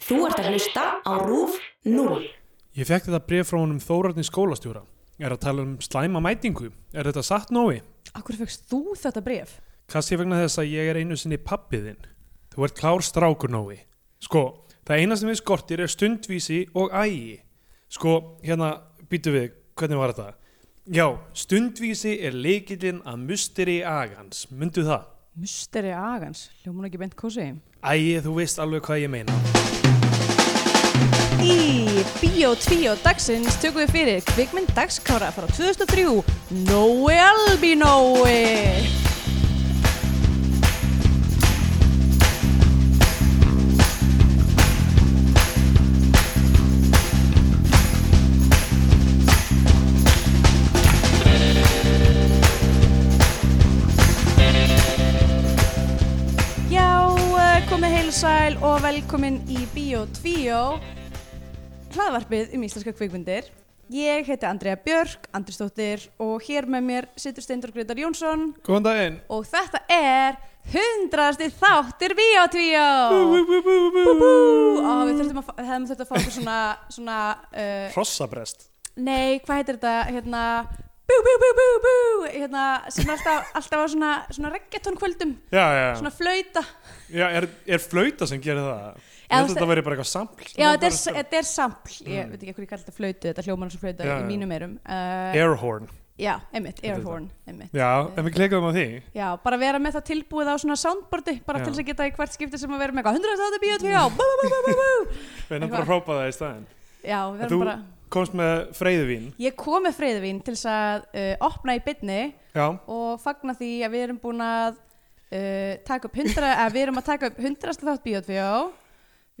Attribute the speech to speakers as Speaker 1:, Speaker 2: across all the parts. Speaker 1: Þú ert að hlusta á RÚF 0.
Speaker 2: Ég fekk þetta bref frá honum Þórarni skólastjóra. Er að tala um slæma mætingu. Er þetta satt nói?
Speaker 3: Akkur fegst þú þetta bref?
Speaker 2: Kanski vegna þess að ég er einu sinni pappiðinn. Þú ert klár strákur nói. Sko, það eina sem við skortir er stundvísi og ægi. Sko, hérna, býtu við, hvernig var þetta? Já, stundvísi er leikillinn að musteri agans. Myndu það?
Speaker 3: Musteri agans, hljóman ekki beint kósi.
Speaker 2: Ægi, þú veist alveg hvað ég meina.
Speaker 3: Í Bíó 2 dagsins tökum við fyrir kvikmynd dagskára frá 2003, Nói Albinói. Já, eh, komið heilsæl og velkomin í Bíó 2, hlaðvarpið um íslenska kvikmyndir. Ég heiti Andrea Björk, Andrisdóttir og hér með mér situr Steindor Gretar Jónsson
Speaker 2: Góðan daginn.
Speaker 3: og þetta er 100. þáttir Bíó 2. Og við þurftum að, fá- hefðum þurft að fá okkur svona, svona uh,
Speaker 2: Hrossabrest.
Speaker 3: nei, hvað heitir þetta, hérna, bú, bú, bú, bú, bú, hérna, sem er alltaf, alltaf á svona, svona reggaeton kvöldum,
Speaker 2: Já, já, já.
Speaker 3: svona flauta.
Speaker 2: Já, er, er flauta sem gerir það? Ég
Speaker 3: Já,
Speaker 2: held
Speaker 3: þú
Speaker 2: að þetta væri bara eitthvað sampl. sem
Speaker 3: Já,
Speaker 2: var
Speaker 3: þetta
Speaker 2: bara
Speaker 3: er,
Speaker 2: að spila.
Speaker 3: þetta er sampl, ég veit ekki hvað ég kallar þetta flautu, þetta hljómar sem flauta
Speaker 2: Já, já.
Speaker 3: í mínum eirum. Uh,
Speaker 2: Airhorn.
Speaker 3: já, einmitt,
Speaker 2: Þetta er
Speaker 3: airhorn, einmitt.
Speaker 2: Já, en við klekaðum á því.
Speaker 3: Já, bara vera með það tilbúið á svona soundboardi, bara
Speaker 2: Já. Mm.
Speaker 3: til þess að geta í hvert skipti sem að vera með eitthvað 100 stáði bíó tvið á, bú, bú, bú, bú, bú, bú.
Speaker 2: Við erum bara að
Speaker 3: Eitthvað.
Speaker 2: hrópa það í staðin.
Speaker 3: Já, við
Speaker 2: Þú-
Speaker 3: verðum bara,
Speaker 2: Komst með freyðuvín.
Speaker 3: ég kom með freyðvín til þess að uh, opna í bytni
Speaker 2: Já.
Speaker 3: og fagna því að við erum búin að uh, taka upp 100, að við erum að taka upp 100 þátt bíó tvið á,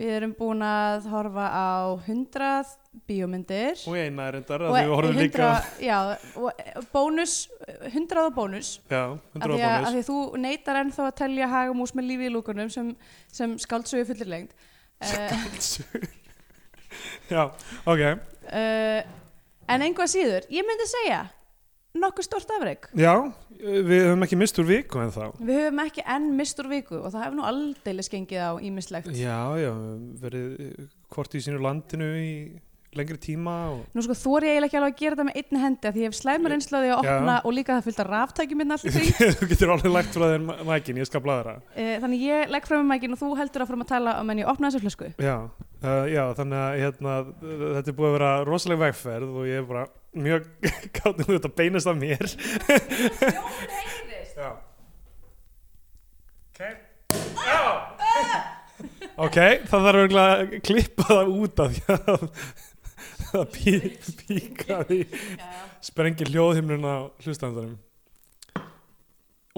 Speaker 3: við erum búin að horfa á 100 bíómyndir.
Speaker 2: Og eina er endar
Speaker 3: Og
Speaker 2: að við horfum líka.
Speaker 3: 100 já, og bónus, 100 og bónus
Speaker 2: Já,
Speaker 3: af
Speaker 2: hundra
Speaker 3: því, að, af
Speaker 2: ábúinus.
Speaker 3: því að þú neytar ennþá að telja hagamús með lífi í lúkunum sem, sem skaldsögu fullir lengd uh,
Speaker 2: Já, ok.
Speaker 3: uh, en einhvað síður ég myndi segja nokkuð stort afreg
Speaker 2: Já, við höfum ekki mist úr viku en þá.
Speaker 3: við höfum ekki enn mistur viku og það hefur nú aldeilis gengið á ímislegt
Speaker 2: Já, já, verið eh, hvort í sínu landinu í lengri tíma og...
Speaker 3: Nú sko þóri ég eiginlega ekki alveg að gera þetta með einni hendi af því ég hef slæmur einslaði að
Speaker 2: Já.
Speaker 3: opna og líka það fylgta ráftækjum minn allir því
Speaker 2: Þú getur alveg lagt frá þér ma- mækin, ég skal blaðra.
Speaker 3: uh, Þannig ég legg fram með mækin og þú heldur áfram að tala á menn ég opna þessu flösku
Speaker 2: Já, uh, já þannig að hérna, þetta er búið að vera rosaleg vegferð og ég er bara mjög gátt um þetta beinast af mér. Já. Ok. Já. Ok, það þarf örugglega að klippa það út af því að það pí, píkaði sprengi hljóðhimnuna á hlustandarum.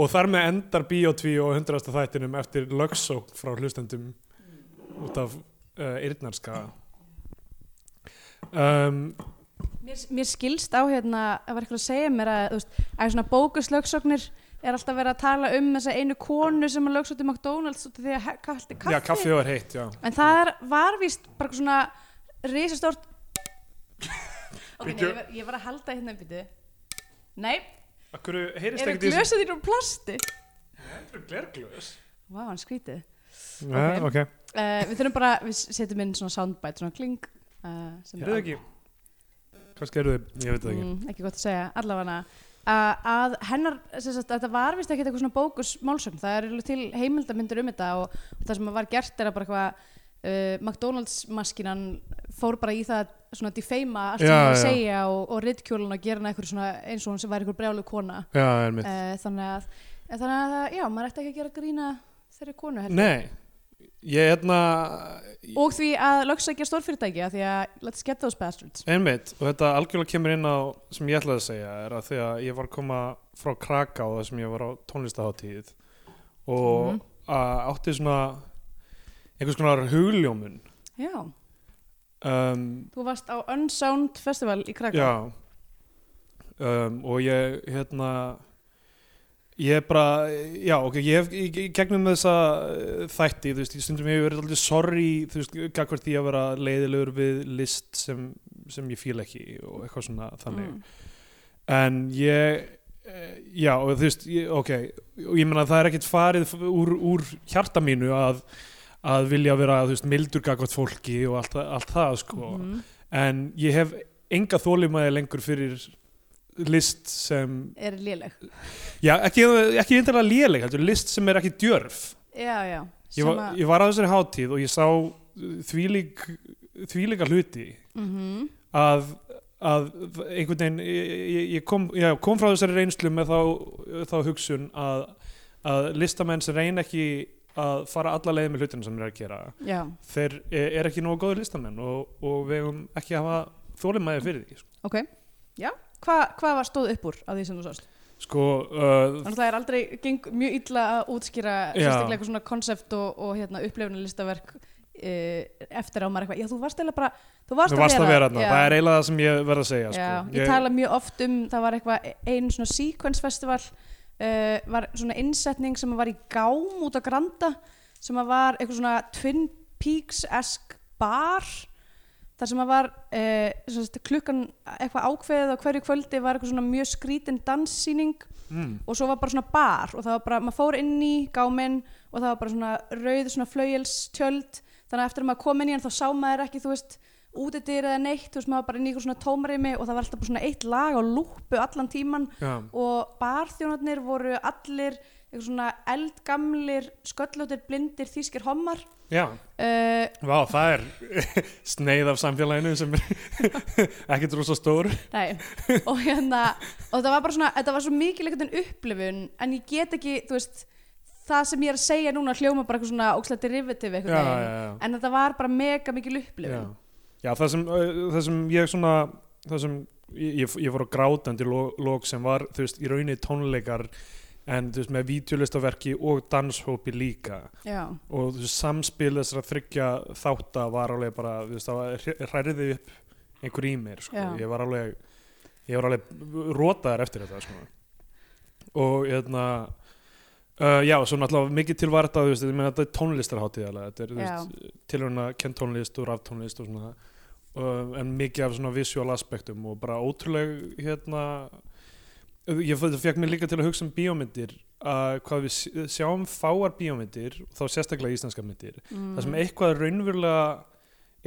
Speaker 2: Og þar með endar Bíó 2 og 100. þættinum eftir lögsók frá hlustendum út af uh, eyrnarskaða um,
Speaker 3: Mér, mér skilst á hérna að var eitthvað að segja mér að, þú veist, að svona bókuslöksóknir er alltaf verið að tala um þessa einu konu sem að lögsótti McDonalds út af því að he- kallti kaffi.
Speaker 2: Já, kaffi var heitt, já
Speaker 3: En það er, var víst bara eitthvað svona risastort... ok, nei,
Speaker 2: Bíddu.
Speaker 3: ég var, ég var að halda hérna um byttu. Nei,
Speaker 2: Akkur heyrist
Speaker 3: eru
Speaker 2: ekkert í
Speaker 3: glösa þín úr plasti?
Speaker 2: þessu glerglöðs
Speaker 3: Vá, hann skrítið.
Speaker 2: okay.
Speaker 3: Ok. Uh, við þurfum bara, við setjum inn svona soundbite, svona kling. Uh, sem er
Speaker 2: Heyrðu ekki Kannski eru þið, ég veit það ekki
Speaker 3: mm, ekki gott að segja, allavega uh, að hennar, sem sagt, þetta var vist ekki eitthvað svona bókus málsögn, það er alveg til heimildamindir um þetta og, og það sem var gert er að bara eitthvað uh, McDonalds maskinan fór bara í það svona defeima allt sem
Speaker 2: Já,
Speaker 3: hún var að
Speaker 2: já.
Speaker 3: segja og, og ridkjólun og gera hana einhver svona eins og hún sem væri einhver brjálu kona
Speaker 2: Já, er mitt
Speaker 3: uh, þannig að eh, þannig að, já, maður ætti ekki að gera grína þeirri konu heldur
Speaker 2: Nei, ég er hérna
Speaker 3: og því að lögsækja stórfyrirtæki af því að let's get those bastards
Speaker 2: Einmitt, og þetta algjörlega kemur inn á sem ég ætlaði að segja er að því að ég var að koma frá Kraká þar sem ég var á tónlistaháttíð og mm
Speaker 3: Mhm.
Speaker 2: átti svona einhvers konar hugljómun
Speaker 3: já,
Speaker 2: um,
Speaker 3: þú varst á Unsound Festival í Krakow
Speaker 2: Já um, og ég hérna ég er bara já ok, ég hef í í gegnum þessa eh, þætti, þú veist, ég stundum ég hef verið alltaf sorry, þú veist, gagvart því að vera leiðilegur við list sem, sem ég fíla ekki og eitthvað svona þannig,
Speaker 3: Mm.
Speaker 2: en ég eh, já, og þú veist, ég, ok og ég meina það er ekkert farið f- úr, úr hjarta mínu að að vilja vera þú veist, mildur gagvart fólki og allt, það- allt það sko.
Speaker 3: Mhm.
Speaker 2: en ég hef enga þólimaði lengur fyrir list sem
Speaker 3: er léleg
Speaker 2: já, ekki, ekki eindilega léleg heldur, list sem er ekki djörf
Speaker 3: já, já,
Speaker 2: ég,
Speaker 3: sem
Speaker 2: var,
Speaker 3: að
Speaker 2: ég var að þessari hátíð og ég sá uh, þvílík, þvílíka hluti
Speaker 3: mhm,
Speaker 2: að, að einhvern veginn ég, ég kom, já, kom frá þessari reynslu með þá, þá hugsun að, að listamenn sem reyna ekki að fara alla leið með hlutina sem þeir eru að gera
Speaker 3: já,
Speaker 2: þeir er ekki nógu góður listamenn og, og við hefum ekki að hafa þólimaði fyrir því sko,
Speaker 3: ok já, hvað hva var stóð upp úr á því sem þú sást
Speaker 2: sko uh,
Speaker 3: þannig að það er aldrei geng mjög illa að útskýra
Speaker 2: Já.
Speaker 3: sérstaklega eitthvað svona konsept og, og hérna, upplifnarlistaverk Uh, eftir á maður eitthvað, já þú varst eiginlega bara þú varst,
Speaker 2: þú varst að vera
Speaker 3: já.
Speaker 2: þarna, það er eiginlega það sem ég verð að segja sko.
Speaker 3: Já, ég tala mjög oft um, það var eitthvað einu svona sequence festival uh, var svona innsetning sem var í gám út á Granda sem að var eitthvað svona Twin Peaks-esk bar þar sem að var uh, sagt, klukkan eitthvað ákveðið á hverju kvöldi var eitthvað svona mjög skrítin danssýning
Speaker 2: mm,
Speaker 3: og svo var bara svona bar og það var bara, maður fór inn í gáminn og það var bara svona rauð svona flaujelstjöld þannig að eftir að maður kom inn í hann þá sá maður ekki þú veist útidyr eða neitt þú veist maður var bara inn í eitthvað svona tómarimi og það var alltaf bara svona eitt lag á lúpu allan tíman
Speaker 2: já,
Speaker 3: og barþjónarnir voru allir eitthvað svona eldgamlir sköllóttir blindir þýskir hommar
Speaker 2: já.
Speaker 3: uh,
Speaker 2: Vá, það er sneið af samfélaginu sem er ekkert rosa stór.
Speaker 3: Nei, og hérna og þetta var bara svona, þetta var svo mikil einhvern veginn upplifun en ég get ekki, þú veist það sem ég er að segja núna hljóma bara eitthvað svona ókslega
Speaker 2: Já,
Speaker 3: derivative einhvern
Speaker 2: já,
Speaker 3: veginn
Speaker 2: já.
Speaker 3: en þetta var bara mega mikil
Speaker 2: Já,
Speaker 3: upplifun
Speaker 2: já það, sem, uh, það sem ég svona, það sem ég, ég- ég fór á grátandi lo- lok sem var, þú veist, í rauninni tónleikar en þú veist, með vítjulistaverki og danshópi líka
Speaker 3: Já,
Speaker 2: og þú veist, samspil þessara þryggja þátta var alveg bara, þú veist, það var- hræriði upp einhver í mér, sko,
Speaker 3: Já.
Speaker 2: ég var alveg ég var alveg rótaður eftir þetta, sko og hérna uh, já, svo náttúrulega mikið til var þetta, þú veist, ég meina þetta er tónlistarhátíðalega, þetta er, þú
Speaker 3: Já.
Speaker 2: veist, tilhörna kenn tónlist og raftónlist og svona uh, en mikið af svona visual aspektum og bara ótrúleg, hérna ég fe- fekk mér líka til að hugsa um bíómyndir að hvað við sj- sjáum fáar bíómyndir og þá sérstaklega íslenska myndir
Speaker 3: mm.
Speaker 2: það sem eitthvað raunverulega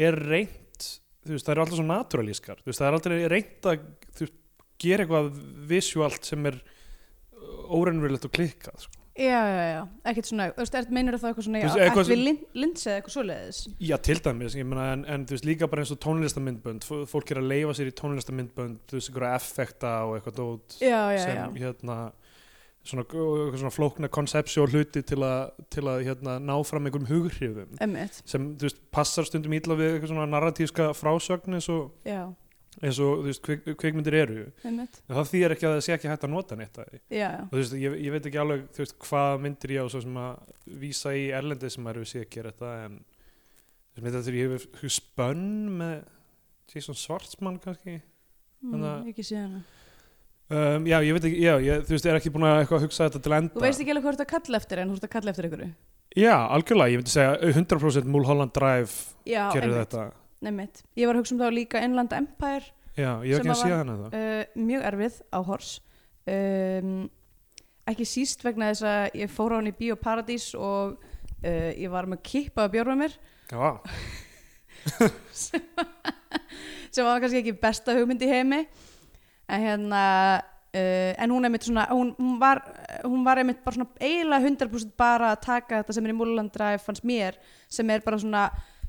Speaker 2: er reynt þú veist, það eru alltaf svo naturalískar þú veist, það er aldrei reynt að þú veist, gera eitthvað visuált sem er óraunverulegt og klikkað sko.
Speaker 3: Já, já, já, ekkert svona þú veist, meinur það eitthvað svona,
Speaker 2: Þú
Speaker 3: já,
Speaker 2: veist, eitthvað
Speaker 3: ekkert
Speaker 2: sem-
Speaker 3: við lin- lindsið eða eitthvað svoleiðis
Speaker 2: já, til dæmis, ég meina en, en þú veist, líka bara eins og tónlistamindbönd F- fólk er að leifa sér í tónlistamindbönd þú veist, einhverja effekta og eitthvað dót
Speaker 3: Já, já, já,
Speaker 2: sem hérna svona, eitthvað svona flókna konsepsjó hluti til að, til að hérna, ná fram einhverjum hughrifum
Speaker 3: emmitt
Speaker 2: sem þú veist, passar stundum ítla við eitthvað svona narratíska frásögn eins og,
Speaker 3: Já,
Speaker 2: eins og þú veist, kvik, kvikmyndir eru
Speaker 3: emmitt,
Speaker 2: en það þýðir ekki að það sé ekki hægt að nota neitt að því
Speaker 3: já, já
Speaker 2: og þú veist, ég, ég veit ekki alveg þú veist, hvað myndir ég á svo sem að vísa í erlendi sem maður hefur séð að gera þetta en þú veist, þetta er ég hefur hef spönn með Jason Svartsmann kannski
Speaker 3: mm,
Speaker 2: Þannig
Speaker 3: Ekki síðan
Speaker 2: um, já, ég veit ekki, já, ég, þú veist, er ekki búin að eitthvað hugsa þetta til enda
Speaker 3: Þú veist ekki alveg hvað þú ert að kalla eftir en þú ert að kalla eftir ykkur
Speaker 2: Já, algjörlega, ég myndi segja 100% Mulholland Drive
Speaker 3: Já,
Speaker 2: gerir
Speaker 3: einmitt,
Speaker 2: þetta
Speaker 3: einmitt Ég var að hugsa um þá líka Inland Empire
Speaker 2: Já, ég hef
Speaker 3: Sem
Speaker 2: ekki
Speaker 3: að
Speaker 2: að sé
Speaker 3: var-
Speaker 2: hana það
Speaker 3: uh, mjög erfið á hors um, ekki síst vegna þess að ég fór á hann í Bíóparadís og uh, ég var með kippa að bjórna mér
Speaker 2: Já,
Speaker 3: sem var kannski ekki besta hugmynd í heimi en hérna uh, en hún einmitt svona hún, hún, var, hún var einmitt bara svona eiginlega 100% bara að taka þetta sem er í Múluland Drive fannst mér sem er bara svona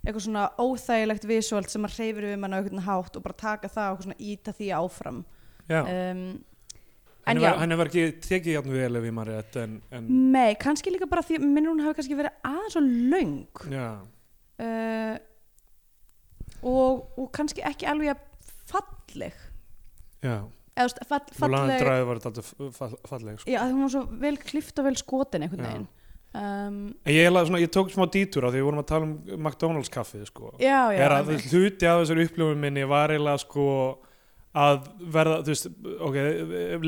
Speaker 3: eitthvað svona óþægilegt visuált sem að reyfir við mann á einhvern hátt og bara taka það og eitthvað svona íta því áfram
Speaker 2: já.
Speaker 3: um,
Speaker 2: henni,
Speaker 3: já.
Speaker 2: var, henni var ekki tekið játn vel ef ég maður rétt en, en
Speaker 3: Nei, kannski líka bara því minn hún hafi kannski verið aðeins og löng
Speaker 2: já,
Speaker 3: uh, og, og kannski ekki alveg jafn falleg
Speaker 2: já
Speaker 3: eða þú veist, fall,
Speaker 2: Mulholland
Speaker 3: falleg
Speaker 2: Drive var þetta alltaf fall, falleg sko.
Speaker 3: já, því hún var svo vel klift og vel skotin einhvern
Speaker 2: Já.
Speaker 3: veginn um,
Speaker 2: En ég, eiginlega svona, ég tók smá dítúr á því við vorum að tala um McDonalds kaffið sko.
Speaker 3: já, já,
Speaker 2: er að
Speaker 3: einmitt.
Speaker 2: þú- hluti af þessari upplifun minni var eiginlega sko að verða, þú veist, ok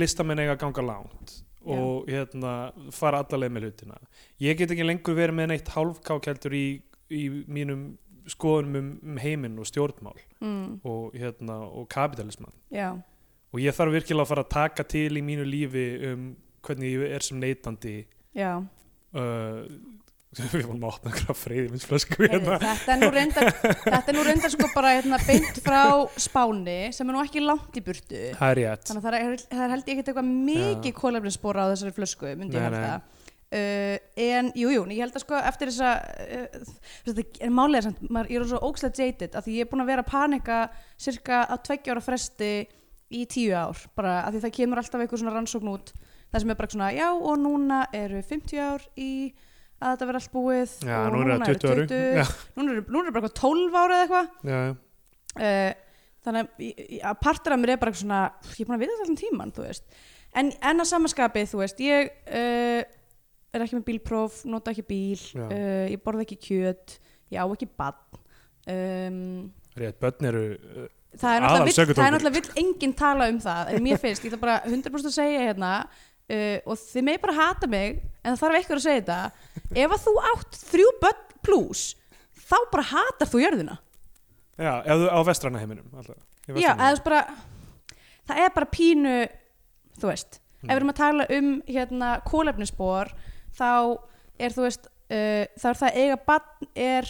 Speaker 2: listamenn eiga að ganga langt og hérna fara allaleg með hlutina ég get ekki lengur verið með neitt hálfkákeldur í, í mínum skoðunum um, um heiminn og stjórnmál
Speaker 3: mm,
Speaker 2: og hérna og kapitalisman
Speaker 3: já,
Speaker 2: og ég þarf virkilega að fara að taka til í mínu lífi um hvernig ég er sem neytandi
Speaker 3: já,
Speaker 2: uh, við vorum að opna einhverja freyðivinsflösku
Speaker 3: Heyrðu,
Speaker 2: hérna
Speaker 3: þetta er nú reyndar þetta er nú reyndar sko bara hérna, beint frá spáni sem er nú ekki langt í burtu
Speaker 2: hérna. það er rétt
Speaker 3: þannig að það er, það er held ég ekkert eitthvað mikið kólefninsbora á þessari flösku myndi ég
Speaker 2: Nei,
Speaker 3: held
Speaker 2: nei.
Speaker 3: að Uh, en jú, jú, ég held að sko eftir þessa uh, þetta er málega samt maður, ég er svo ókslega jaded að því ég er búin að vera að panika cirka á tveggja ára fresti í tíu ár bara að því það kemur alltaf einhver svona rannsókn út það sem er bara svona, já og núna eru 50 ár í að þetta vera allt búið
Speaker 2: Já,
Speaker 3: og
Speaker 2: nú eru það 20 árum. Já.
Speaker 3: núna eru núna eru bara eitthvað 12 ára eða eitthvað
Speaker 2: já, já.
Speaker 3: Eh, þannig að ég- ég- að partur af mér er bara svona, ég er búin að vita þetta allan tíman þú veist, en, en að samaskapið þú veist, ég uh, er ekki með bílpróf, nota ekki bíl
Speaker 2: Já.
Speaker 3: uh, ég borða ekki kjöt ég á ekki badn um,
Speaker 2: rétt, börn eru uh,
Speaker 3: það er
Speaker 2: Aðal
Speaker 3: náttúrulega vill, það er
Speaker 2: sökudólgur.
Speaker 3: náttúrulega vill enginn tala um það, en mér finnst, ég ætla bara 100% að segja hérna uh, og þið megi bara hata mig en það þarf eitthvað að segja þetta ef að þú átt þrjú börn pluss þá bara hatar þú jörðina
Speaker 2: já, ef þú á vestræna heiminum alltaf, í vestræna
Speaker 3: Já, eða þú veist bara það er bara pínu þú veist,
Speaker 2: Mm.
Speaker 3: ef við erum að tala um hérna kólefnisbor þá er þú veist uh, þá er það að eiga bann er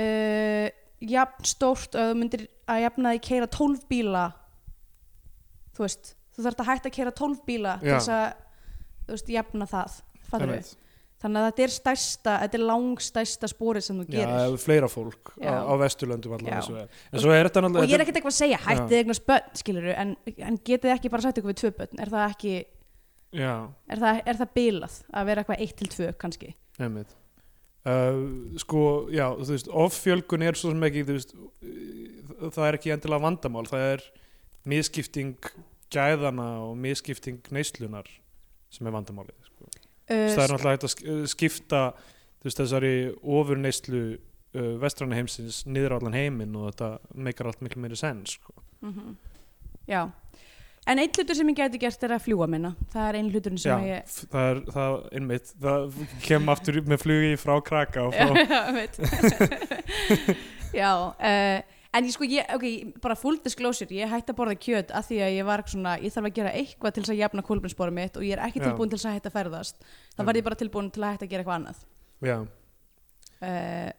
Speaker 3: uh, jafn stórt og ef þú myndir að jafna því keira 12 bíla þú veist, þú þarf að hætta að keira 12 bíla til
Speaker 2: Já.
Speaker 3: þess að þú veist, jafna það, fattar
Speaker 2: Einmitt.
Speaker 3: við þannig að þetta er stærsta, þetta er langstærsta spórið sem þú
Speaker 2: Já,
Speaker 3: gerir
Speaker 2: ef fleira fólk
Speaker 3: Já.
Speaker 2: á, á vesturlöndum
Speaker 3: Já.
Speaker 2: allavega svo er. En svo er þetta
Speaker 3: og ég er
Speaker 2: náttúrulega
Speaker 3: ekkert eitthvað að segja hættið eignast börn skiluru en, en getið ekki bara sagt ykkur við tvö börn er það ekki,
Speaker 2: Já,
Speaker 3: er það, er það bilað að vera eitthvað eitt til tvö kannski
Speaker 2: nefnit uh, Sko, já, þú veist offjölgun er svo sem ekki þú veist, uh, það er ekki endilega vandamál það er miskipting gæðana og miskipting neyslunar sem er vandamálið sko. Svo það er
Speaker 3: uh,
Speaker 2: náttúrulega hægt að sk- uh, skipta þú veist, þessari ofur neyslu uh, vestræna heimsins niður á allan heiminn og þetta meikar allt miklu meiri sens sko.
Speaker 3: mm já en einn hlutur sem ég geti gert er að fljúa minna það er einn hluturinn sem
Speaker 2: Já,
Speaker 3: ég
Speaker 2: f- það er það einmitt það kem aftur upp með flugi frá Kraka og frá,
Speaker 3: já, einmitt. já uh, en ég sko, ég, ok, bara full disclosure ég hætti að borða kjöt að því að ég var svona, ég þarf að gera eitthvað til þess að jafna kólbrinsporum mitt og ég er ekki
Speaker 2: Já.
Speaker 3: tilbúin til þess að hætta að ferðast þá var ég bara tilbúin til að hætta að gera eitthvað annað
Speaker 2: já,
Speaker 3: Eh,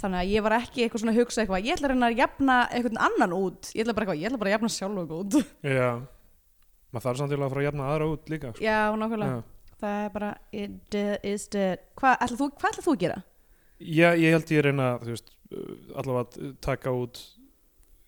Speaker 3: þannig að ég var ekki eitthvað svona að hugsa eitthvað ég ætla að reyna að jafna einhvern annan út ég ætla bara, eitthvað, ég ætla bara að jafna sjálf okkur út
Speaker 2: já maður þarf samtilega að fara að jafna aðra út líka sko.
Speaker 3: já, nákvæmlega,
Speaker 2: já.
Speaker 3: það er bara it de- is dead Hva, ætla þú, hvað ætlar þú að gera?
Speaker 2: Já, ég held ég reyna þú veist, uh, allavega að taka út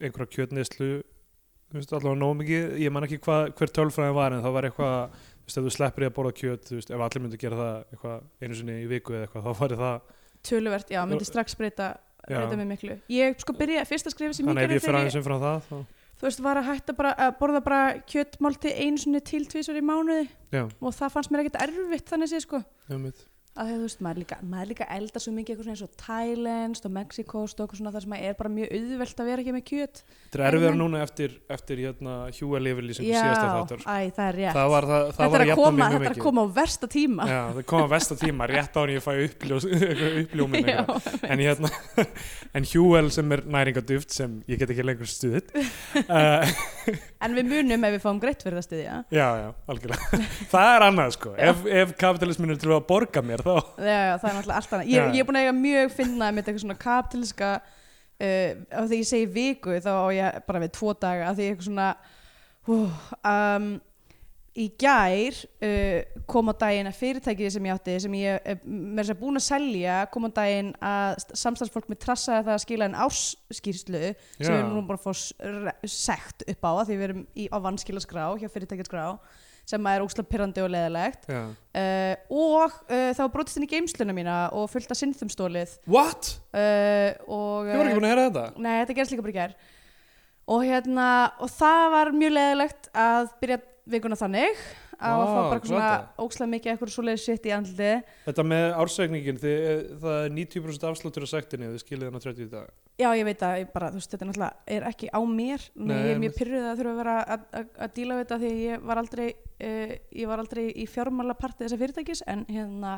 Speaker 2: einhverja kjötneyslu þú veist, allavega nóg mikið ég man ekki hva, hver tölfræðin var en það var eitthvað þú veist, ef þú sleppir í að borða kjöt þú veist, ef allir myndu gera það eitthvað einu sinni í viku eða eitthvað, þá var það
Speaker 3: töluvert, já, myndi strax breyta
Speaker 2: Já.
Speaker 3: breyta mig miklu, ég sko byrja fyrsta skrifi sem
Speaker 2: þannig
Speaker 3: ég
Speaker 2: ef
Speaker 3: gerði
Speaker 2: ég fyrir
Speaker 3: þegar
Speaker 2: aðeins
Speaker 3: ég,
Speaker 2: umfram það þá,
Speaker 3: þú veist, var að hætta bara að borða bara kjötmálti einu sinni til tvisar í mánuði
Speaker 2: já,
Speaker 3: og það fannst mér ekkert erfitt þannig sé sko
Speaker 2: um mitt
Speaker 3: að því að þú veist, maður er líka, maður er líka að elda svo mikið eitthvað svona eins og Thailands og Mexikost og eitthvað svona þar sem maður er bara mjög auðvelt að vera ekki með kjöt
Speaker 2: Þetta er erfiðar núna eftir, eftir hérna hjúa lifilýsing síðasta þáttar.
Speaker 3: æ, það er rétt
Speaker 2: Það var það, það
Speaker 3: þetta
Speaker 2: var
Speaker 3: er að
Speaker 2: jafna
Speaker 3: koma,
Speaker 2: mig mjög
Speaker 3: þetta er að
Speaker 2: mikið.
Speaker 3: koma á versta tíma
Speaker 2: Já, það kom að versta tíma rétt ára ég fæ uppljós, uppljómin
Speaker 3: Já,
Speaker 2: eitthvað. en, hérna, en hjúel sem er næringaduft sem ég get ekki lengur stuðið uh,
Speaker 3: en við munum ef við fáum greitt fyrir það stiðja
Speaker 2: Já, já, algjörlega Það er annað sko, ef, ef kapitalismin er til að borga mér þá
Speaker 3: já, já, það er náttúrulega allt annað ég,
Speaker 2: Já.
Speaker 3: ég er búin að eiga mjög finna með eitthvað svona kapitaliska uh, á því ég segi viku þá á ég bara við tvo daga af því ég er eitthvað svona uh, um, í gær uh, kom á daginn að fyrirtækið sem ég átti sem ég er með þess að búin að selja kom á daginn að st- samstarfsfólk með trassaði það að skila en ásskýrslu sem við erum nú bara að fá s- re- sekt upp á af því við erum í, á vanskilaskrá hjá fyrirtækjaskrá sem er óslega pyrrandi og leðilegt
Speaker 2: já.
Speaker 3: uh, og uh, þá brotist inn í geimsluna mína og fullt að sinnþum stólið
Speaker 2: What?
Speaker 3: uh, og eh,
Speaker 2: Ég var ekki búin að heyra þetta
Speaker 3: nei, þetta gerst líka bara í gær og hérna, og það var mjög leðilegt að byrja vikuna þannig að
Speaker 2: Vá,
Speaker 3: wow, fá bara eitthvað svona
Speaker 2: glata.
Speaker 3: ókslega mikið eitthvað svoleiðið sitt í andli
Speaker 2: Þetta með ársækningin, þið, eh, það er 90% afsláttur á sektinni, þið skilir þannig 30 í dag
Speaker 3: já, ég veit að ég bara, þú veist, þetta er náttúrulega er ekki á mér, nei,
Speaker 2: Nei,
Speaker 3: ég er mjög
Speaker 2: einmitt.
Speaker 3: pyrruð að þurfa að vera að, að, að díla við þetta því að ég var aldrei uh, ég var aldrei í fjármála partið þessa fyrirtækis en hérna,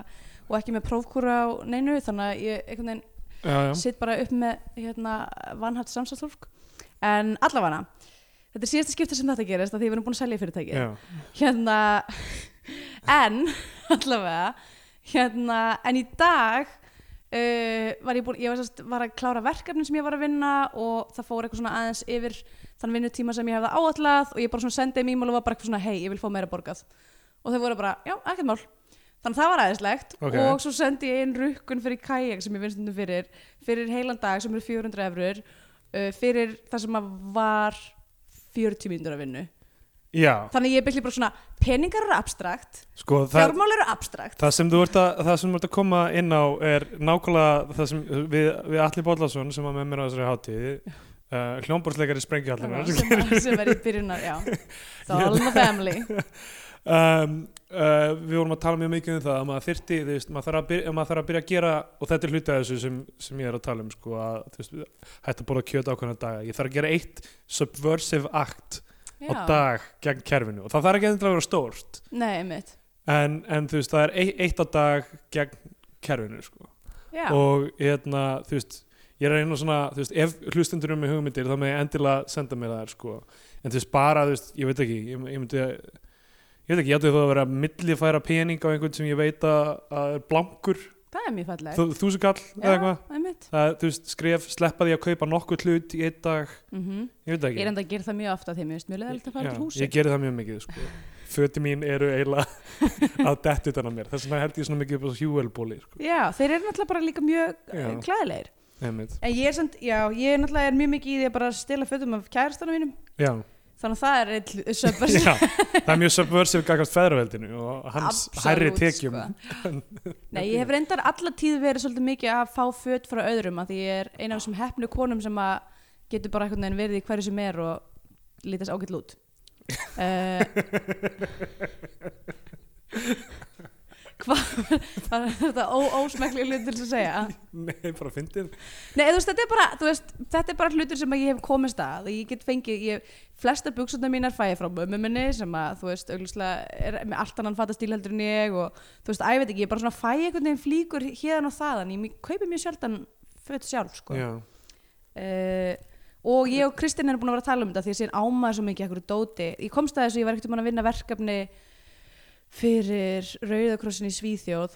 Speaker 3: og ekki með prófkúra á neinu, þannig að ég einhvern veginn
Speaker 2: Já, já,
Speaker 3: sitt bara upp með hérna, vanhætt samstarfsfólk en allavega þetta er síðasta skipti sem þetta gerist af því við erum búin að selja fyrirtæki
Speaker 2: já.
Speaker 3: hérna en Hérna, allavega hérna, en í dag uh, var ég búin, ég var, sest, var að klára verkefnin sem ég var að vinna og það fór eitthvað svona aðeins yfir þann vinnutíma sem ég hefði áallað og ég bara svona sendið mím og var bara eitthvað svona hei, ég vil fá meira borgað og þau voru bara, já, ekkert mál þannig að það var aðeinslegt
Speaker 2: Ok.
Speaker 3: og svo sendi ég inn rukkun fyrir kajak sem ég vinn stundum fyrir fyrir heilan dag sem eru 400 efrur uh, fyrir það sem að var 40 mínútur að vinnu
Speaker 2: Já,
Speaker 3: þannig að ég byggli bara svona peningar eru abstrakt,
Speaker 2: sko það,
Speaker 3: fjármál eru abstrakt
Speaker 2: það sem þú ert að, það sem þú ert að koma inn á er nákvæmlega það sem við, við Atli Bóllason sem var með mér á þessari hátíð uh, hljómborðsleikari sprengjuhallunar
Speaker 3: sem, sem er í byrjunar, já It's all in the family
Speaker 2: um, uh, við vorum að tala mjög mikið um það að maður þyrti, þú veist, maður þarf að byrja, maður þarf að, byrja að gera og þetta er hluti af þessu sem, sem ég er að tala um sko, að þú veist, hætti að borða kjöt ákveðna daga ég þarf að gera eitt subversive act á
Speaker 3: já.
Speaker 2: dag gegn kerfinu og það þarf ekki endilega að vera stórt
Speaker 3: Nei, einmitt
Speaker 2: en, en þú veist, það er eitt, eitt á dag gegn kerfinu sko.
Speaker 3: já.
Speaker 2: og hérna, þú veist ég er að reyna svona, þú veist, ef hlustundur um með hugmyndir þá með endilega senda mér það sko. en þú veist, bara, þú veist, ég veit ekki ég, ég myndi að Ég veit ekki, ég ætti þú að vera að millifæra pening á einhvern sem ég veit að, að er blankur,
Speaker 3: það er mjög falleg
Speaker 2: þú, þúsugall eða eitthvað.
Speaker 3: einmitt
Speaker 2: Það, er, þú veist, skref, sleppa því að kaupa nokkuð hlut í einn dag,
Speaker 3: mm
Speaker 2: ég veit það
Speaker 3: Ég
Speaker 2: ekki.
Speaker 3: er enda að gera það mjög ofta þegar mér veist mjög leðalegt að fara
Speaker 2: Já,
Speaker 3: til húsi
Speaker 2: Ég geri það mjög mikið, sko. Föti mín eru eiginlega að detti utan að mér. Þess vegna held ég svona mikið upp á hjúelbóli, sko.
Speaker 3: Já, þeir eru náttúrulega bara líka mjög eh,
Speaker 2: Já.
Speaker 3: já. klæðilegir
Speaker 2: Einmitt.
Speaker 3: En ég er samt, já, ég er náttúrulega er mjög mikið í því að bara stila fötum af kærastanum mínum
Speaker 2: Já.
Speaker 3: Þannig að það er eitt söpars
Speaker 2: Já, það er mjög subversive gagast feðraveldinu og hans hærri
Speaker 3: sko.
Speaker 2: tekjum.
Speaker 3: Nei, ég hef reyndar alla tíð verið svolítið mikið að fá föt frá öðrum að því ég er eina af þessum hefnu konum sem að getur bara einhvern veginn verið í hverju sem er og lítast ágætt lút uh, Hvað var þetta ósmekli hlutur sem segja?
Speaker 2: Nei, bara fyndið.
Speaker 3: Nei, þú veist, þetta er bara, þú veist, þetta er bara hlutur sem að ég hef komist að, ég get fengið, ég, flesta buksundar mínar fæ ég frá mömmu minni sem að, þú veist, augljóslega er með allt annan fata stílheldur en ég og, þú veist, að ég veit ekki, ég bara svona fæ einhvern veginn flíkur hérðan og þaðan, ég mi- kaupi mjög sjaldan föt sjálf, sko.
Speaker 2: Já,
Speaker 3: Eh, og ég og Kristinn erum búin að vera að tala um þetta því að síðan ámaði svo mikið ekkur dóti ég komst að þessu, ég var ekkert um að vinna verkefni fyrir Rauðakrossin í Svíþjóð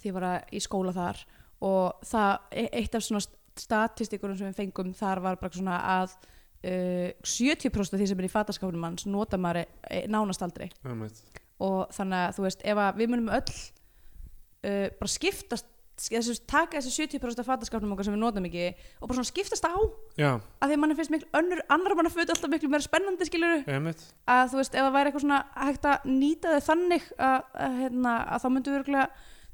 Speaker 3: því ég var að- í skóla þar og það, e- eitt af svona statistikurum sem við fengum þar var bara svona að uh, 70% af því sem er í fataskáfnum hans nota maður eh, nánast aldrei
Speaker 2: einmitt.
Speaker 3: og þannig að þú veist ef að við munum öll uh, bara skiptast þessu, taka þessi 70% af fattaskapnum okkar sem við notum ekki og bara svona skiptast á að
Speaker 2: Já,
Speaker 3: því að manni finnst miklu önnur, annar manna fötu alltaf miklu meira spennandi skilur
Speaker 2: einmitt.
Speaker 3: að þú veist ef það væri eitthvað svona hægt að nýta þau þannig að, að, hérna, að þá myndum við örgulega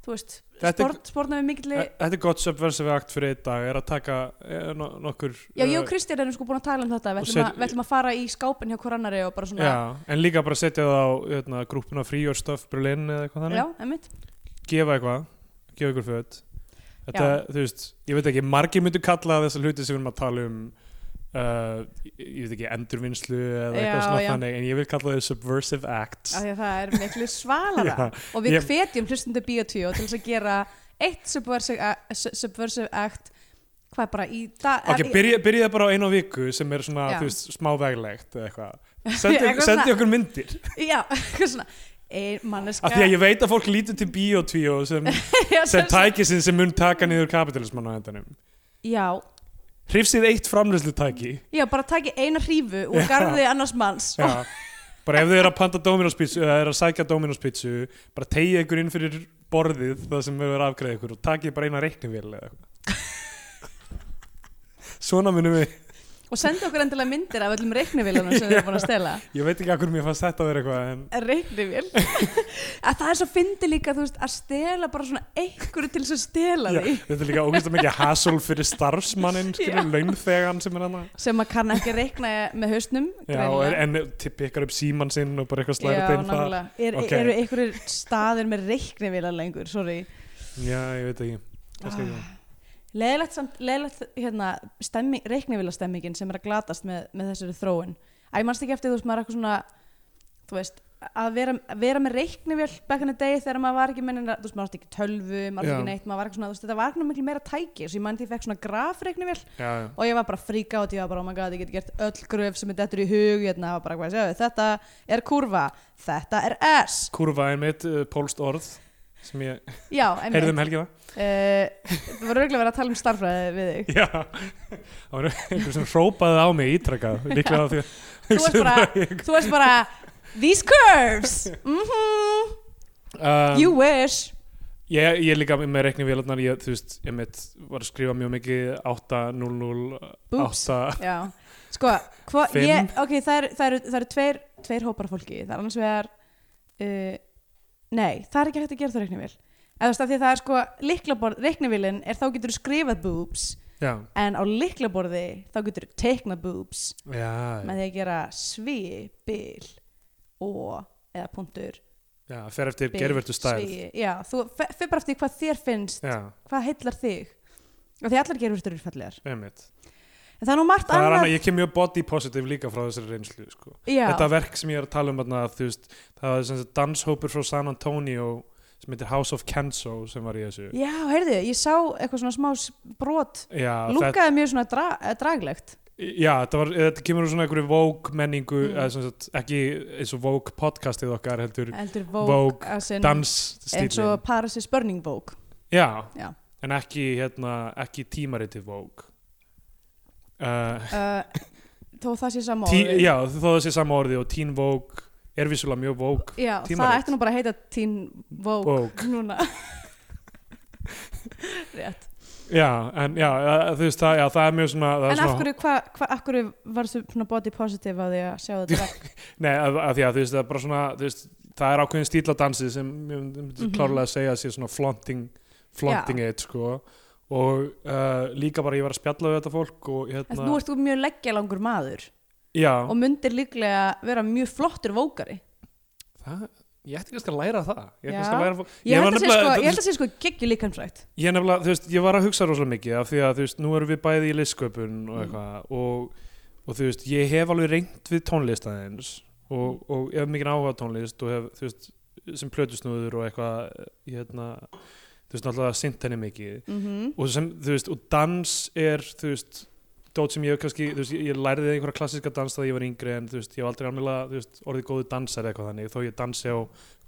Speaker 3: þú veist,
Speaker 2: Þetta er-
Speaker 3: sport, sportna við mikilli
Speaker 2: Þetta er gott subversive act fyrir einn dag, er að taka eh, no nokkur...
Speaker 3: Já, ég
Speaker 2: eh,
Speaker 3: og Kristján erum sko búin að tala um þetta,
Speaker 2: Og
Speaker 3: við ætlum,
Speaker 2: set-
Speaker 3: að, við ætlum að fara í skápin hjá hver annari og bara svona,
Speaker 2: Já, en líka bara setja það á hérna, grúppuna Free Your Stuff Berlin eða eitthvað þannig.
Speaker 3: já einmitt.
Speaker 2: Gefa eitthvað, gefa ykkur föt. Þetta, þú veist, ég veit ekki, margir myndu kalla þessa hluti sem við erum að tala um, uh, ég ég veit ekki, endurvinnslu eða eitthvað
Speaker 3: Já,
Speaker 2: svona
Speaker 3: já.
Speaker 2: þannig, en ég vil kalla þau subversive acts.
Speaker 3: af því að það er miklu svalara
Speaker 2: Já,
Speaker 3: og við
Speaker 2: ég-
Speaker 3: hvetjum hlustundu Bíotvíó til þess að gera eitt subversive, a- su- subversive act hvað bara í dag
Speaker 2: Ok, byrja, byrja bara á einu á viku sem er svona,
Speaker 3: Já.
Speaker 2: þú veist, smá veglegt eða eitthvað. Sendi,
Speaker 3: Eitthvað svona-
Speaker 2: sendi okkur myndir.
Speaker 3: já, eitthvað svona ein manneska
Speaker 2: Af því að ég veit að fólk lítur til bíotvíó sem,
Speaker 3: já,
Speaker 2: sem tækisinn sem mun taka niður kapitalismann á endanum.
Speaker 3: já,
Speaker 2: Hrifsið eitt framlöslu tæki.
Speaker 3: já, bara taki eina hrífu úr
Speaker 2: Já.
Speaker 3: garði annars manns og,
Speaker 2: Já. Bara ef þau eru að panta Dominos pizzu, eða eru að sækja Dominos pizzu, bara tegið ykkur inn fyrir borðið það sem hefur afgreðið ykkur og takið bara eina reiknivél eða eitthvað. Svona munum við,
Speaker 3: og sendi okkur endilega myndir af öllum reiknivílanum sem við erum búin að stela
Speaker 2: ég veit ekki að hvernig mér fannst þetta að vera eitthvað en
Speaker 3: reiknivél að það er svo fyndi líka þú veist, að stela bara svona einhverju til þess að stela
Speaker 2: Já,
Speaker 3: því
Speaker 2: þetta er líka ógeðslega mikið hassle fyrir starfsmanninn, skilur, launþegan sem er hann
Speaker 3: sem að kann ekki reikna með hausnum
Speaker 2: Já,
Speaker 3: greinilega.
Speaker 2: er, en tippi ykkur upp síman sinn og bara eitthvað slæra
Speaker 3: Já,
Speaker 2: þeim það
Speaker 3: nákvæmlega. Er,
Speaker 2: Ok.
Speaker 3: Eru einhverjir staðir með reiknivílar lengur, sorry.
Speaker 2: Já, ég veit ekki, kannski ekki
Speaker 3: Ah. Leðilegt samt, leðilegt hérna, stemming, reiknivílastemmingin sem er að glatast með, með þessari þróun. Æ, mannst ekki eftir þú veist, maður er eitthvað svona, þú veist, að vera, vera með reiknivíl back in the day þegar maður var ekki mennina, þú veist, maður átti ekki tölvu, maður átti
Speaker 2: Já.
Speaker 3: ekki neitt, maður var eitthvað svona, þú veist, þetta var ekki miklu meira tæki, svo ég mann því ég fekk svona grafreiknivíl
Speaker 2: Já, já,
Speaker 3: og ég var bara frík át, ég var bara, oh my god, ég get gert öll gröf sem er dettur í hug, hérna, og bara, hvað, sjáðu, þetta er kurva, þetta er S,
Speaker 2: kurva er mitt uh, pólst eh, orð sem ég
Speaker 3: já, en
Speaker 2: heyrði um helgina
Speaker 3: Eh, þú voru örgulega verið að tala um starfræði við þig
Speaker 2: Já, það var einhver sem hrópaði á mig ítrekað, líklega af því að
Speaker 3: þú varst bara, þú varst bara these curves mm
Speaker 2: um,
Speaker 3: you wish
Speaker 2: Ég, ég er líka með reiknivélarnar, ég, þú veist, ég mitt var að skrifa mjög mikið 8, 0, 0,
Speaker 3: Boobs.
Speaker 2: 8,
Speaker 3: já, sko hva,
Speaker 2: Fimm.
Speaker 3: ég, ok, það eru, það eru, það eru tveir, tveir hópar af fólki, það er annars vegar uh, nei, það er ekki hægt að gera það reiknivél eða þú veist að því að það er sko liklaborð, reiknivílin er þá getur þú skrifað boobs
Speaker 2: já,
Speaker 3: en á liklaborði þá getur þú teiknað boobs
Speaker 2: já,
Speaker 3: með því að gera svi, bil og eða punktur
Speaker 2: já, fer eftir
Speaker 3: bil,
Speaker 2: gervertu stærð,
Speaker 3: svigi. já, þú fyrir bara eftir hvað þér finnst
Speaker 2: já,
Speaker 3: hvað heillar þig og því allar gerfurtur eru fallegar
Speaker 2: einmitt.
Speaker 3: en það er nú margt
Speaker 2: Það er
Speaker 3: annað
Speaker 2: annað, ég kem mjög body positive líka frá þessari reynslu, sko.
Speaker 3: já,
Speaker 2: Þetta verk sem ég er að tala um, þarna, þú veist, það var sem sagt danshópur frá San Antonio sem heitir House of Kenzo sem var í þessu.
Speaker 3: já, heyrðu, ég sá eitthvað svona smá s- brot
Speaker 2: Já, þetta,
Speaker 3: lúkaði mjög svona dra eh, draglegt
Speaker 2: já, þetta, var, þetta kemur úr svona einhverju Vogue menningu,
Speaker 3: Mm.
Speaker 2: eða sem sagt, ekki eins og Vogue podcastið okkar heldur
Speaker 3: heldur
Speaker 2: Vogue,
Speaker 3: Vogue as in- eins
Speaker 2: dansstílinn.
Speaker 3: og Paris is Burning Vogue
Speaker 2: Já,
Speaker 3: Já.
Speaker 2: en ekki, hérna, ekki tímaritið Vogue. Uh,
Speaker 3: uh, þó það sé sama
Speaker 2: tí,
Speaker 3: orðið.
Speaker 2: já, þó það sé sama orðið og Teen Vogue er vissulega mjög Vogue.
Speaker 3: já það
Speaker 2: tímarit.
Speaker 3: ætti nú bara að heita Teen Vogue
Speaker 2: Vogue.
Speaker 3: núna rétt
Speaker 2: Já, en já, eh, þú veist, það, já, það er mjög svona... það er
Speaker 3: en
Speaker 2: svona,
Speaker 3: af hverju, hva, hva, af hverju varstu svona body positive á því að sjá þetta verk?
Speaker 2: Nei, að, að því að þú veist, það er bara svona, þú veist, það er ákveðin stíl á dansið sem ég myndi mm
Speaker 3: Mhm.
Speaker 2: klárlega að segja að sé svona flaunting, flaunting eitt, sko. Og uh, líka bara ég var að spjalla við þetta fólk og
Speaker 3: en
Speaker 2: hérna...
Speaker 3: nú ert þú mjög leggjalangur maður
Speaker 2: Já,
Speaker 3: og myndir líklega vera mjög flottur vókari
Speaker 2: það, ég ætti kannski að læra það. Ég ætti
Speaker 3: Já.
Speaker 2: kannski að læra... fó-
Speaker 3: ég
Speaker 2: var
Speaker 3: held að sé
Speaker 2: nefnilega-
Speaker 3: sko, ég held að sé sko geggju líkansrætt
Speaker 2: Ég nefnilega, þú veist, ég var að hugsa rosalega mikið af því að, þú veist, nú erum við bæði í listsköpun og
Speaker 3: Mm.
Speaker 2: eitthvað og, og þú veist, ég hef alveg reynt við tónlist aðeins og, og ég hef mikið áhuga á tónlist og hef, þú veist, sem plötusnúður og eitthvað, hérna, þú veist, náttúrulega sint henni mikið
Speaker 3: mm
Speaker 2: og sem, þú veist, og dans er, þú veist, dót sem ég hef kannski, þú veist, ég- ég læriði einhverja klassíska dans þegar ég var yngri en, þú veist, ég hef aldrei alveg, þú veist, orðið góðu dansar eitthvað þannig þó ég dansi á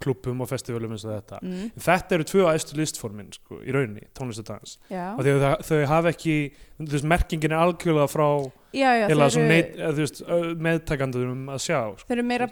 Speaker 2: klubbum og festivalum eins og þetta
Speaker 3: mm,
Speaker 2: þetta eru tvö æstu listformin sko, í rauninni, tónlist og dans
Speaker 3: já,
Speaker 2: af því að það, þau hafa ekki þú veist, merkingin er algjörlega frá
Speaker 3: já, já þeir
Speaker 2: heila,
Speaker 3: eru,
Speaker 2: eru... neit, eða, þú veist, ö, meðtakandunum að sjá sko.
Speaker 3: þeir eru meira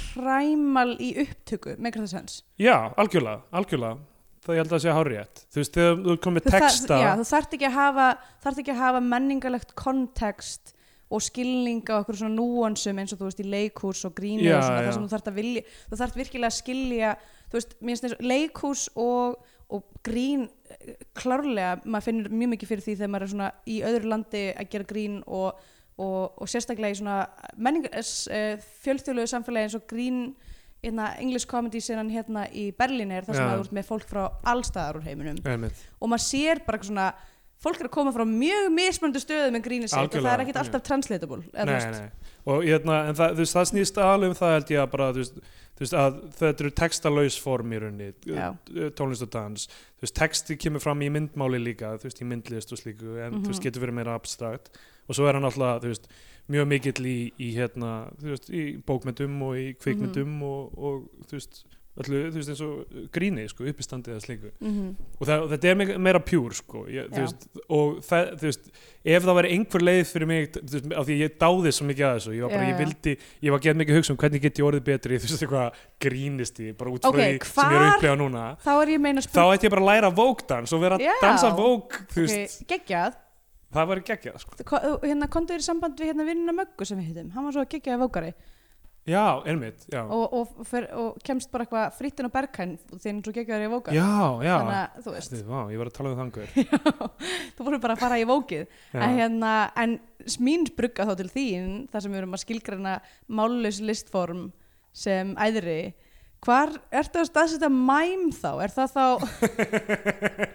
Speaker 3: præmal í upptöku megar það sens
Speaker 2: já, algjörlega, algjörlega það ég held að sé hárétt þú veist, þegar þú komið
Speaker 3: Þú þar-
Speaker 2: texta
Speaker 3: já, þú þarft ekki að hafa þarft ekki að hafa menningalegt kontekst og skilninga og okkur svona núansum eins og þú veist í leikhús og gríni
Speaker 2: Já,
Speaker 3: og svona
Speaker 2: já.
Speaker 3: það sem þú þarft að vilja þú þarft virkilega að skilja þú veist, mér finnst þess leikhús og, og grín eh, klárlega maður finnir mjög mikið fyrir því þegar maður er svona í öðru landi að gera grín og, og, og sérstaklega í svona menning, uh, fjöldþjóðlegu samfélagi eins og grín hérna, English comedy sinnan hérna í Berlín er þar sem
Speaker 2: Já.
Speaker 3: það út með fólk frá allstaðar úr heiminum
Speaker 2: Einmitt.
Speaker 3: og maður sér bara eitthvað svona fólk er að koma frá mjög mismunandi stöðum en grínir sig og það er
Speaker 2: Algjörlega,
Speaker 3: ekkit alltaf translatable eða þú
Speaker 2: nei,
Speaker 3: veist.
Speaker 2: nei. og hérna, en það, þú veist, það snýst alveg um það held ég að bara, þú veist, þú veist að þetta eru textalaus form í rauninni
Speaker 3: Já.
Speaker 2: eh, tónlist og dans, þú veist, texti kemur fram í myndmáli líka, þú veist, í myndlist og slíku, en þú veist,
Speaker 3: Mhm.
Speaker 2: getur verið meira abstrakt og svo er hann alltaf, þú veist, mjög mikill í, í hérna, þú veist, í bókmyndum og í kvikmyndum
Speaker 3: Mhm.
Speaker 2: og, og, þú veist, allu, þú veist, eins og gríni, sko, uppistandið og slíku
Speaker 3: Mhm.
Speaker 2: og, það, og þetta er meira- meira pjúr, sko, ég, þú
Speaker 3: Já.
Speaker 2: veist, og það, þú veist, ef það væri einhver leið fyrir mig, þú veist, af því að ég dáði svo mikið að þessu, ég var bara,
Speaker 3: Já,
Speaker 2: ég
Speaker 3: já.
Speaker 2: vildi, ég var að geta mikið að hugsa um hvernig get ég orðið betri, þú veist, eitthvað grínisti, bara út frá
Speaker 3: Ok,
Speaker 2: því sem ég er að
Speaker 3: hvar-
Speaker 2: upplega núna
Speaker 3: þá er ég meina að
Speaker 2: þá
Speaker 3: spurning
Speaker 2: ætti ég bara að læra vókdans og vera að
Speaker 3: Já.
Speaker 2: dansa vók þú veist,
Speaker 3: geggjað,
Speaker 2: það væri geggjað sko.
Speaker 3: Ko- hérna komdu þér í samband við hérna vinnuna möggu sem við hittum hann var svo geggjaði vókari
Speaker 2: já, einmitt já,
Speaker 3: og, og, fer, og kemst bara eitthvað frittin og bergkæn því hann er svo geggjaði í vókari
Speaker 2: já, já.
Speaker 3: þannig að þú veist
Speaker 2: Þið, vá, ég var að tala um þangur
Speaker 3: þú voru bara að fara í vókið en, hérna, en mín brugga þá til þín þar sem við erum að skilgreina mállaus listform sem æðri hvar ertu að staðsetja mæm þá? Er það þá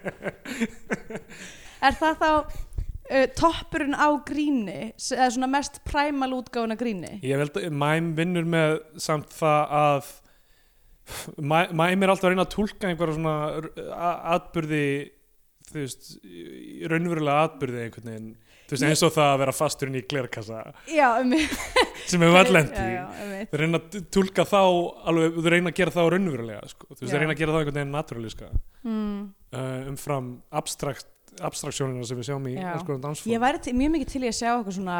Speaker 3: er það þá uh, toppurinn á gríni s- eða svona mest præmal útgáfuna gríni?
Speaker 2: ég held að mæm vinnur með samt það að mæ, mæm er alltaf að reyna að tólka einhverja svona r- a- atburði þú þú veist, í- í raunverulega atbyrði einhvern veginn þú veist, eins og það að vera fasturinn í glerkassa
Speaker 3: já, um
Speaker 2: sem hefur allend í
Speaker 3: já, um já, einmitt.
Speaker 2: þau reyna að tólka þá alveg, þau reyna að gera það raunverulega sko. þú veist,
Speaker 3: Já.
Speaker 2: þau reyna að gera það einhvern veginn naturalíska
Speaker 3: mm.
Speaker 2: uh, umfram abstrakt abstraktsjónina sem við sjáum í
Speaker 3: Já.
Speaker 2: alls konar dansfólk
Speaker 3: ég væri til, mjög mikið til í að sjá eitthvað svona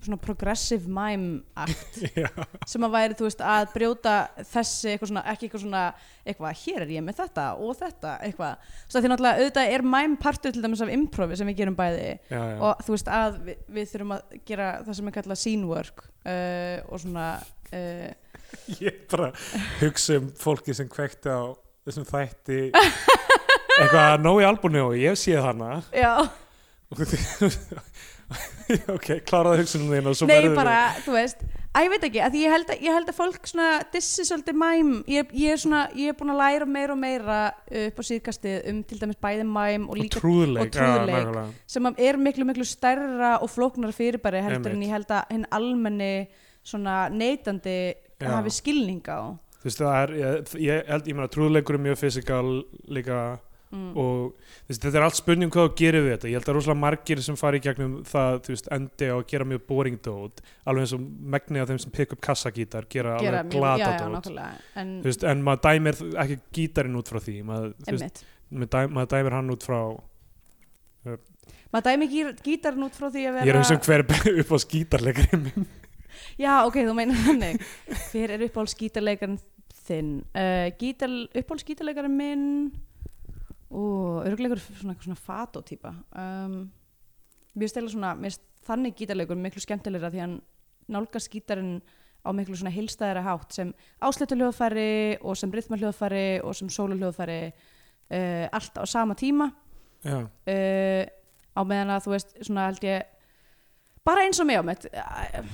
Speaker 3: svona progressive mime act sem að væri, þú veist, að brjóta þessi eitthvað svona, ekki eitthvað svona eitthvað, hér er ég með þetta og þetta eitthvað, þú veist, því náttúrulega auðvitað er mime partur til dæmis af improvi sem við gerum bæði
Speaker 2: já, já.
Speaker 3: og þú veist að við, við þurfum að gera það sem er kallað scene work uh, og svona uh,
Speaker 2: ég bara hugsa um fólki sem kvekti á þessum þætti eitthvað að nógu í albúni og ég sé hana
Speaker 3: já,
Speaker 2: Og þú- ok, kláraði hugsunum þín og svo
Speaker 3: nei
Speaker 2: verður
Speaker 3: bara, þú veist að ég veit ekki, að ég held að, ég held að fólk svona dissi svolítið mæm ég, ég er svona, ég er búin að læra meira og meira upp á síðkastið um til dæmis bæði mæm og
Speaker 2: og
Speaker 3: líka
Speaker 2: trúðleik,
Speaker 3: og
Speaker 2: Já,
Speaker 3: trúðleik.
Speaker 2: nákvæmlega.
Speaker 3: sem að er miklu miklu stærra og flóknara fyrirbæri heldur en
Speaker 2: Einmitt.
Speaker 3: ég held að hinn almenni svona neytandi
Speaker 2: Já.
Speaker 3: hafi skilning á
Speaker 2: þú veist það er ég, ég, held- ég meina trúðleikur er mjög fysikal líka
Speaker 3: mm.
Speaker 2: og þú veist, þetta er allt spurning hvað þú gerir við þetta ég held að rosalega margir sem fari í gegnum það þú veist, endi á að gera mjög boring dót alveg eins og megnið af þeim sem pick up kassagítar gera,
Speaker 3: gera
Speaker 2: alveg
Speaker 3: mjög, já,
Speaker 2: glata
Speaker 3: já,
Speaker 2: dót
Speaker 3: nákvæmlega en,
Speaker 2: Þú veist, en maður dæmir ekki gítarinn út frá því maður, þú veist,
Speaker 3: emmitt
Speaker 2: maður dæ- maður dæmir hann út frá
Speaker 3: maður dæmi gír, gítarinn út frá því að vera
Speaker 2: ég er um eins og hver er upp á skítarleikari minn
Speaker 3: já ok, þú meinar þannig hver er uppáhalds gítarleikarinn þinn uh, gítar, uppáhalds gítarleikarinn minn og örgleikur svona, svona fato típa um, mér stela svona mér finnst þannig gítarleikur miklu skemmtilegra því að hann nálgast gítarinn á miklu svona heilstæðara hátt sem ásléttu hljóðfæri og sem rithma hljóðfæri og sem sólu hljóðfæri uh, allt á sama tíma
Speaker 2: já,
Speaker 3: uh, á meðan að þú veist svona held ég bara eins og mig á mitt eh,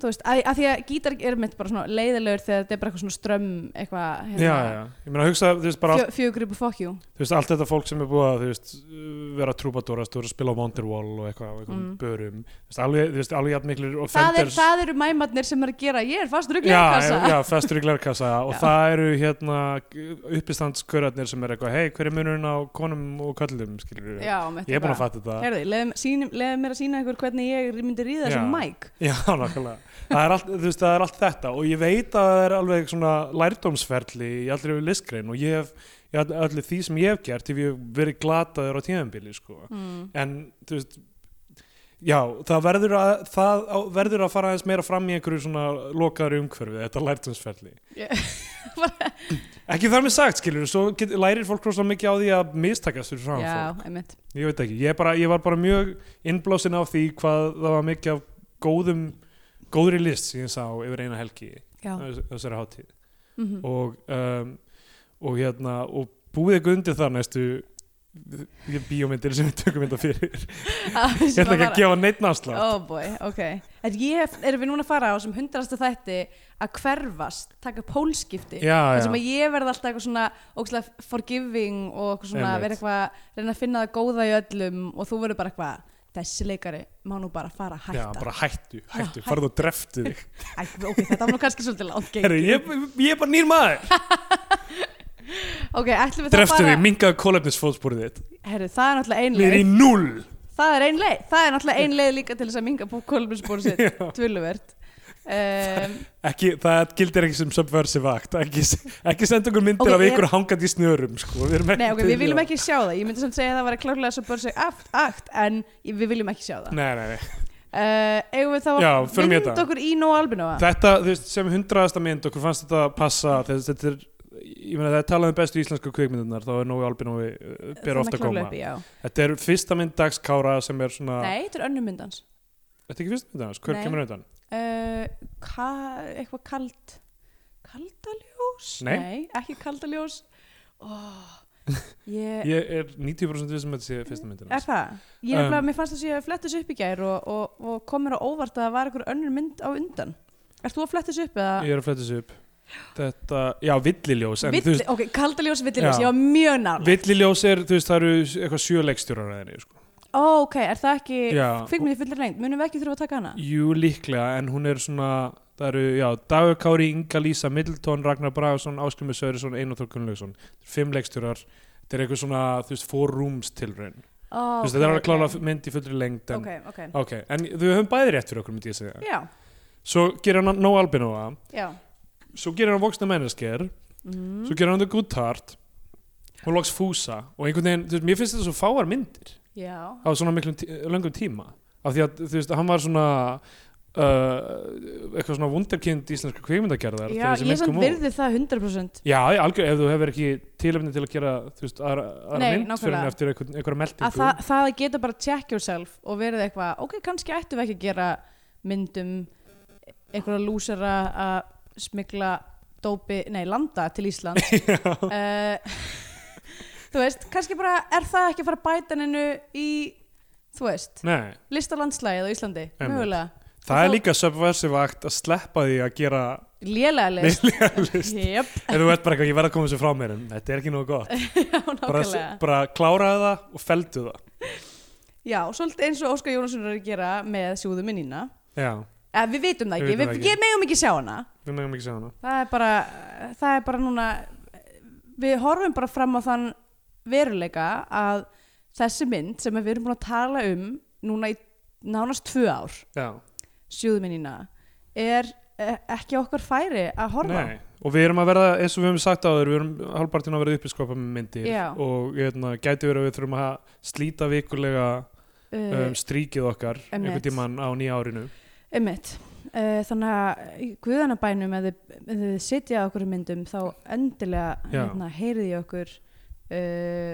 Speaker 3: þú veist, að, að því að gítar er mitt bara svona leiðilegur þegar þetta er bara eitthvað svona strömm eitthvað, hérna,
Speaker 2: já, já, ég meina hugsa þú veist, bara,
Speaker 3: fjö, fjögripu fokkjú
Speaker 2: þú veist, allt þetta fólk sem er búið að þú veist, vera trúbadórast og spila á Wonderwall og eitthvað, og eitthvað
Speaker 3: Mm.
Speaker 2: börum þú veist, alveg, þú veist, alveg jafn miklir
Speaker 3: það, er,
Speaker 2: offenders
Speaker 3: það eru mæmatnir sem er að gera ég er fast rugglega
Speaker 2: já,
Speaker 3: kassa
Speaker 2: já, festur í glerkassa og
Speaker 3: Já.
Speaker 2: það eru hérna uppistandskörarnir sem er eitthvað, hei, hver er munurinn á konum og köllum, skilur við
Speaker 3: já, mitt
Speaker 2: ég er búin að
Speaker 3: bara.
Speaker 2: fatta þetta
Speaker 3: Heyrðu, leiðum- sýnum- leiðum mér að sína ykkur hvernig ég myndi ríða
Speaker 2: Já.
Speaker 3: þessum mæk
Speaker 2: já, nákvæmlega, það er, allt, þú veist, það er allt þetta og ég veit að það er alveg svona lærdómsferli í allir við listgrein og ég hef, í all- öllu því sem ég hef gert ef ég hef verið glataður á tíðanbili sko.
Speaker 3: mm.
Speaker 2: en þú veist já, það verður að það á, verður að fara aðeins meira fram í einhverju svona lokaður umhverfi, þetta lærtumsferli
Speaker 3: Ég-
Speaker 2: ekki þar með sagt, skilur svo get, lærir fólk rosa mikið á því að mistakast fyrir fram
Speaker 3: já,
Speaker 2: fólk,
Speaker 3: einmitt
Speaker 2: ég veit ekki ég, bara, ég var bara mjög innblásin á því hvað það var mikið af góðum góðri list sem ég sá yfir eina helgi
Speaker 3: já.
Speaker 2: á þess- á þessari hátíð
Speaker 3: mhm.
Speaker 2: og, um, og hérna og búið ekki undir það næstu ég- bíómyndir sem við tökum þetta fyrir
Speaker 3: Ah,
Speaker 2: ég ætla hérna ekki að gefa neitt náðsla
Speaker 3: Oh boy, ok. En ég, erum við núna að fara á sem hundrasta þætti að hverfast, taka pólskipti.
Speaker 2: já,
Speaker 3: Það sem
Speaker 2: já,
Speaker 3: að ég verði alltaf eitthvað svona ógslag forgiving og eitthvað svona
Speaker 2: Einmitt.
Speaker 3: verði eitthvað, reyna að finna það góða í öllum og þú verður bara eitthvað, þessi leikari má nú bara fara að
Speaker 2: já,
Speaker 3: hætta.
Speaker 2: bara hættu, hættu,
Speaker 3: hættu.
Speaker 2: farðu og dreftu þig
Speaker 3: Æ, ok, þetta var nú kannski svolítið langt gengið.
Speaker 2: Heru, ég, ég er bara nýr maður
Speaker 3: Ok, ætlum við
Speaker 2: dreftu
Speaker 3: það
Speaker 2: þig,
Speaker 3: bara...
Speaker 2: mingaðu kólefnisfóðspúrið þitt
Speaker 3: Herru, það er náttúrulega ein
Speaker 2: niður í
Speaker 3: leið.
Speaker 2: null
Speaker 3: Það er ein leið. Það er náttúrulega ein leið líka til þess að minga kolumbinspóru sitt,
Speaker 2: Já.
Speaker 3: tvöluvert. Um,
Speaker 2: ekki, það gildir ekki sem subversive act ekki, ekki senda okkur myndir
Speaker 3: Ok,
Speaker 2: af
Speaker 3: ég-
Speaker 2: ykkur hangandi í snjörum sko. við, erum ekki
Speaker 3: Nei, ok,
Speaker 2: til í
Speaker 3: við viljum
Speaker 2: það.
Speaker 3: ekki sjá það. Ég myndi samt segja að það var klárlega svo börsig aft, aft, en ég- við viljum ekki sjá það.
Speaker 2: nei, nei, nei.
Speaker 3: Uh, eigum við þá
Speaker 2: Já,
Speaker 3: að
Speaker 2: förum í
Speaker 3: vinda
Speaker 2: þetta.
Speaker 3: okkur í Nó Albinova?
Speaker 2: þetta þú veist, sem hundraðasta mynd okkur fannst þetta passa þess, þetta er Ég meina það er talað um bestu íslensku kvikmyndunar þá er Nói eh, Albin og við bera ofta góma
Speaker 3: Upp, já.
Speaker 2: Þetta er fyrsta mynd Dags Kára sem er svona
Speaker 3: Nei, þetta er önnum myndans.
Speaker 2: Þetta er ekki fyrsta mynd hans, hver
Speaker 3: Nei.
Speaker 2: kemur undan?
Speaker 3: Uh, ka, eitthvað kald, kaldaljós?
Speaker 2: Nei.
Speaker 3: ekki kaldaljós. Oh, ég,
Speaker 2: Ég er 90% við sem um þetta sé fyrsta myndin
Speaker 3: er
Speaker 2: hans
Speaker 3: það? Ég
Speaker 2: Um,
Speaker 3: er bara, mér fannst þess að ég flettis upp í gær og, og, og komur á óvart að það var eitthvað önnur mynd á undan. Ert þú að flettis upp eða?
Speaker 2: Ég er að flæta þessu upp Þetta, já, villiljós en, þú
Speaker 3: Villi,
Speaker 2: veist,
Speaker 3: ok, kaldaljós, villiljós,
Speaker 2: Já.
Speaker 3: ég var mjög nála.
Speaker 2: Villiljós er, þú veist, það eru eitthvað sjö leikstjórar að henni sko.
Speaker 3: Ó, ok, er það ekki
Speaker 2: Já,
Speaker 3: kvikmyndi fullir lengt? Munum við ekki þurfa að taka hana?
Speaker 2: jú líklega en hún er svona Það eru, já, Dagur Kári, Inga Lísa, Middleton, Ragnar Bragason, Áskrimur Sörisson, Einar Þór Gunnlaugsson Fimm leikstjórar þetta er eitthvað svona, þú veist, four rooms tilraun
Speaker 3: Oh,
Speaker 2: þú veist, þetta er alveg klála mynd í fullri lengd en,
Speaker 3: Ok, ok.
Speaker 2: ok, en við höfum bæði rétt fyrir okkur myndi ég segja
Speaker 3: Já,
Speaker 2: svo gerir hann No Albinóa
Speaker 3: já.
Speaker 2: svo gerir hann Voxna Mennesker
Speaker 3: Mm.
Speaker 2: svo gerir hann The Good Heart og loks Fúsa og einhvern veginn, þú veist, mér finnst þetta svo fáar myndir
Speaker 3: Já.
Speaker 2: á svona miklum tí löngum tíma af því að, þú veist, hann var svona uh, eitthvað svona wunderkind íslenska kvikmyndagerðar
Speaker 3: Já,
Speaker 2: þegar þessi
Speaker 3: ég
Speaker 2: mynd
Speaker 3: samt
Speaker 2: kom út.
Speaker 3: virði það 100%
Speaker 2: Já, já, algjör, ef þú hefur ekki tilefni til að gera þú veist, aðra, aðra
Speaker 3: Nei,
Speaker 2: mynd fyrir
Speaker 3: nákvæmlega.
Speaker 2: henni eftir einhver, einhverja
Speaker 3: að
Speaker 2: meldingu
Speaker 3: það, það að geta bara check yourself og verið eitthvað, ok, kannski ættum við ekki að gera myndum einhverja lúsera að smigla dópi, nei, landa til Ísland uh, Þú veist, kannski bara er það ekki að fara að bæta hennu í, þú veist,
Speaker 2: Nei,
Speaker 3: listalandslægið á Íslandi,
Speaker 2: Einmitt.
Speaker 3: mögulega
Speaker 2: það er
Speaker 3: þá-
Speaker 2: líka subversive act að sleppa því að gera
Speaker 3: Lélega list
Speaker 2: list
Speaker 3: Jöp,
Speaker 2: ef þú veit bara eitthvað, ég verð að koma þessu frá mér en þetta er ekki nógu gott
Speaker 3: já,
Speaker 2: bara,
Speaker 3: nákvæmlega
Speaker 2: bara kláraðu það og feldu það
Speaker 3: Já, svolítið eins og Óskar Jónsson er að gera með sjúðu minnina
Speaker 2: Já,
Speaker 3: Eh, við vitum það
Speaker 2: Við
Speaker 3: ekki,
Speaker 2: vitum það
Speaker 3: við, við,
Speaker 2: ekki.
Speaker 3: megum ekki sjá hana
Speaker 2: við meðum ekki segja hana
Speaker 3: það er bara, það er bara núna við horfum bara fram á þann veruleika að þessi mynd sem við erum búin að tala um núna í nánast tvö ár
Speaker 2: Já,
Speaker 3: sjöðuminnina er eh, ekki okkar færi að horfa á.
Speaker 2: nei Og við erum að verða, eins og við höfum sagt á þér, við erum halvpartin að verða uppiskopa með myndir
Speaker 3: Já.
Speaker 2: og hérna, gæti verið að við þurfum að slíta vikulega
Speaker 3: Eh,
Speaker 2: um, stríkið okkar
Speaker 3: Einmitt.
Speaker 2: einhvern tímann á nýja árinu.
Speaker 3: Einmitt. Uh, þannig að í guðanabænum ef þið, ef þið sitja á okkur myndum þá endilega
Speaker 2: Já.
Speaker 3: hérna, heyrið í okkur uh,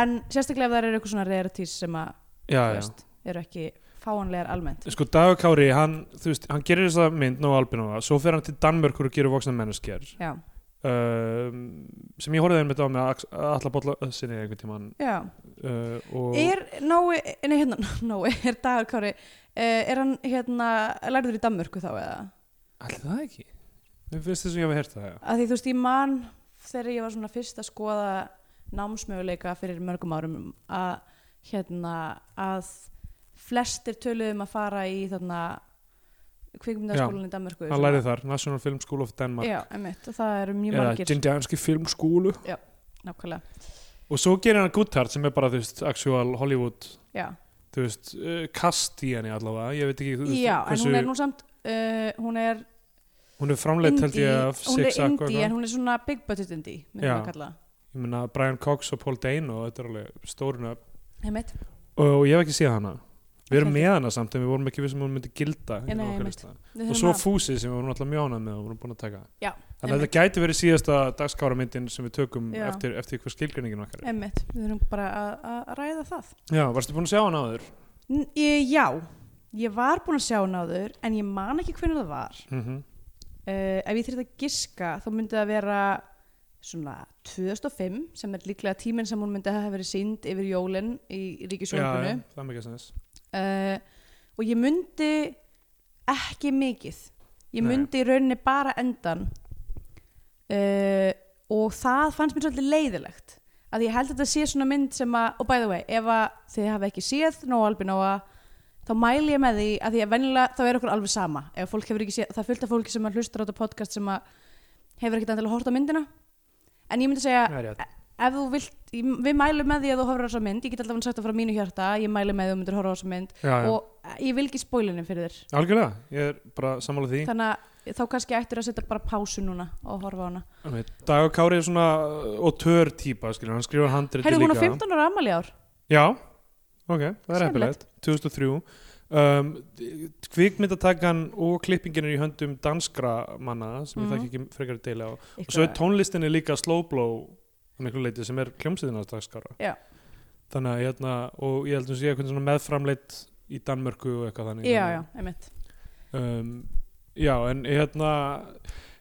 Speaker 3: en sérstaklega ef það eru eitthvað svona reyratís sem að
Speaker 2: Já,
Speaker 3: þú
Speaker 2: já.
Speaker 3: veist, eru ekki fáanlegar almennt
Speaker 2: sko Dagur Kári, hann, þú veist, hann gerir þessa mynd Nó Albinóa, svo fer hann til Danmörkur og gerir voksna mennesker
Speaker 3: Já,
Speaker 2: um, sem ég horfði einmitt á með Ax- Atla Bolla uh, sinni einhvern tímann
Speaker 3: já.
Speaker 2: uh, og
Speaker 3: Er Nói, nei hérna, Nói, er Dagur Kári, eh, er hann hérna, lærður í Danmörku þá eða?
Speaker 2: Ætli það ekki? Mér finnst þess að ég hef heyrt það, já
Speaker 3: Að því þú veist, ég man þegar ég var svona fyrst að skoða námsmöguleika fyrir mörgum árum að hérna, að flestir töluðum að fara í þarna kvikmyndaskólan í Danmörku.
Speaker 2: Hann lærið þar, National Film School of Denmark
Speaker 3: Já, einmitt, og það eru mjög
Speaker 2: eða
Speaker 3: margir,
Speaker 2: Dindanski Filmskúlu
Speaker 3: nákvæmlega,
Speaker 2: og svo gerir hann Guttart sem er bara, þú veist, actual Hollywood
Speaker 3: já.
Speaker 2: þú veist, uh, kast í henni allavega ég veit ekki, þú veist,
Speaker 3: Já, en hún er nú samt, uh, hún er
Speaker 2: hún er framleitt held
Speaker 3: indie,
Speaker 2: ég af
Speaker 3: hún er
Speaker 2: Six Aqua
Speaker 3: indie en
Speaker 2: eitthvað.
Speaker 3: hún er svona big budget indie myndum
Speaker 2: Já.
Speaker 3: við að kalla það.
Speaker 2: ég meina Brian Cox og Paul Dano þetta er alveg stórun
Speaker 3: Einmitt.
Speaker 2: og ég hef ekki séð hana við erum
Speaker 3: Ekki
Speaker 2: með hana samt en við vorum ekki við sem hún myndi gilda
Speaker 3: Nei,
Speaker 2: hérna á
Speaker 3: nei,
Speaker 2: okkar
Speaker 3: einmitt.
Speaker 2: lista.
Speaker 3: Við
Speaker 2: og
Speaker 3: þurfum
Speaker 2: svo
Speaker 3: að-
Speaker 2: fúsið sem við vorum alltaf mjónað með og vorum búin að taka
Speaker 3: Já,
Speaker 2: þannig að þetta gæti verið síðasta dagskáramyndin sem við tökum
Speaker 3: Já.
Speaker 2: eftir, eftir hvað skilgreiningin okkar er.
Speaker 3: einmitt, við þurfum bara að, að ræða það
Speaker 2: já, varstu búin að sjá hana áður?
Speaker 3: N ég, Já, ég var búin að sjá hann áður en ég man ekki hvernig það var
Speaker 2: Mm
Speaker 3: uh, Ef ég þyrfti að giska þá myndi það vera svona 2005 sem er líklega tíminn sem hún myndi að hafa verið sínd yfir jólin í
Speaker 2: já,
Speaker 3: ríkisjónfinu
Speaker 2: það er mikið sens
Speaker 3: uh, og ég myndi ekki mikið ég
Speaker 2: Nei.
Speaker 3: myndi í rauninni bara endan uh, og það fannst mér svolítið leiðilegt að ég held að þetta sé svona mynd sem að og by the way, ef að þið hafa ekki séð Nóa Albinóa þá mæli ég með því að því að venjulega þá er okkur alveg sama ef fólk hefur ekki séð, það er fullt af fólki sem að hlustar á þetta podcast sem að hefur ekkert endilega hort á myndina en ég myndi segja e,
Speaker 2: það er rétt
Speaker 3: ef þú vilt, ég- við mælum með því að þú horfir á þessa mynd, ég get alltaf sagt það frá mínu hjarta ég mælu með því að þú myndir horfa á þessa mynd
Speaker 2: já, já.
Speaker 3: og e, ég vil ekki spólinni fyrir þér
Speaker 2: algjörlega, ég er bara sammála því
Speaker 3: þannig að þá kannski ættir að setja bara pásu núna og horfa á hana
Speaker 2: Dagur Kári er svona uh, auteur típa, skilur, hann skrifar handriti líka
Speaker 3: Heyrðu, hún á 15 ára afmæli í ár
Speaker 2: Já, ok, það er
Speaker 3: Skemmtilegt.
Speaker 2: heppilegt 2003 um, kvikmyndatakan og klippingin er í höndum danskra manna sem
Speaker 3: Mhm.
Speaker 2: ég þekki ekki frekar að deila á og svo er tónlistinni líka slowblow að miklu leiti sem er kljómsýðinast dagskára
Speaker 3: Já.
Speaker 2: þannig að hérna og ég held að sé eitthvað svona meðframleitt í Danmörku og eitthvað þannig
Speaker 3: já, já, einmitt
Speaker 2: Um, já, en hérna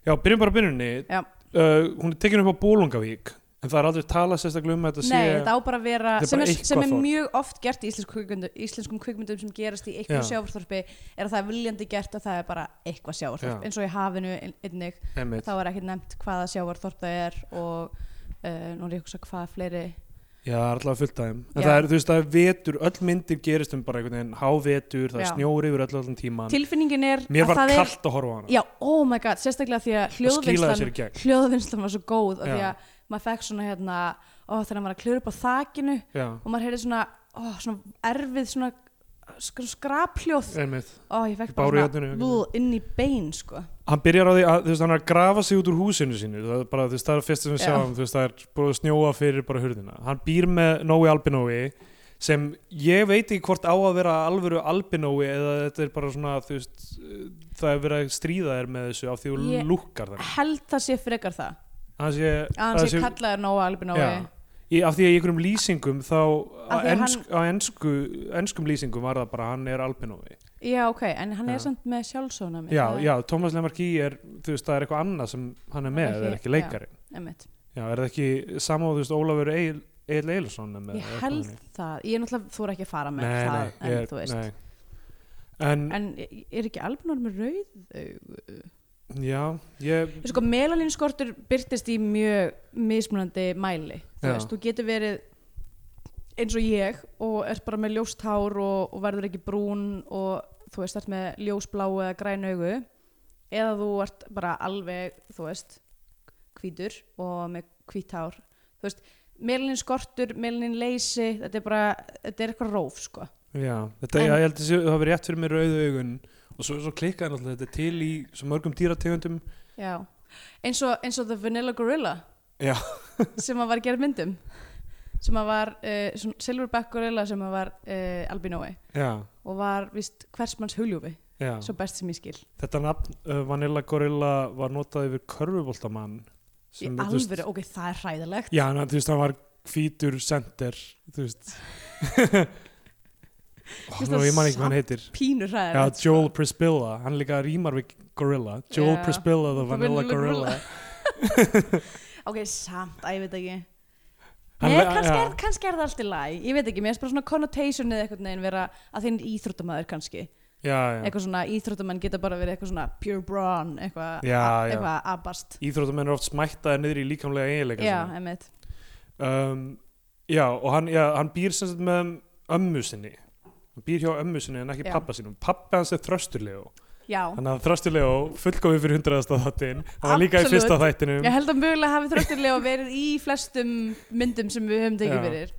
Speaker 2: já, byrjum bara á byrjunni
Speaker 3: Já.
Speaker 2: uh, hún er tekin upp á Bólungavík en það er aldrei talað sérstaklega um að þetta sé
Speaker 3: Nei, þetta á bara að vera
Speaker 2: Þetta er
Speaker 3: sem
Speaker 2: bara
Speaker 3: er,
Speaker 2: eitthvað
Speaker 3: sem er
Speaker 2: þorp.
Speaker 3: mjög oft gert í íslenskum kvikmyndum, íslenskum kvikmyndum sem gerast í einhverju
Speaker 2: Já.
Speaker 3: sjávarþorpi er að það er viljandi gert að það er bara eitthvað
Speaker 2: Já.
Speaker 3: sjávarþorp eins og í hafinu ein- einnig
Speaker 2: Einmitt.
Speaker 3: þá er ekki nefnt hvaða sjávarþorp það er og uh, nú er ég að hugsa hvaða fleiri
Speaker 2: Já, það er alltaf fullt af þeim. En
Speaker 3: Já.
Speaker 2: það er, þú veist, það er vetur, öll myndir gerist um bara einhvern veginn hávetur, það er
Speaker 3: Já.
Speaker 2: snjóri yfir öll allan tíman.
Speaker 3: tilfinningin er
Speaker 2: Mér
Speaker 3: að
Speaker 2: var
Speaker 3: það er
Speaker 2: kallt að horfa á hana.
Speaker 3: Já, oh my god, sérstaklega því að
Speaker 2: skilaði sér í
Speaker 3: hljóðvinnslan
Speaker 2: gegn.
Speaker 3: hljóðvinnslan var svo góð og því
Speaker 2: Já.
Speaker 3: að maður fekk svona hérna ó, þegar hann var að klöru upp á þakinu
Speaker 2: já,
Speaker 3: og maður heyrði svona, ó, svona erfið svona, svona skraphljóð
Speaker 2: einmitt
Speaker 3: ó, ég fekk
Speaker 2: Í
Speaker 3: bara
Speaker 2: bárujárninu,
Speaker 3: svona bú, inn í bein sko.
Speaker 2: hann byrjar á því að þú veist, hann er að grafa sig út úr húsinu sínu það er bara, þú veist, það er fyrst sem við
Speaker 3: Já.
Speaker 2: sjáum þú veist, það er búið að snjóa fyrir bara hurðina hann býr með Nói Albinói sem ég veit ekki hvort á að vera alvöru Albinói eða þetta er bara svona þú veist, það er verið að stríða þér með þessu af því þú
Speaker 3: Ég-
Speaker 2: lúkkar þannig
Speaker 3: held það sé frekar það
Speaker 2: hann sé,
Speaker 3: að hann
Speaker 2: að
Speaker 3: sé kallaður Nóa Albinói
Speaker 2: Já. Í, af því að í einhverjum lýsingum þá á,
Speaker 3: Af því að
Speaker 2: ensk, á ensku, enskum lýsingum var það bara hann er albinói
Speaker 3: já, ok, en hann
Speaker 2: Já.
Speaker 3: er samt með sjálfsónami
Speaker 2: já, já, Thomas Lemarki er þú veist, það er eitthvað annað sem hann er með
Speaker 3: Hann er
Speaker 2: það er
Speaker 3: ekki-
Speaker 2: ekki leikari já.
Speaker 3: einmitt.
Speaker 2: er það ekki samáð, þú veist, Ólafur Egil Egil Eilsson er með
Speaker 3: ég held það, ég er náttúrulega þú er ekki að fara
Speaker 2: nei,
Speaker 3: með það
Speaker 2: nei,
Speaker 3: en
Speaker 2: ég,
Speaker 3: þú veist
Speaker 2: nei. en,
Speaker 3: en er ekki Albinói með rauð augu?
Speaker 2: já ég,
Speaker 3: sko, melalínskortur byrtist í mjög mismunandi mæli þú
Speaker 2: Já.
Speaker 3: veist, þú getur verið eins og ég og ert bara með ljóst hár og, og verður ekki brún og þú veist, ert með ljósblá eða græn augu eða þú ert bara alveg, þú veist hvítur og með hvít hár þú veist, melalínskortur melalínleysi, þetta er bara þetta er eitthvað róf, sko
Speaker 2: já, þetta,
Speaker 3: En-
Speaker 2: ég, ég held að sé- það hafi rétt fyrir mér rauðu augun og svo, svo klikkaði náttúrulega þetta til í svo mörgum dýrategundum
Speaker 3: Já. eins og, eins og The Vanilla Gorilla
Speaker 2: já,
Speaker 3: sem að var gerð myndum sem að var uh, svona Silverback Gorilla sem að var uh, albinói
Speaker 2: já,
Speaker 3: og var vist hversmanns huljúfi
Speaker 2: já.
Speaker 3: svo best sem ég skil
Speaker 2: Þetta nafn uh, Vanilla Gorilla var notað yfir körfuboltamann
Speaker 3: í
Speaker 2: þú veist-
Speaker 3: alvöru, ok, það er hræðilegt
Speaker 2: Já, na, þú veist, hann var hvítur sender Þú veist Ó,
Speaker 3: Þú veist
Speaker 2: nú,
Speaker 3: það
Speaker 2: Ég man ekki hvað hann heitir
Speaker 3: pínur
Speaker 2: Já,
Speaker 3: hræðilegt
Speaker 2: Joel Prisbilla, hann líka rímar við Gorilla Joel
Speaker 3: sko. Já.
Speaker 2: Prisbilla, the
Speaker 3: The
Speaker 2: Vanilla
Speaker 3: Vanilla
Speaker 2: Gorilla
Speaker 3: ok, samt, að ég veit ekki
Speaker 2: Hann
Speaker 3: Nei,
Speaker 2: le-
Speaker 3: kannski,
Speaker 2: já.
Speaker 3: er, kannski er það allt í læg, ég veit ekki, mér er bara svona connotation eða eitthvað neginn vera að þinn íþróttamaður kannski,
Speaker 2: Já, já
Speaker 3: eitthvað svona íþróttamenn geta bara verið eitthvað svona pure brawn, eitthvað
Speaker 2: Já, já.
Speaker 3: eitthvað abast,
Speaker 2: Íþróttamenn eru oft smættaði niður í líkamlega eiginleika
Speaker 3: já,
Speaker 2: sína.
Speaker 3: emmitt
Speaker 2: um, já og hann, já, hann býr sem sagt með ömmu sinni hann býr hjá ömmu sinni en ekki
Speaker 3: Já.
Speaker 2: pappa sínum pappa hans er þrösturlegu
Speaker 3: já,
Speaker 2: þannig að þrösturlegu fullkomið fyrir hundraðasta þáttin hann var líka í
Speaker 3: Absolutt.
Speaker 2: fyrsta þættinum
Speaker 3: Ég held að mögulega hafi þróttirlega verið í flestum myndum sem við höfum tekið
Speaker 2: Já.
Speaker 3: fyrir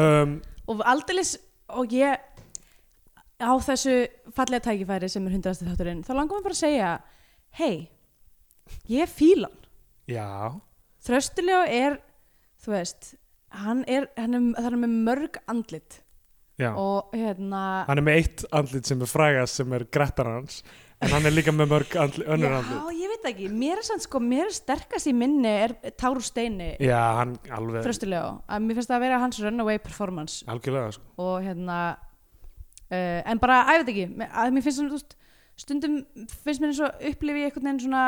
Speaker 2: um,
Speaker 3: og aldeilis og ég á þessu fallega tækifæri sem er hundrasti þátturinn þá langar mér bara að segja hei, ég fíla hann
Speaker 2: já,
Speaker 3: þröstilega er, þú veist hann er, hann er, það er með mörg andlit
Speaker 2: já.
Speaker 3: og hérna
Speaker 2: hann er með eitt andlit sem er frægast sem er Gretar hans en hann er líka með mörg andlit, önnur andlit
Speaker 3: já, ég veit það ekki, mér er sann sko mér er sterkast í minni er Táru Steini
Speaker 2: já, hann alveg
Speaker 3: þröstilega, að mér finnst það að vera hans runaway performance
Speaker 2: algjörlega sko.
Speaker 3: og hérna uh, en bara, að ég veit ekki me- að mér finnst svona, þú veist, stundum finnst mér eins og upplifi ég einhvern veginn svona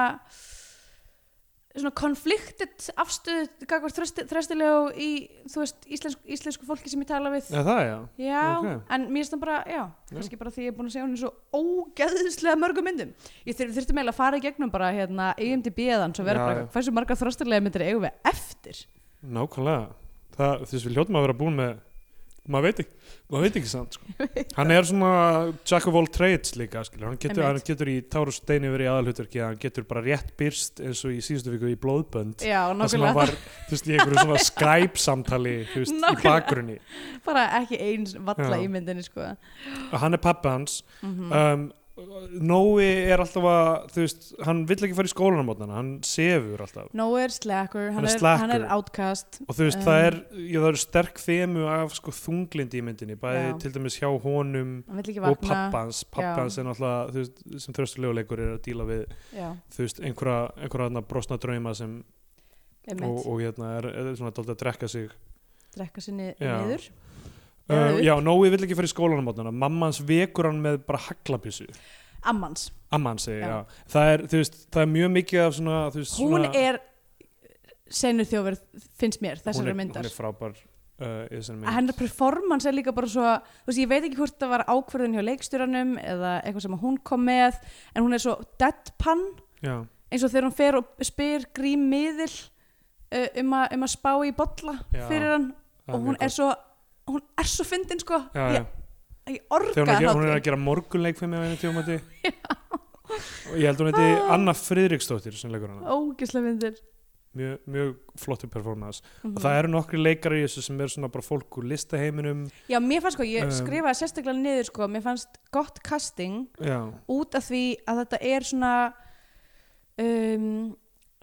Speaker 3: svona konfliktet afstöðu gagvar þrestilegu í, þú veist, íslensk, íslensku fólki sem ég tala við
Speaker 2: eða það já
Speaker 3: já,
Speaker 2: ok.
Speaker 3: en mér finnst það bara, já kannski bara því ég er búin að segja hún svo ógeðislega mörgum myndum ég þyr, þurfti meila að fara í gegnum bara, hérna, EMDB eðan, svo vera
Speaker 2: Já,
Speaker 3: bara,
Speaker 2: já.
Speaker 3: hversu marga þröstilega myndir eigum við eftir
Speaker 2: Nákvæmlega það, Þú veist, við hljótum að vera búin með maður veit ekki, maður veit ekki samt sko. hann er svona jack of all trades líka, skilur, hann getur, hann
Speaker 3: Einmitt.
Speaker 2: getur í Tárus Steini verið í aðalhutverki, hann getur bara rétt byrst eins og í síðustu viku í blóðbönd
Speaker 3: já,
Speaker 2: það sem hann
Speaker 3: nákvæmlega,
Speaker 2: var, þú veist, í einhverju svona Skype samtali, þú veist,
Speaker 3: Nákvæmlega.
Speaker 2: í bakgrunni
Speaker 3: bara ekki eins valla
Speaker 2: Já.
Speaker 3: í myndinni, sko
Speaker 2: og hann er pappi hans
Speaker 3: Mhm.
Speaker 2: um, Nói er alltaf að þú veist, hann vill ekki fara í skólanum mótnana, hann sefur alltaf
Speaker 3: Nói er slacker, hann,
Speaker 2: Hann er
Speaker 3: er,
Speaker 2: slakur.
Speaker 3: hann er outcast
Speaker 2: og þú veist, það
Speaker 3: Um.
Speaker 2: er, já, það eru sterk þemu af sko þunglindi í myndinni, bæði
Speaker 3: Já.
Speaker 2: til dæmis hjá honum
Speaker 3: hann vill ekki
Speaker 2: og
Speaker 3: vakna
Speaker 2: pappans,
Speaker 3: Já.
Speaker 2: pappans er náttúrulega þú veist, sem þröstuleguleikur er að díla við
Speaker 3: já,
Speaker 2: þú veist, einhverja, einhverja hérna, brosna drauma sem, og,
Speaker 3: einmitt,
Speaker 2: og hérna er, er svona dálítið að drekka sig
Speaker 3: drekka sinni
Speaker 2: Já.
Speaker 3: niður Eða
Speaker 2: uh,
Speaker 3: upp.
Speaker 2: já, Nói vill ekki fara í skólanum átnana mammans vekur hann með bara haglabissu
Speaker 3: ammans,
Speaker 2: amman segi,
Speaker 3: Já.
Speaker 2: já. það er, þú veist, það er mjög mikið af svona, þú veist,
Speaker 3: hún
Speaker 2: svona
Speaker 3: er senur þjóverð, finnst mér
Speaker 2: hún
Speaker 3: þessari
Speaker 2: er,
Speaker 3: myndar
Speaker 2: hún er frábær uh, í þessari mynd
Speaker 3: hennar performance er líka bara svo þú veist, ég veit ekki hvort það var ákvörðin hjá leikstjóranum eða eitthvað sem hún kom með en hún er svo deadpan
Speaker 2: já,
Speaker 3: eins og þegar hún fer og spyr grím miðil uh, um, a, um að spá í bolla
Speaker 2: Já,
Speaker 3: fyrir hann
Speaker 2: það
Speaker 3: og hún
Speaker 2: mjög
Speaker 3: er svo hún er svo fyndin sko
Speaker 2: gott. já, já.
Speaker 3: ég, ég orga
Speaker 2: þegar hún er, að gera- hún er
Speaker 3: hlátri.
Speaker 2: að gera morgunleik fyrir mig á einu tjómati
Speaker 3: Ah.
Speaker 2: og ég held hún heiti Anna Friðriksdóttir sem leikur hana
Speaker 3: ógislega myndir
Speaker 2: mjög, mjög flottu performance
Speaker 3: Mhm.
Speaker 2: og það eru nokkri leikari í þessu sem eru svona bara fólk úr listaheiminum
Speaker 3: Já, mér fannst sko, ég
Speaker 2: Um.
Speaker 3: skrifaði sérstaklega niður sko, mér fannst gott casting
Speaker 2: já,
Speaker 3: út af því að þetta er svona um,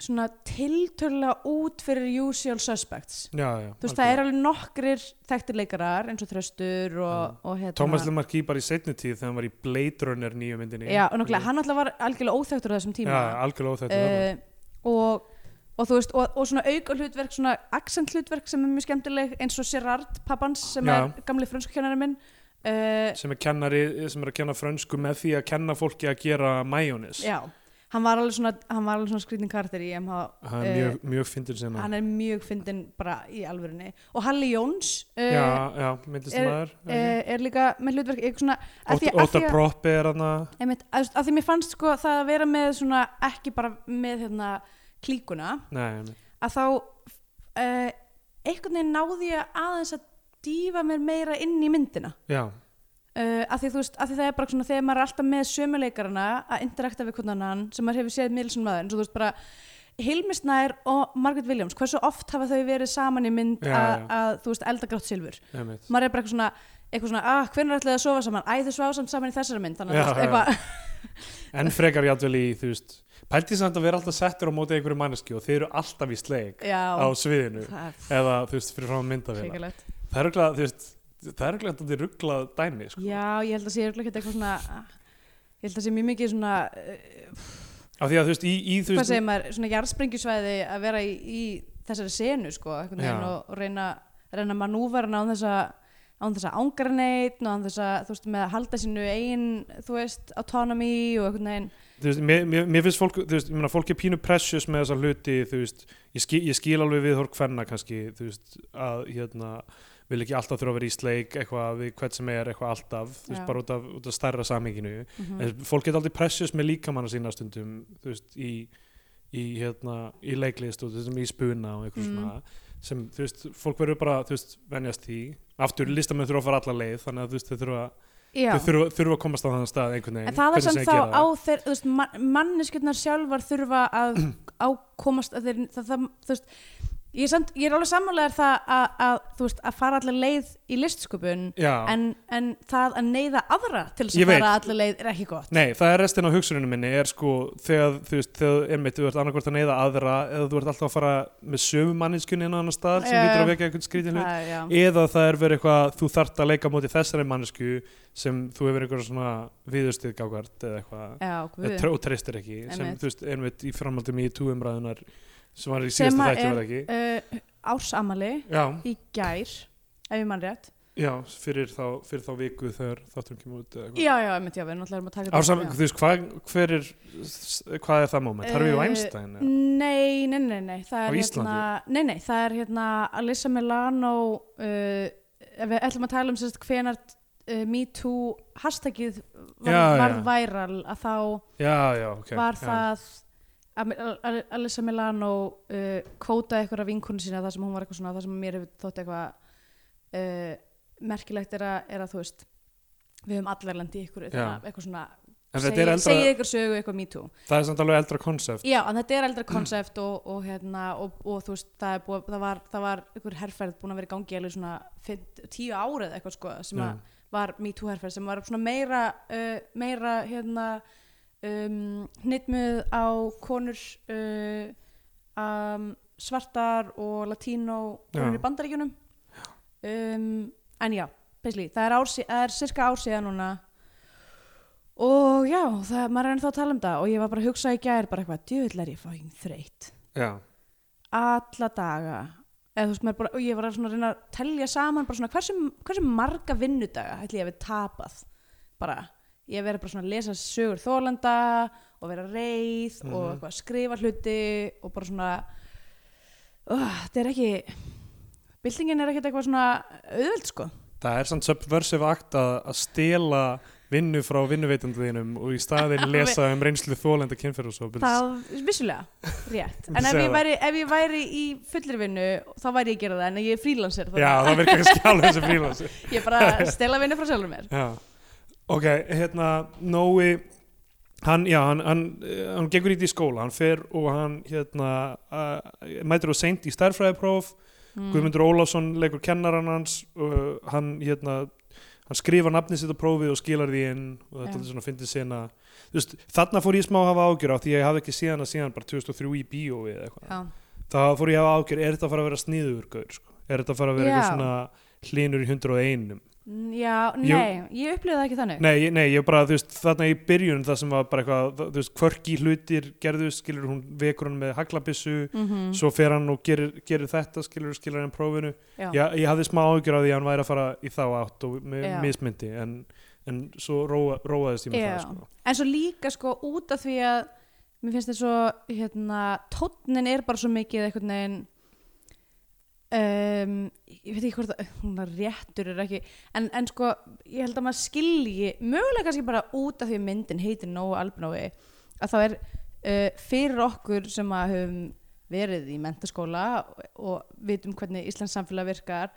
Speaker 3: svona tiltölulega út fyrir usual suspects.
Speaker 2: já, já
Speaker 3: Þú veist, það
Speaker 2: algjörlega.
Speaker 3: er alveg nokkrir þekktir leikarar eins og Þröstur og, og hérna.
Speaker 2: Thomas Le Marquis bara í setni tíð þegar hann var í Blade Runner nýju myndinni
Speaker 3: Já, og náttúrulega, hann alltaf var algjörlega óþekktur á þessum tíma.
Speaker 2: já, algjörlega óþægt
Speaker 3: uh, og, og þú veist og, og svona auka hlutverk, svona accent hlutverk sem er mjög skemmtileg eins og Gerard pappans sem
Speaker 2: Já.
Speaker 3: er gamli frönskukennari minn uh,
Speaker 2: sem er kennari, sem er að kenna frönsku með því að kenna fólki að gera majónis
Speaker 3: já, hann var alveg svona hann var alveg svona skrýtin karakter í MH
Speaker 2: hann er
Speaker 3: Eh,
Speaker 2: mjög, mjög fyndir sem
Speaker 3: hann er mjög fyndin bara í alvörunni og Halli Jóns
Speaker 2: já,
Speaker 3: uh,
Speaker 2: já, myndist maður
Speaker 3: er, er líka með hlutverk eitthvað svona Eh, af því- af því
Speaker 2: Óta
Speaker 3: að-
Speaker 2: Proppi er hann
Speaker 3: einmitt, að að því mér fannst sko það að vera með svona ekki bara með hérna klíkuna
Speaker 2: nei, nei.
Speaker 3: að þá uh, einhvern veginn náði ég aðeins að dýfa mér meira inn í myndina
Speaker 2: já,
Speaker 3: uh, að því þú veist, að því það er bara svona þegar maður er alltaf með sömuleikarana að interakta við hvernig annan sem maður hefur séð miðlisum maður eins og þú veist bara Hilmi Snær og Margaret Williams hversu oft hafa þau verið saman í mynd
Speaker 2: Já,
Speaker 3: að,
Speaker 2: já.
Speaker 3: að þú veist eldagrátt silfur
Speaker 2: einmitt
Speaker 3: maður er bara eitthvað svona, eitthvað svona ah, hvernig ætlaði að sofa saman, æ þau svá samt saman í þessari mynd þannig
Speaker 2: Já,
Speaker 3: að þú veist,
Speaker 2: já.
Speaker 3: eitthvað,
Speaker 2: en frekar játvel í, þú veist pælti samt að vera alltaf settur á móti einhverju manneski og þeir eru alltaf í sleik á
Speaker 3: já,
Speaker 2: sviðinu
Speaker 3: það er
Speaker 2: eða, þú veist, fyrir frá að mynda við
Speaker 3: hrikalegt
Speaker 2: það er örugglega, þú veist, það er örugglega þetta rugglað dæmi, sko
Speaker 3: Já, ég held að sé örugglega ekkert eitthvað svona ég held að sé mjög mikið svona eh,
Speaker 2: af því að, þú veist, í, í þú
Speaker 3: hvað
Speaker 2: veist,
Speaker 3: segir maður, svona jarðsprengjusvæði að vera í, í þessari senu sko, einhvern veginn
Speaker 2: Já.
Speaker 3: og, og reyna reyna að manúvera hann án þess að án þess að ángra neitt og án þess að þú veist með að halda sínu eigin þú veist, autonomy og einhvern veginn
Speaker 2: þú veist, mér, mér, mér finnst fólk, þú veist, ég meina fólk er pínu precious með þessa hluti, þú veist, ég skil, ég skil alveg við hórk fennar kannski, þú veist, að hérna, vil ekki alltaf þurfa að vera í sleik eitthvað við hvert sem er eitthvað alltaf, þú veist,
Speaker 3: Já.
Speaker 2: bara út af, út af stærra samhenginu,
Speaker 3: mhm.
Speaker 2: en fólk er aldrei precious með líkamanna sína stundum, þú veist, í, í hérna, í leiklist og þú veist, í spuna og eitthvað
Speaker 3: Mm.
Speaker 2: svona, sem, þú veist, fólk verður bara, þú veist, venjast því, aftur, listamenn þurfa að fara alla leið, þannig að þú veist, þau þurfa,
Speaker 3: Mhm. Já,
Speaker 2: þau þurfa, þurfa að komast á þann stað einhvern veginn,
Speaker 3: en það er
Speaker 2: hvernig
Speaker 3: sem
Speaker 2: sem
Speaker 3: þá
Speaker 2: þeir gera
Speaker 3: á þeir þú veist, man, manneskjurnar sjálfar þurfa að ákomast að þeir það, það, þú veist Ég er, samt, ég er alveg sammálaðar það að, að, þú veist, að fara allir leið í listsköpun
Speaker 2: Já.
Speaker 3: en, en það að neyða aðra til þess
Speaker 2: Ég
Speaker 3: að
Speaker 2: veit.
Speaker 3: fara allir leið er ekki gott
Speaker 2: Nei, það er restin á hugsuninu minni er sko þegar þú veist, þegar einmitt þú ert annarkvort að neyða aðra eða þú ert alltaf að fara með sömu manninskjunni inn á annar stað sem
Speaker 3: Já,
Speaker 2: hlutur
Speaker 3: já.
Speaker 2: að vekja einhvern skrítin hlut
Speaker 3: Það- já.
Speaker 2: eða það er verið eitthvað þú þart að leika á móti þessari mannsku sem þú hefur einhverja svona viðustið gákvart eða eitthvað
Speaker 3: Já,
Speaker 2: eða
Speaker 3: guð.
Speaker 2: tr- og treystir ekki sem
Speaker 3: Einmitt.
Speaker 2: þú veist einmitt í framhaldum í túumræðunar sem var í
Speaker 3: Sem
Speaker 2: síðasta
Speaker 3: að
Speaker 2: þætti
Speaker 3: er-
Speaker 2: var það ekki
Speaker 3: uh, Ársamali
Speaker 2: Já,
Speaker 3: í gær ef ég mann rétt
Speaker 2: já, fyrir þá, fyrir þá viku þegar þáttum kemur út eða eitthvað
Speaker 3: Já, já, einmitt, já, við erum alltaf að taka þetta upp,
Speaker 2: Ársam,
Speaker 3: já.
Speaker 2: þú veist, hvað, hver er, hvað er það moment? Uh, Harvey
Speaker 3: Eh,
Speaker 2: Weinstein? eða?
Speaker 3: Nei, nei, nei, nei það
Speaker 2: Á
Speaker 3: er, hérna,
Speaker 2: Íslandi?
Speaker 3: nei, nei, það er hérna Alyssa Milano uh, ef við ætlum að tala um sérst hvenar uh, MeToo hashtagið var,
Speaker 2: Já,
Speaker 3: varð
Speaker 2: já.
Speaker 3: væral að þá
Speaker 2: Já, já, ok.
Speaker 3: var
Speaker 2: já.
Speaker 3: það að Al- Al- Alyssa Milano uh, kvótaði eitthvað af vinkunni sína það sem hún var eitthvað svona, það sem mér hefur þótt eitthvað uh, merkilegt er að, er að þú veist við höfum allar lendi ykkur
Speaker 2: Já.
Speaker 3: eitthvað svona,
Speaker 2: En þetta er
Speaker 3: segið
Speaker 2: eldra,
Speaker 3: segi ykkur sögu eitthvað MeToo
Speaker 2: það er samt alveg eldra konsept.
Speaker 3: Já, en þetta er eldra konsept og, og, hérna, og, og þú veist, það, er búið, það var, það var einhver herrferð búin að vera í gangi alveg svona fimm- tíu árið eitthvað sko sem að var MeToo herrferð sem var svona meira, uh, meira hérna, um, hnitmuð á konur uh, um, svartar og latínó konur
Speaker 2: Já.
Speaker 3: í bandaríkjunum um, en já, basically, það er, ársi, það er cirka ársíða núna og já, það, maður er ennþá að tala um það og ég var bara að hugsa í gær bara eitthvað, djövill er ég fæðin þreytt
Speaker 2: Já,
Speaker 3: alla daga eða þú veist, maður bara, og ég var að svona reyna að telja saman bara svona, hversu, hversu marga vinnudaga ætli ég að við tapað bara, ég verið bara svona að lesa sögur þólanda og vera reið og
Speaker 2: Mhm.
Speaker 3: eitthvað, skrifa hluti og bara svona uh, þetta er ekki byltingin er ekkert eitthvað svona auðveld sko
Speaker 2: það er samt subversive act að, að stela vinnu frá vinnuveitanduðinum og í staðin lesa um reynslu þólenda kynferðusofbils.
Speaker 3: Það vissulega, rétt En ef
Speaker 2: Segðu
Speaker 3: ég,
Speaker 2: það.
Speaker 3: væri, ef ég væri í fullri vinnu þá væri ég að gera það en ég er frílanser
Speaker 2: Já, það virkar kannski alveg þessi frílansi.
Speaker 3: Ég er bara að stela vinnu frá sjálfur mér
Speaker 2: Já, ok, hérna, Nói, hann, já, hann, hann, eh, hann gengur í því skóla hann fer og hann hérna, uh, mætir og seint í stærfræðipróf
Speaker 3: Mm.
Speaker 2: Guðmundur Ólafsson leikur kennaran hans uh, hann, hérna, hann skrifar nafnið sitt á prófið og skilar því inn og þetta er
Speaker 3: Já.
Speaker 2: svona fyndið sena Just, þarna fór ég smá að hafa ágjör á því að ég hafði ekki síðan að síðan bara 2003 í bíói eða eitthvað
Speaker 3: Já,
Speaker 2: það fór ég að hafa ágjör, er þetta að fara að vera sniður gaur, sko? er þetta að fara að vera
Speaker 3: Já.
Speaker 2: eitthvað svona hlinur í 101
Speaker 3: Mm, já
Speaker 2: Jú.
Speaker 3: nei, ég upplýði það ekki þannig
Speaker 2: nei, ég- nei, ég bara, þú veist, þarna í byrjun það sem var bara eitthvað, þú veist, kvörki hlutir gerðu, skilur hún vekur hann með haglabissu,
Speaker 3: Mhm,
Speaker 2: svo fer hann og gerir, gerir þetta, skilur, skilur hann prófinu
Speaker 3: já.
Speaker 2: Já, ég hafði smá áhyggjur af því að hann væri að fara í þá átt og með
Speaker 3: Já.
Speaker 2: mismyndi en, en svo róa, róaðist ég með
Speaker 3: Já.
Speaker 2: það sko.
Speaker 3: En svo líka sko út af því að mér finnst þetta svo, hérna, tónnin er bara svo mikið eitthvað neginn um, ég veit ekki hvort að hún er réttur er ekki en, en sko, ég held að maður skilji mögulega kannski bara út af því að myndin heitir Nóa Albnói að þá er uh, fyrir okkur sem að höfum verið í mentaskóla og, og vitum hvernig Íslands samfélag virkar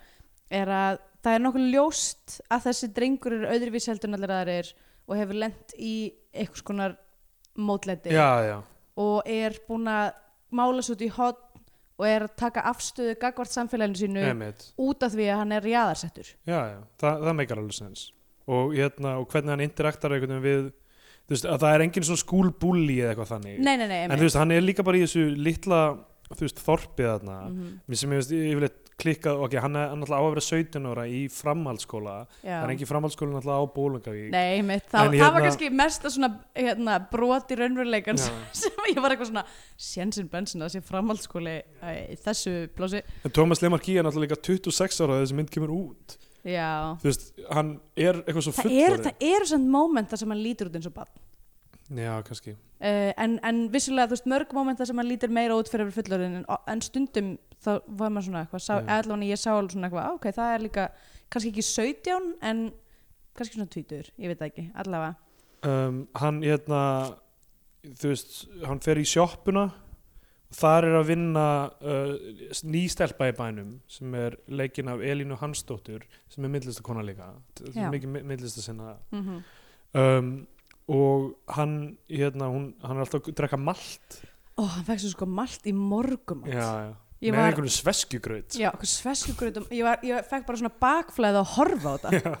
Speaker 3: er að það er nokkuð ljóst að þessi drengur eru öðruvís heldur en allir aðrir og hefur lent í einhvers konar mótlæti
Speaker 2: já, já,
Speaker 3: og er búin að mála svo út í hot og er að taka afstöðu gagvart samfélaginu sínu
Speaker 2: emitt
Speaker 3: út af því að hann er jáðarsettur
Speaker 2: já, já, Þa, það meikar alveg sens og, hérna, og hvernig hann interaktar einhvern veginn við þú veist, að það er engin svona skúlbúli eða eitthvað þannig
Speaker 3: Nei, nei, nei,
Speaker 2: en þú veist, hann er líka bara í þessu litla þú veist, þorpið þarna mm.
Speaker 3: -hmm.
Speaker 2: sem ég veist, yfirleitt klikkað ok, hann er hann náttúrulega á að vera 17 ára í framhaldsskóla það er engin framhaldsskóla náttúrulega á Bólungavík
Speaker 3: Nei, mitt, það,
Speaker 2: En
Speaker 3: það var
Speaker 2: hérna-
Speaker 3: kannski mesta svona hérna, brot í raunveruleikan
Speaker 2: Já.
Speaker 3: sem ég var eitthvað svona sjensin bensin að sé framhaldsskóli æ, í þessu blósi
Speaker 2: en Thomas Lemarki er náttúrulega líka 26 ára þegar þessi mynd kemur út
Speaker 3: Já,
Speaker 2: þú veist, hann er eitthvað svo
Speaker 3: það eru
Speaker 2: fullorðin
Speaker 3: það er samt moment þar sem hann lítur út eins og bann
Speaker 2: Já, kannski
Speaker 3: Uh, en, en vissulega, þú veist, mörg momenta sem maður lítir meira út fyrir fullorðin en, en stundum þá var maður svona eitthvað sá,
Speaker 2: Já.
Speaker 3: eða allavega ég sá alveg svona eitthvað, á, ok, það er líka kannski ekki 17 en kannski svona 20, ég veit það ekki, allavega
Speaker 2: um, Hann, hérna þú veist, hann fer í sjoppuna þar er að vinna uh, nýstelpa í bænum sem er leikinn af Elínu Hansdóttur sem er myndlistakona líka sem
Speaker 3: Já.
Speaker 2: er mikið myndlistasinna
Speaker 3: mm -hmm.
Speaker 2: um, og hann, hérna, hún, hann er alltaf að drekka malt
Speaker 3: Ó, hann fekk svo sko malt í morgum
Speaker 2: já, já.
Speaker 3: Ég
Speaker 2: með
Speaker 3: var-
Speaker 2: einhverju sveskjugraut
Speaker 3: Já, okkur sveskugröðum, ég, var- ég fekk bara svona bakflæð að horfa á þetta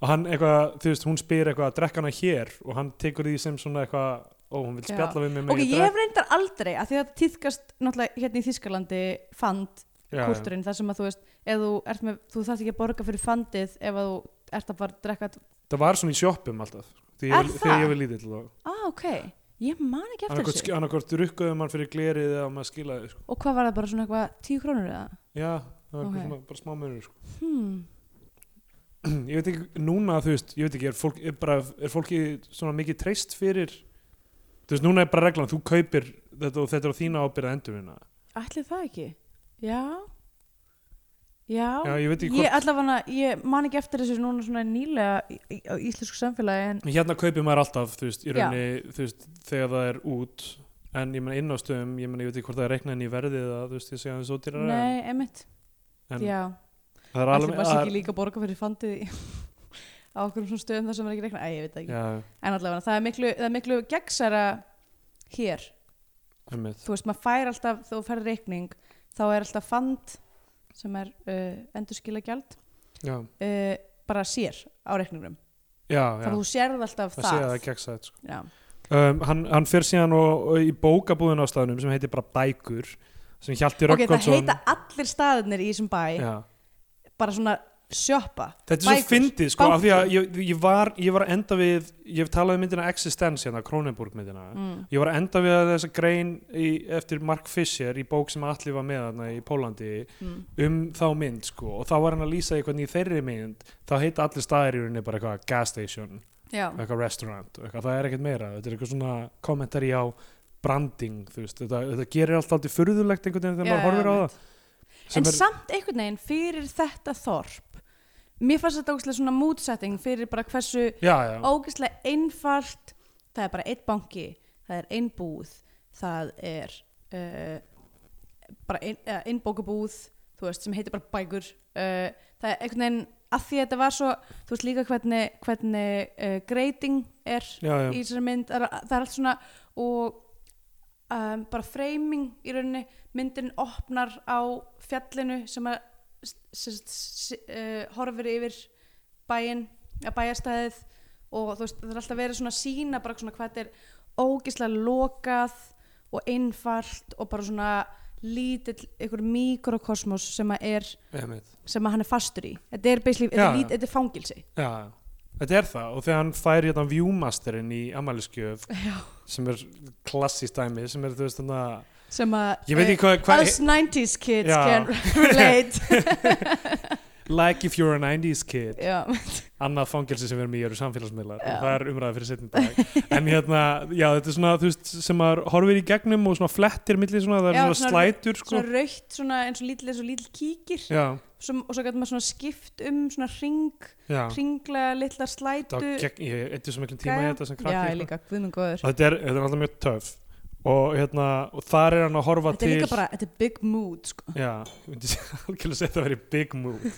Speaker 2: og hann eitthvað, þú veist, hún spyr eitthvað að drekka hana hér og hann tekur því sem svona eitthvað ó, hún vil
Speaker 3: Já.
Speaker 2: spjalla við mig með
Speaker 3: Ok, ég hef reyndar aldrei, að því að þetta tíðkast náttúrulega hérna í Þískalandi fand kúlturinn þar sem að þú veist, ef þú ert með, þú þarft ekki að borga fyrir fandið ef að þú ert að bara drekka
Speaker 2: Það var svona í sjoppum alltaf
Speaker 3: Er
Speaker 2: Þegar, ég-
Speaker 3: það?
Speaker 2: þegar ég var lítill
Speaker 3: ah, ok, ég man ekki eftir þessu
Speaker 2: Annarkvort rukkaði mann fyrir glerið eða maður skilaði sko.
Speaker 3: og hvað var það bara svona eitthvað tíu krónur eða
Speaker 2: Já, það var
Speaker 3: Ok.
Speaker 2: okay. svona, bara smá munur sko.
Speaker 3: hmm.
Speaker 2: Ég veit ekki, núna þú veist Ég veit ekki, er, fólk, er, bara, er fólki svona mikið treyst fyrir Þú veist, núna er bara reglan, þú kaupir þetta og þetta er á þína ábyrða endurvinna
Speaker 3: ætli það ekki já já,
Speaker 2: Já, ég veit ekki
Speaker 3: ég
Speaker 2: hvort-
Speaker 3: allavega ég man ekki eftir þessu núna svona nýlega í, í, á íslensku samfélagi en
Speaker 2: Hérna kaupir maður alltaf, þú veist, í
Speaker 3: Já.
Speaker 2: rauninni þú veist, þegar það er út En ég meina inn á stöðum, ég meina ég veit ekki hvort það er reiknað inn í verðið eða þú veist, ég segja þessu ódýrara en-
Speaker 3: nei, emitt
Speaker 2: en
Speaker 3: já,
Speaker 2: það er
Speaker 3: ætli
Speaker 2: alveg
Speaker 3: maður sé
Speaker 2: það
Speaker 3: ekki líka að borga fyrir fandið í- á okkur svona stöðum þar sem er ekki reikna, æ, ég veit það
Speaker 2: er-
Speaker 3: ekki
Speaker 2: Já,
Speaker 3: en allavega, það er miklu, það er miklu gegnsæra hér
Speaker 2: einmitt
Speaker 3: þú veist, maður fær alltaf, þú fær reikning þá er alltaf fand sem er uh, endurskila gjald
Speaker 2: Já,
Speaker 3: uh, bara sér á reikningnum
Speaker 2: já, já
Speaker 3: þannig að þú sérð alltaf
Speaker 2: Það sé að
Speaker 3: það,
Speaker 2: það gegsa þetta sko.
Speaker 3: Já.
Speaker 2: um, hann, hann fer síðan og, og í bókabúðin á staðnum sem heitir bara Bækur sem Hjalti
Speaker 3: ok, það
Speaker 2: Röggvardsson
Speaker 3: heita allir staðirnir í þessum bæ
Speaker 2: Já.
Speaker 3: bara svona sjoppa
Speaker 2: Þetta er svo
Speaker 3: Bækur,
Speaker 2: fyndið sko, af því að
Speaker 3: banki.
Speaker 2: ég, ég, var, ég var að enda við, ég hef talað um myndina Existence hérna, Kronenburg myndina,
Speaker 3: Mm.
Speaker 2: ég var að enda við að þessa grein í, eftir Mark Fisher í bók sem allir var með þarna í Pólandi
Speaker 3: Mm.
Speaker 2: um þá mynd sko, og þá var hann að lýsa í hvernig í þeirri mynd, þá heita allir staðir í rauninni bara eitthvað gas station,
Speaker 3: já,
Speaker 2: eitthvað restaurant, og eitthvað, það er ekkert meira, þetta er eitthvað svona kommentari á branding, þú veist, þetta, þetta gerir allt alltaf furðulegt einhvern veginn
Speaker 3: Já,
Speaker 2: þegar maður
Speaker 3: já,
Speaker 2: horfir á það. sem
Speaker 3: en
Speaker 2: er-
Speaker 3: samt einhvern veginn fyrir þetta þorp mér fannst þetta ógæslega svona moodsetting fyrir bara hversu
Speaker 2: Já, já.
Speaker 3: ógæslega einfalt það er bara einn banki, það er einn búð það er uh, eh, bara ein, eh, ein bókabúð þú veist, sem heitir bara bækur uh, Eh, það er einhvern veginn að því að þetta var svo þú veist líka hvernig, hvernig uh, grading er
Speaker 2: já, já,
Speaker 3: í þessari mynd það er, það er allt svona og um, bara framing í rauninni myndin opnar á fjallinu sem að sem, sem, uh, horfir yfir bæin, að bæjarstæðið og þú veist, það er alltaf verið svona að sína bara svona hvað þetta er ógislega lokað og einfalt og bara svona lítill einhver mikrokosmos sem að er
Speaker 2: einmitt
Speaker 3: sem að hann er fastur í þetta er, basically-
Speaker 2: Já,
Speaker 3: þetta er,
Speaker 2: já.
Speaker 3: lít- þetta er fangilsi
Speaker 2: Já, já. þetta er það og þegar hann fær hérna viewmasterinn í amæliskjöf sem er klassist dæmi sem er þú veist þannig að
Speaker 3: sem að eh,
Speaker 2: ég veit ekki hvað hva,
Speaker 3: us 90s kids
Speaker 2: Já.
Speaker 3: can relate
Speaker 2: like if you're a 90s kid
Speaker 3: já,
Speaker 2: annað fangelsi sem við erum í eru samfélagsmiðlar
Speaker 3: Já.
Speaker 2: og það er umræða fyrir setjum dag en hérna, já þetta er svona þú veist sem maður horfir í gegnum og svona flettir milli svona, það er
Speaker 3: Já,
Speaker 2: svona,
Speaker 3: svona-
Speaker 2: slætur sko.
Speaker 3: svona raukt svona eins og lítill eins og lítill kíkir
Speaker 2: já,
Speaker 3: sem, og svo gæti maður svona skipt um svona ring,
Speaker 2: já
Speaker 3: ringla litla
Speaker 2: það
Speaker 3: slætu
Speaker 2: var gegn, ég eitthvað svo miklum tíma í
Speaker 3: Gæja.
Speaker 2: þetta sem
Speaker 3: já,
Speaker 2: krakki
Speaker 3: ég
Speaker 2: sko.
Speaker 3: líka, guðmund góður
Speaker 2: þetta er, þetta er alltaf mjög töf og hérna, og þar er hann að horfa
Speaker 3: þetta er
Speaker 2: til
Speaker 3: líka bara, þetta er big mood sko.
Speaker 2: Já, ég myndi algjörlega segja þetta að vera big move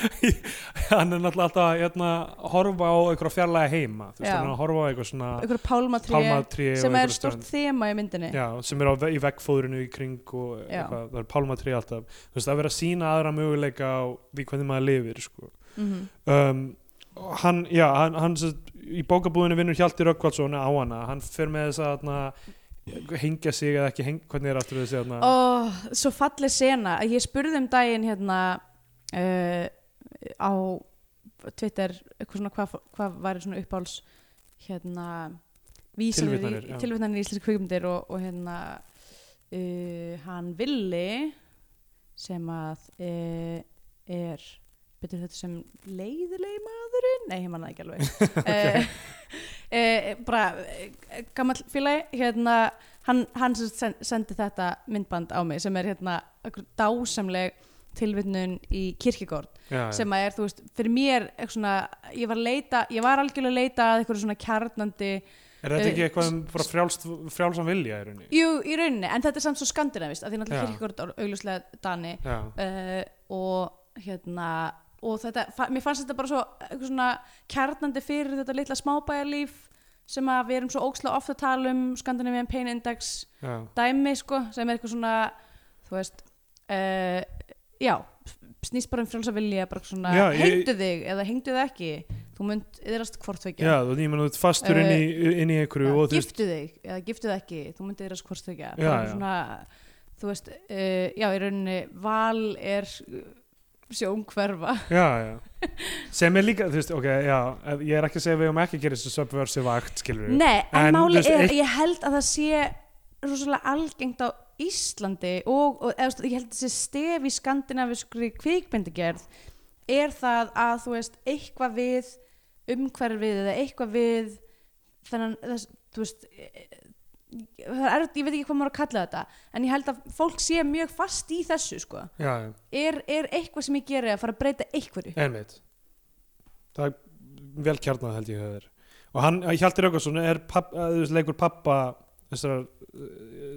Speaker 2: Hann er náttúrulega alltaf að hérna, horfa á einhverja fjarlæga heima þú veist,
Speaker 3: Já.
Speaker 2: hann er að horfa á einhver svona
Speaker 3: einhverju pálmatrí
Speaker 2: pálmatrí og
Speaker 3: sem
Speaker 2: einhverja
Speaker 3: er stort
Speaker 2: stönd.
Speaker 3: þema í myndinni
Speaker 2: Já, sem er á, ve- í veggfóðrinu í kring og
Speaker 3: Já.
Speaker 2: eitthvað, það er pálmatrí alltaf þú veist, að vera að sína aðra möguleika á því hvernig maður lifir sko.
Speaker 3: Mhm.
Speaker 2: um, og hann, já, hann, hann sem sagt, í bókabúðinu vinnur Hjalti Rökkvaldsson á hana, hann fer með þess að hérna, hengja sig eða ekki hengja, hvernig er aftur þessi hérna,
Speaker 3: Ó, svo falleg sena að ég spurði um daginn hérna uh, á Twitter eitthvað svona hvað hva væri svona uppáls hérna vísanir
Speaker 2: Tilvitnanir,
Speaker 3: í,
Speaker 2: já.
Speaker 3: tilvitnanir í íslensk kvikmyndir og, og hérna uh, hann Villi sem að uh, er betur þetta sem leiðilegi maðurinn nei, ég manna ekki alveg okay. bara eh, gamall félagi hérna hann, hann sem sagt sen, sendi þetta myndband á mig sem er hérna einhver dásamleg tilvittnun í kirkigórn
Speaker 2: já, já.
Speaker 3: sem að er, þú veist, fyrir mér eitthvað svona, ég var að leita, ég var algjörlega að leita að eitthvað svona kjarnandi
Speaker 2: Er þetta ekki
Speaker 3: Eh,
Speaker 2: eitthvað um bara frjálst, frjálsan vilja í rauninni?
Speaker 3: jú, í rauninni, en þetta er samt svo skandinavist að því náttúrulega
Speaker 2: Já.
Speaker 3: kirkigórn er augljóslega dani
Speaker 2: Já,
Speaker 3: uh, og hérna og þetta, fa mér fannst þetta bara svo eitthvað svona kjarnandi fyrir þetta litla smábæjarlíf sem að við erum svo ókslega ofta að tala um Scandinavian Pain Index
Speaker 2: já,
Speaker 3: dæmi sko, sem er eitthvað svona þú veist uh, já, snýst bara um frjálsa vilja bara svona,
Speaker 2: Já, ég-
Speaker 3: hengdu þig eða hengdu þig ekki, þú munt yðrast hvort
Speaker 2: já
Speaker 3: þvekja,
Speaker 2: þú veist, ég menn þú ert fastur inn í, inn í einhverju og þú veist,
Speaker 3: giftu þig eða giftu þig ekki, þú munt yðrast hvort þvekja
Speaker 2: Já,
Speaker 3: bara
Speaker 2: já.
Speaker 3: svona, þú veist uh, já, í rauninni, val er uh, sjónkverfa
Speaker 2: já, já. Sem er líka, þú veist, ok, já, að ég er ekki að segja að við um ekki að gera þessu subversive act, skilur við.
Speaker 3: Nei, en,
Speaker 2: En,
Speaker 3: máli
Speaker 2: veist,
Speaker 3: er,
Speaker 2: eitt-
Speaker 3: ég held að það sé rosalega algengt á Íslandi og, og eða, þú veist, ég held að þessi stef í skandinaviskri kvikmyndagerð er það að þú veist eitthvað við umhverfið eða eitthvað við þennan, þess, þú veist e- e- það er, erfitt- ég veit ekki hvað maður á að kalla þetta en ég held að fólk sé mjög fast í þessu sko.
Speaker 2: Já, já,
Speaker 3: er, er eitthvað sem ég geri að fara að breyta einhverju
Speaker 2: einmitt. Það er vel kjarnað held ég að það er. Og hann, eh, Hjalti Röggarsson er, papp, að, þú veist, leikur pappa þessar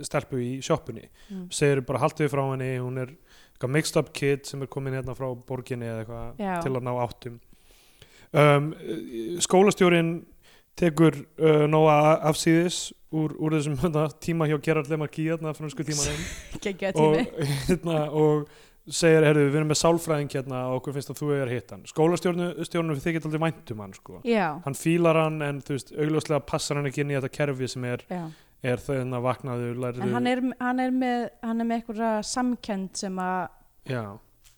Speaker 2: stelpu í sjoppunni.
Speaker 3: Mm.
Speaker 2: Segir bara haldið frá henni, hún er eitthvað mixed up kid sem er komin hérna frá borginni eða eitthvað.
Speaker 3: Já.
Speaker 2: til að ná áttum um, skólastjórin tekur uh, nóa afsýðis úr, úr þessum hana, tíma hjá Gerard Lemarki hérna, fransku tímanum
Speaker 3: Geggjaður tími.
Speaker 2: og, hérna, og segir, herru, við erum með sálfræðing hérna og okkur finnst að þú er hitt hann skólastjórnum þið geta aldrei væntum hann sko.
Speaker 3: Já,
Speaker 2: hann fílar hann en þú veist, augljóslega passar hann ekki inn í þetta kerfi sem er,
Speaker 3: já
Speaker 2: er þau hann að vaknaðu lærðu,
Speaker 3: En hann er, hann er með, hann er með einhverja samkend sem að,
Speaker 2: já,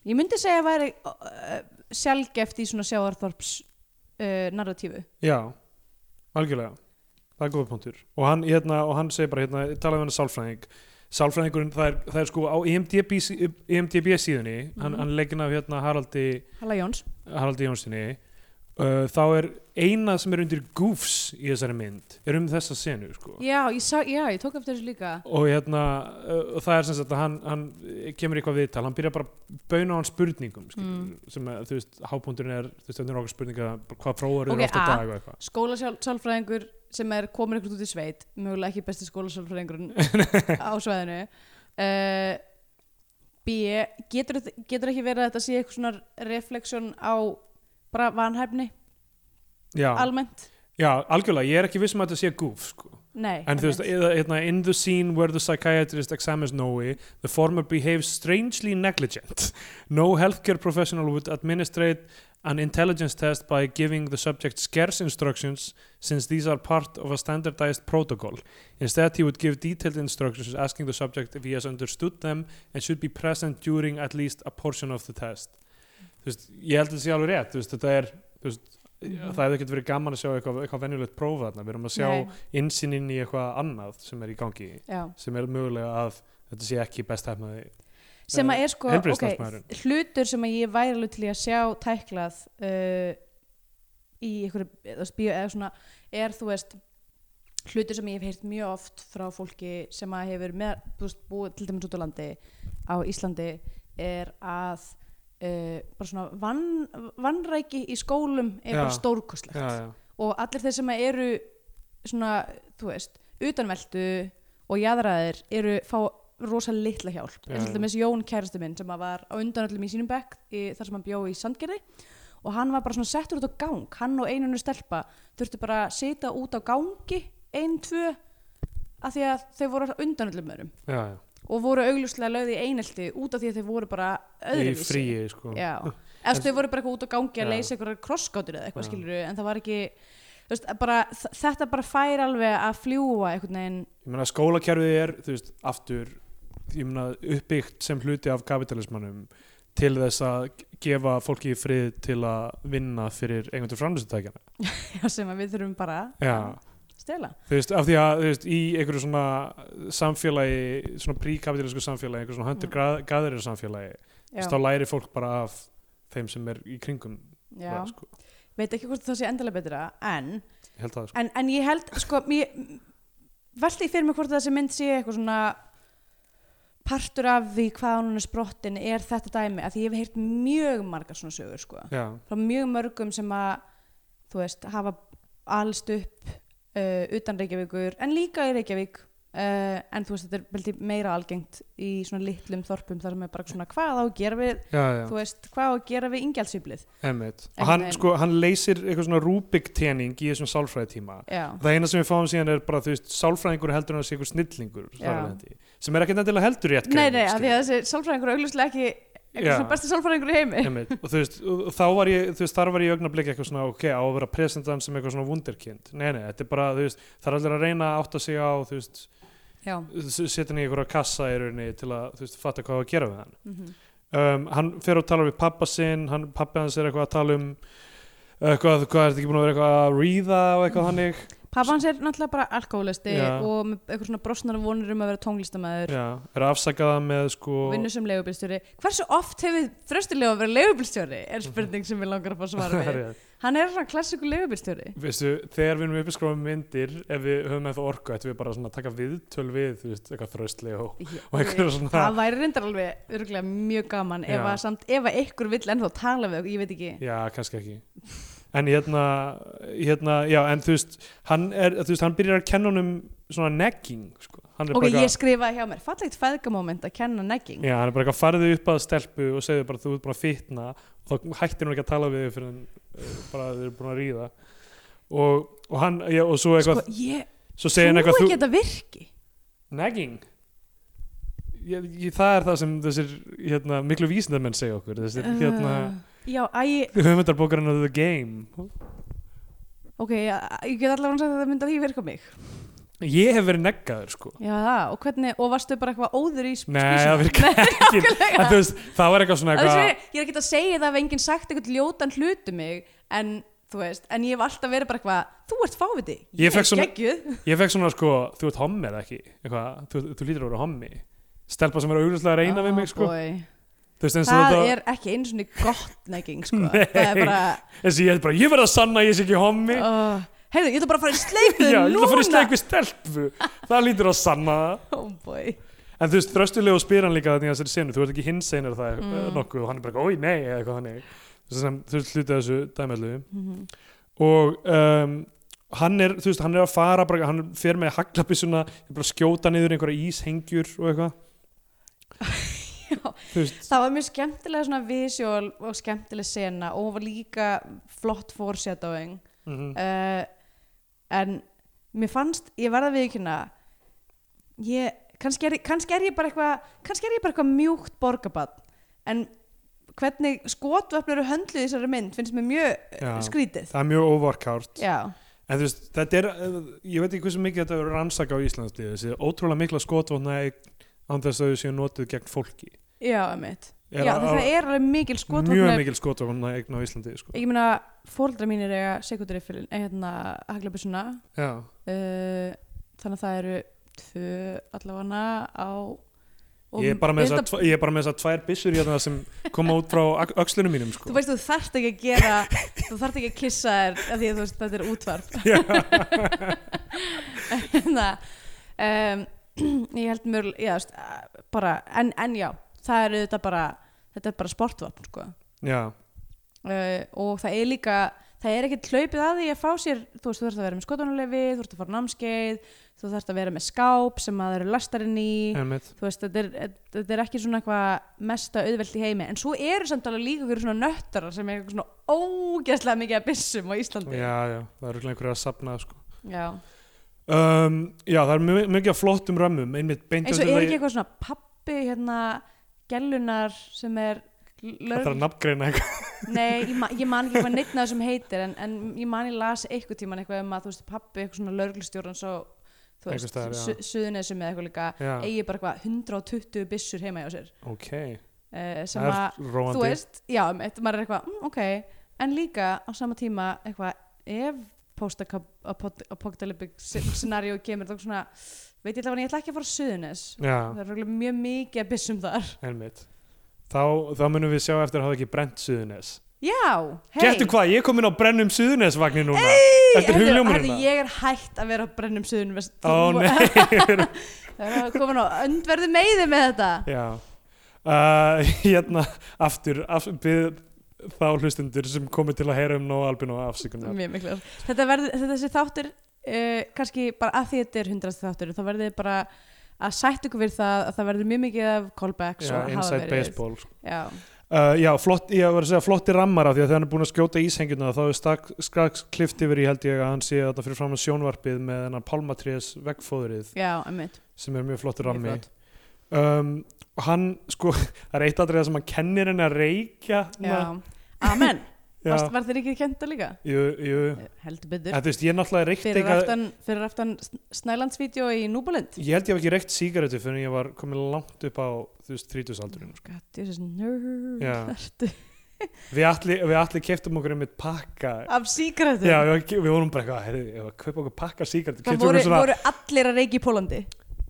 Speaker 3: ég myndi segja að væri uh, sjálfgeft í svona sjáarþorps uh, narratífu.
Speaker 2: já, algjörlega það er góða punktur og hann, hérna, og hann segir bara, hérna, talaði við hann sálfræðing sálfræðingurinn, það er, það er sko á IMDb, sí- E IMDb síðunni hann,
Speaker 3: Mhm.
Speaker 2: hann leggin af hérna Haraldi
Speaker 3: Halla Jóns.
Speaker 2: Haraldi Jónssoni uh, þá er eina sem er undir goofs í þessari mynd, er um þessa senu sko.
Speaker 3: Já, ég, sá, já, ég tók eftir þessu líka.
Speaker 2: og hérna uh, og það er sem sagt að hann, hann kemur í eitthvað viðtal, hann byrjar bara að bauna á hann spurningum skilur,
Speaker 3: Mm.
Speaker 2: sem að, þú veist, hábúndurinn er þú veist, þetta er okkar spurninga, bara hvað prófar
Speaker 3: Ok,
Speaker 2: okay, ofta
Speaker 3: A.
Speaker 2: dag og eitthvað
Speaker 3: Skólasálfræðingur sem er komin eitthvað út í sveit, mögulega ekki besti skólasálfræðingurinn á sveðinu. Uh, B, getur, þetta- getur ekki verið að þetta sé eitthvað svona refleksjón á bara vanhæfni
Speaker 2: já,
Speaker 3: almennt?
Speaker 2: já, algjörlega, ég er ekki viss um að þetta sé goof sko.
Speaker 3: Nei.
Speaker 2: En þú veist,
Speaker 3: einmitt.
Speaker 2: eða, hérna, in the scene where the psychiatrist examines Noe, the former behaves strangely negligent. No healthcare professional would administrate an intelligence test by giving the subject scarce instructions since these are part of a standardized protocol. Instead, he would give detailed instructions asking the subject if he has understood them and should be present during at least a portion of the test. Þú veist, ég held að þetta sé alveg rétt, þú veist, þetta er, þú veist,
Speaker 3: Mhm.
Speaker 2: það hefði ekkert verið gaman að sjá eitthvað, eitthvað venjulegt prófa þarna, við erum að sjá
Speaker 3: Nei.
Speaker 2: insinn inn í eitthvað annað sem er í gangi
Speaker 3: Já.
Speaker 2: sem er mögulega að þetta sé ekki best hefnaði
Speaker 3: sem að
Speaker 2: Eh,
Speaker 3: er sko ok,
Speaker 2: heilbrigðisstarfsmaðurinn.
Speaker 3: hlutur sem að ég væri alveg til í að sjá tæklað uh, í einhverju eða þú veist, bíó eða svona er þú veist hlutur sem ég hef heyrt mjög oft frá fólki sem að hefur með, þú veist, búið til dæmis út á landi á Íslandi er að uh, bara svona vann, vannræki í skólum er bara
Speaker 2: Já.
Speaker 3: stórkostlegt
Speaker 2: já,
Speaker 3: og allir þeir sem eru svona, þú veist, utanveldu og jaðraðir eru fá rosa litla hjálp
Speaker 2: Já,
Speaker 3: eins
Speaker 2: já.
Speaker 3: og þetta með Jón kæristu minn sem að var á undan öllum í sínum bekk í, þar sem hann bjó í Sandgerði og hann var bara svona settur út á gang hann og einunni stelpa þurftu bara að sita út á gangi ein, tvö af því að þau voru á undan öllum öðrum
Speaker 2: já,
Speaker 3: og voru augljóslega lögð í einelti út af því að þau voru bara
Speaker 2: já. í
Speaker 3: öðruvísi
Speaker 2: fríi sko.
Speaker 3: Já, eða þau voru bara eitthvað út á gangi að
Speaker 2: Já.
Speaker 3: leysa eitthvað krossgátur eða eitthvað
Speaker 2: Já.
Speaker 3: skilur en það var ekki, þú veist, bara, þ- þetta bara fær alveg að fljúa einhvern veginn
Speaker 2: ég meina skólakerfið er þú veist, aftur ég meina, uppbyggt sem hluti af kapitalismannum til þess að gefa fólki í frið til að vinna fyrir einhvern framlýstutækjana
Speaker 3: já, sem að við þurfum bara
Speaker 2: Já.
Speaker 3: að stela
Speaker 2: þú veist, af því að þú veist, í einhverju svona samfélagi svona príkapitalísku samfélagi, einhverju svona hundir mm. gaðurir samfélagi, þú
Speaker 3: já,
Speaker 2: veist, þá læri fólk bara af þeim sem er í kringum
Speaker 3: já.
Speaker 2: það, sko.
Speaker 3: veit ekki hvort það sé endilega betra en,
Speaker 2: ég held það sko.
Speaker 3: en, en ég held sko, mér veldi ég fyrir mig hvort þessi mynd sé eitthvað svona partur af því hvað hún er sprottin er þetta dæmi, að því ég hef heyrt mjög margar svona sögur sko
Speaker 2: já,
Speaker 3: frá mjög mörgum sem að þú veist, hafa alst upp uh, utan Reykjavíkur en líka í Reykjavík uh, en þú veist, þetta er veldig meira algengt í svona litlum þorpum þar sem er bara svona hvað á að gera við,
Speaker 2: já, já.
Speaker 3: þú veist, hvað á að gera við ingjaldsýblið,
Speaker 2: Einmitt.
Speaker 3: Einhvern
Speaker 2: Og hann,
Speaker 3: veginn.
Speaker 2: sko, hann leysir eitthvað svona rúbiktening í þessum sálfræðitíma.
Speaker 3: já
Speaker 2: Það eina sem við fáum síðan er bara, þú veist, sálfræðingur heldur hann að sé eitthvað snillingur,
Speaker 3: Já.
Speaker 2: þarlandi, sem er ekkert endilega heldur rétt.
Speaker 3: Nei,
Speaker 2: greinin,
Speaker 3: nei, af því að
Speaker 2: skilur.
Speaker 3: þessi sálfræðingur er augljóslega ekki eitthvað
Speaker 2: Já.
Speaker 3: svona besti sálfræðingur í heimi
Speaker 2: Einmitt. Og þú veist, og og þá var ég, þú veist, þar var ég í augnablik eitthvað svona, ok, á að vera presentan sem eitthvað svona wunderkind. Nei, nei, þetta er bara, þú veist, það er allir að reyna að átta sig á, þú veist,
Speaker 3: Já,
Speaker 2: setja hann í einhverja kassa í rauninni til að, þú veist, fatta hvað á að gera við hann.
Speaker 3: mhm.
Speaker 2: um, hann fer og talar við pappa sinn hann, pappi hans er eitthvað að tala um eitthvað, hvað er þetta ekki búin að vera eitthvað að ríða og eitthvað hannig
Speaker 3: Pappa hans er náttúrulega bara alkoholisti
Speaker 2: Já.
Speaker 3: og með eitthvað svona brosnar vonur um að vera tónlistamæður
Speaker 2: Já, er að afsaka það með sko
Speaker 3: vinnu sem leigubilstjóri hversu oft hefur þröstilega verið leigubilstjóri er
Speaker 2: Mhm.
Speaker 3: spurning sem við langar að fá svara við
Speaker 2: Rétt.
Speaker 3: hann er svona klassiku leigubilstjóri
Speaker 2: Veistu, þegar við erum upp að skrófa myndir ef við höfum eitthvað orku, ættum við bara svona að taka viðtöl við, þú veist, eitthvað þröstlega og, og eitthvað svona
Speaker 3: það væri reyndar alveg örgulega mjög gaman ef
Speaker 2: Já.
Speaker 3: að, samt, ef að ykkur vill ennþá tala við okkur, ég veit ekki
Speaker 2: Já, kannski ekki En hérna, hérna, já, en þú veist hann er, þú veist, hann byrjar að kenna honum svona negging, sko Hann er
Speaker 3: ok,
Speaker 2: bara eitthvað-
Speaker 3: ég skrifaði hjá mér, fallegt fæðgamóment að kenna negging
Speaker 2: Já, hann er bara eitthvað farðu upp að stelpu og segðu bara þú ert búin að fitna og þá hættir hún ekki að tala við þig fyrir hann bara þau eru búin að ríða og, og hann, já, og svo
Speaker 3: sko,
Speaker 2: eitthvað
Speaker 3: ég
Speaker 2: svo segir hann
Speaker 3: trúi
Speaker 2: eitthvað
Speaker 3: ekki
Speaker 2: þú,
Speaker 3: að þetta virki
Speaker 2: negging ég, ég, það er það sem þessir hérna, miklu vísindamenn segja okkur þessir, hérna,
Speaker 3: Uh, já, að ég,
Speaker 2: höfundarbókarinn of the game
Speaker 3: ok, að- ég get allavega sagt að það myndi að því virka á mig
Speaker 2: ég hef verið neggaður sko
Speaker 3: já, það, og hvernig, og varstu bara eitthvað óður í sp-
Speaker 2: Nei,
Speaker 3: skísuna?
Speaker 2: það virkar ekki
Speaker 3: Sko, nákvæmlega.
Speaker 2: En þú veist, það var eitthvað svona
Speaker 3: Að þessu,
Speaker 2: eitthvað
Speaker 3: ég er ekki að segja það ef enginn sagt eitthvað ljótan hlut um mig en þú veist, en ég hef alltaf verið bara eitthvað þú ert fáviti,
Speaker 2: Ég
Speaker 3: ég,
Speaker 2: fékk
Speaker 3: er
Speaker 2: svona-
Speaker 3: geggjuð
Speaker 2: Ég fekk svona sko, þú ert hommi eða ekki eitthvað, þú, þú lítur að vera hommi stelpa sem er augljóslega að reyna við mig sko
Speaker 3: boy.
Speaker 2: þú veist eins og
Speaker 3: það
Speaker 2: þetta
Speaker 3: er ekki einu svona gott negging sko.
Speaker 2: Nei.
Speaker 3: það er bara
Speaker 2: eins og ég er bara, ég verð að sanna að ég sé ekki hommi
Speaker 3: uh, heyrðu, ég ætla bara að fara í sleikvið
Speaker 2: já,
Speaker 3: núna
Speaker 2: ég ætla að fara í sleik við stelpu það lítur að sanna það
Speaker 3: oh boy.
Speaker 2: en þú veist, þröstulegu spyr hann líka þannig að þessari senu þú ert ekki hins einar það mm.
Speaker 3: Mm.
Speaker 2: nokkuð og hann er bara, oi nei, eða eitthvað þannig Þú veist, sem- þú veist, hluti af þessu dæmælu
Speaker 3: Mhm.
Speaker 2: og um, hann er, þú veist, hann er að fara bara, hann fer með haglabissuna, er bara að skjóta niður einhverja íshengjur og eitthvað þú veist,
Speaker 3: Það var mjög skemmtilega svona visual og skemmtileg sena og hún var líka flott foreshadowing
Speaker 2: mm
Speaker 3: uh, en mér fannst, ég verða við ekki hérna ég, kannski er, kannski er ég bara eitthvað kannski er ég bara eitthvað mjúkt borgabann en hvernig skotvöfn eru höndluð í þessari mynd finnst mér mjög já.
Speaker 2: Já.
Speaker 3: skrítið
Speaker 2: það er mjög óvarkárt
Speaker 3: já,
Speaker 2: en þú veist, þetta er, eh, ég veit ekki hversu mikið þetta er rannsaka á Íslandi, þessi ótrúlega mikla skotvotna án þess að þau séu notuð gegn fólki
Speaker 3: já, emitt
Speaker 2: Er
Speaker 3: já,
Speaker 2: á-
Speaker 3: því það er alveg mikil
Speaker 2: mjög
Speaker 3: skotvöfn
Speaker 2: mikil skotvotna á Íslandi sko.
Speaker 3: ég meina, fóreldra mínir eiga sekundariffilin, eh, hérna, haglabissuna
Speaker 2: já,
Speaker 3: uh, þannig að það eru tvö allavega á og
Speaker 2: ég er bara með
Speaker 3: auðvitað-
Speaker 2: þessar ég er bara með þessar tvær byssur hérna sem koma út frá ak- öxlunum mínum sko.
Speaker 3: Þú veist, þú þarft ekki að gera, þú þarft ekki að klissa þér af því að þú veist, þetta er útvarp. Það, um, ég held mjög, já, þú veist, að- bara, en, en já, það er auðvitað bara, þetta er bara sportvapn, sko.
Speaker 2: já,
Speaker 3: Uh, og það er líka, það er ekkert hlaupið að því að fá sér, þú veist, þú þarft að vera með skotunulefi, þú þarft að fara á námskeið, þú þarft að vera með skáp sem að það eru lastarinn í
Speaker 2: emmitt
Speaker 3: þú veist, þetta er, þetta er ekki svona eitthvað mesta auðvelt í heimi, en svo eru samt alveg líka hverju svona nöttarar sem er eitthvað svona ógeðslega mikið að byssum á Íslandi
Speaker 2: já, já, það eru einhverja að sapna sko.
Speaker 3: Já.
Speaker 2: um, já, það er mjög mikið af flottum römmum einmitt beint
Speaker 3: eins og
Speaker 2: eftir
Speaker 3: er
Speaker 2: það-
Speaker 3: ekki eitthvað svona pappi hérna, gellunar sem er
Speaker 2: það þarf að
Speaker 3: lörg,
Speaker 2: nafngreina eitthvað
Speaker 3: nei, ég, ma ég man ekki hvað neitt af þessum heitir, en, en ég man ég las eitthvað tíman eitthvað um að þú veist, pappi eitthvað svona lörglustjórn svo, þú
Speaker 2: Einhvers staðar, já.
Speaker 3: veist, suðunesum eða eitthvað líka
Speaker 2: Já.
Speaker 3: eigi bara eitthvað 120 byssur heima hjá sér
Speaker 2: ok,
Speaker 3: uh, sem
Speaker 2: það
Speaker 3: að
Speaker 2: er róandi
Speaker 3: þú veist, já, mitt, maður er eitthvað mm, ok, en líka á sama tíma eitthvað, ef post-apocalyptic scenario kemur þá svona, veit ég allavega ég ætla ekki að fara á Suðunes, það
Speaker 2: já,
Speaker 3: er örugglega mjög mikið að byssum þar,
Speaker 2: einmitt þá, þá munum við sjá eftir að hafa ekki brent suðunes
Speaker 3: já, hei
Speaker 2: getur hvað, ég er komin á brennum suðunesvagnir núna Þetta er hugljómurinn, það?
Speaker 3: ég er hætt að vera á brennum Suðunes
Speaker 2: ó nei
Speaker 3: það er að koma á öndverðu meiði með þetta
Speaker 2: Já, uh, hérna aftur, aftur byrð þá hlustundur sem komið til að heyra um Nóa Albino afsökunar.
Speaker 3: mjög miklu þetta verður, þetta þessi þáttur uh, kannski bara að því þetta er hundrasti þáttur þá verður þið bara að sætt ykkur við það að það verður mjög mikið af callbacks
Speaker 2: Já,
Speaker 3: og hafa
Speaker 2: inside
Speaker 3: verið.
Speaker 2: baseball. sko.
Speaker 3: já,
Speaker 2: Uh, já, flott, ég var að segja flotti rammar af því að þegar hann er búin að skjóta íshengjuna þá er stak, skraks klift yfir í held ég að hann sé þarna fyrir fram að sjónvarpið með hennar palmatrés veggfóðrið
Speaker 3: já, emmitt
Speaker 2: sem er mjög flottur
Speaker 3: Mjög
Speaker 2: rammi.
Speaker 3: flott.
Speaker 2: Um, og hann, sko, það er eitt aðrið sem hann kennir henni að reykja.
Speaker 3: já,
Speaker 2: þarna.
Speaker 3: amen,
Speaker 2: já.
Speaker 3: Varst, var þér ekki kenta líka? Eh,
Speaker 2: Jú, jú.
Speaker 3: heldur byttur
Speaker 2: En þú veist, ég náttúrulega reykti
Speaker 3: fyrir aftan, fyrir aftan Snælandsvídeó í Núbalind
Speaker 2: Ég held ég hef ekki reykt sígarettu fyrir en ég var komin langt upp á þú veist, 30-saldurinn.
Speaker 3: gæti, þessi nörd
Speaker 2: Já.
Speaker 3: Sko, ertu
Speaker 2: Við allir, við allir keftum okkur einmitt pakka.
Speaker 3: af síkrættu
Speaker 2: Já, við, við vorum bara eitthvað, heyrðu, ég var að kaupa okkur pakka sígarettu.
Speaker 3: það
Speaker 2: keyptum
Speaker 3: voru,
Speaker 2: okkur svona,
Speaker 3: voru allir að reiki í Pólandi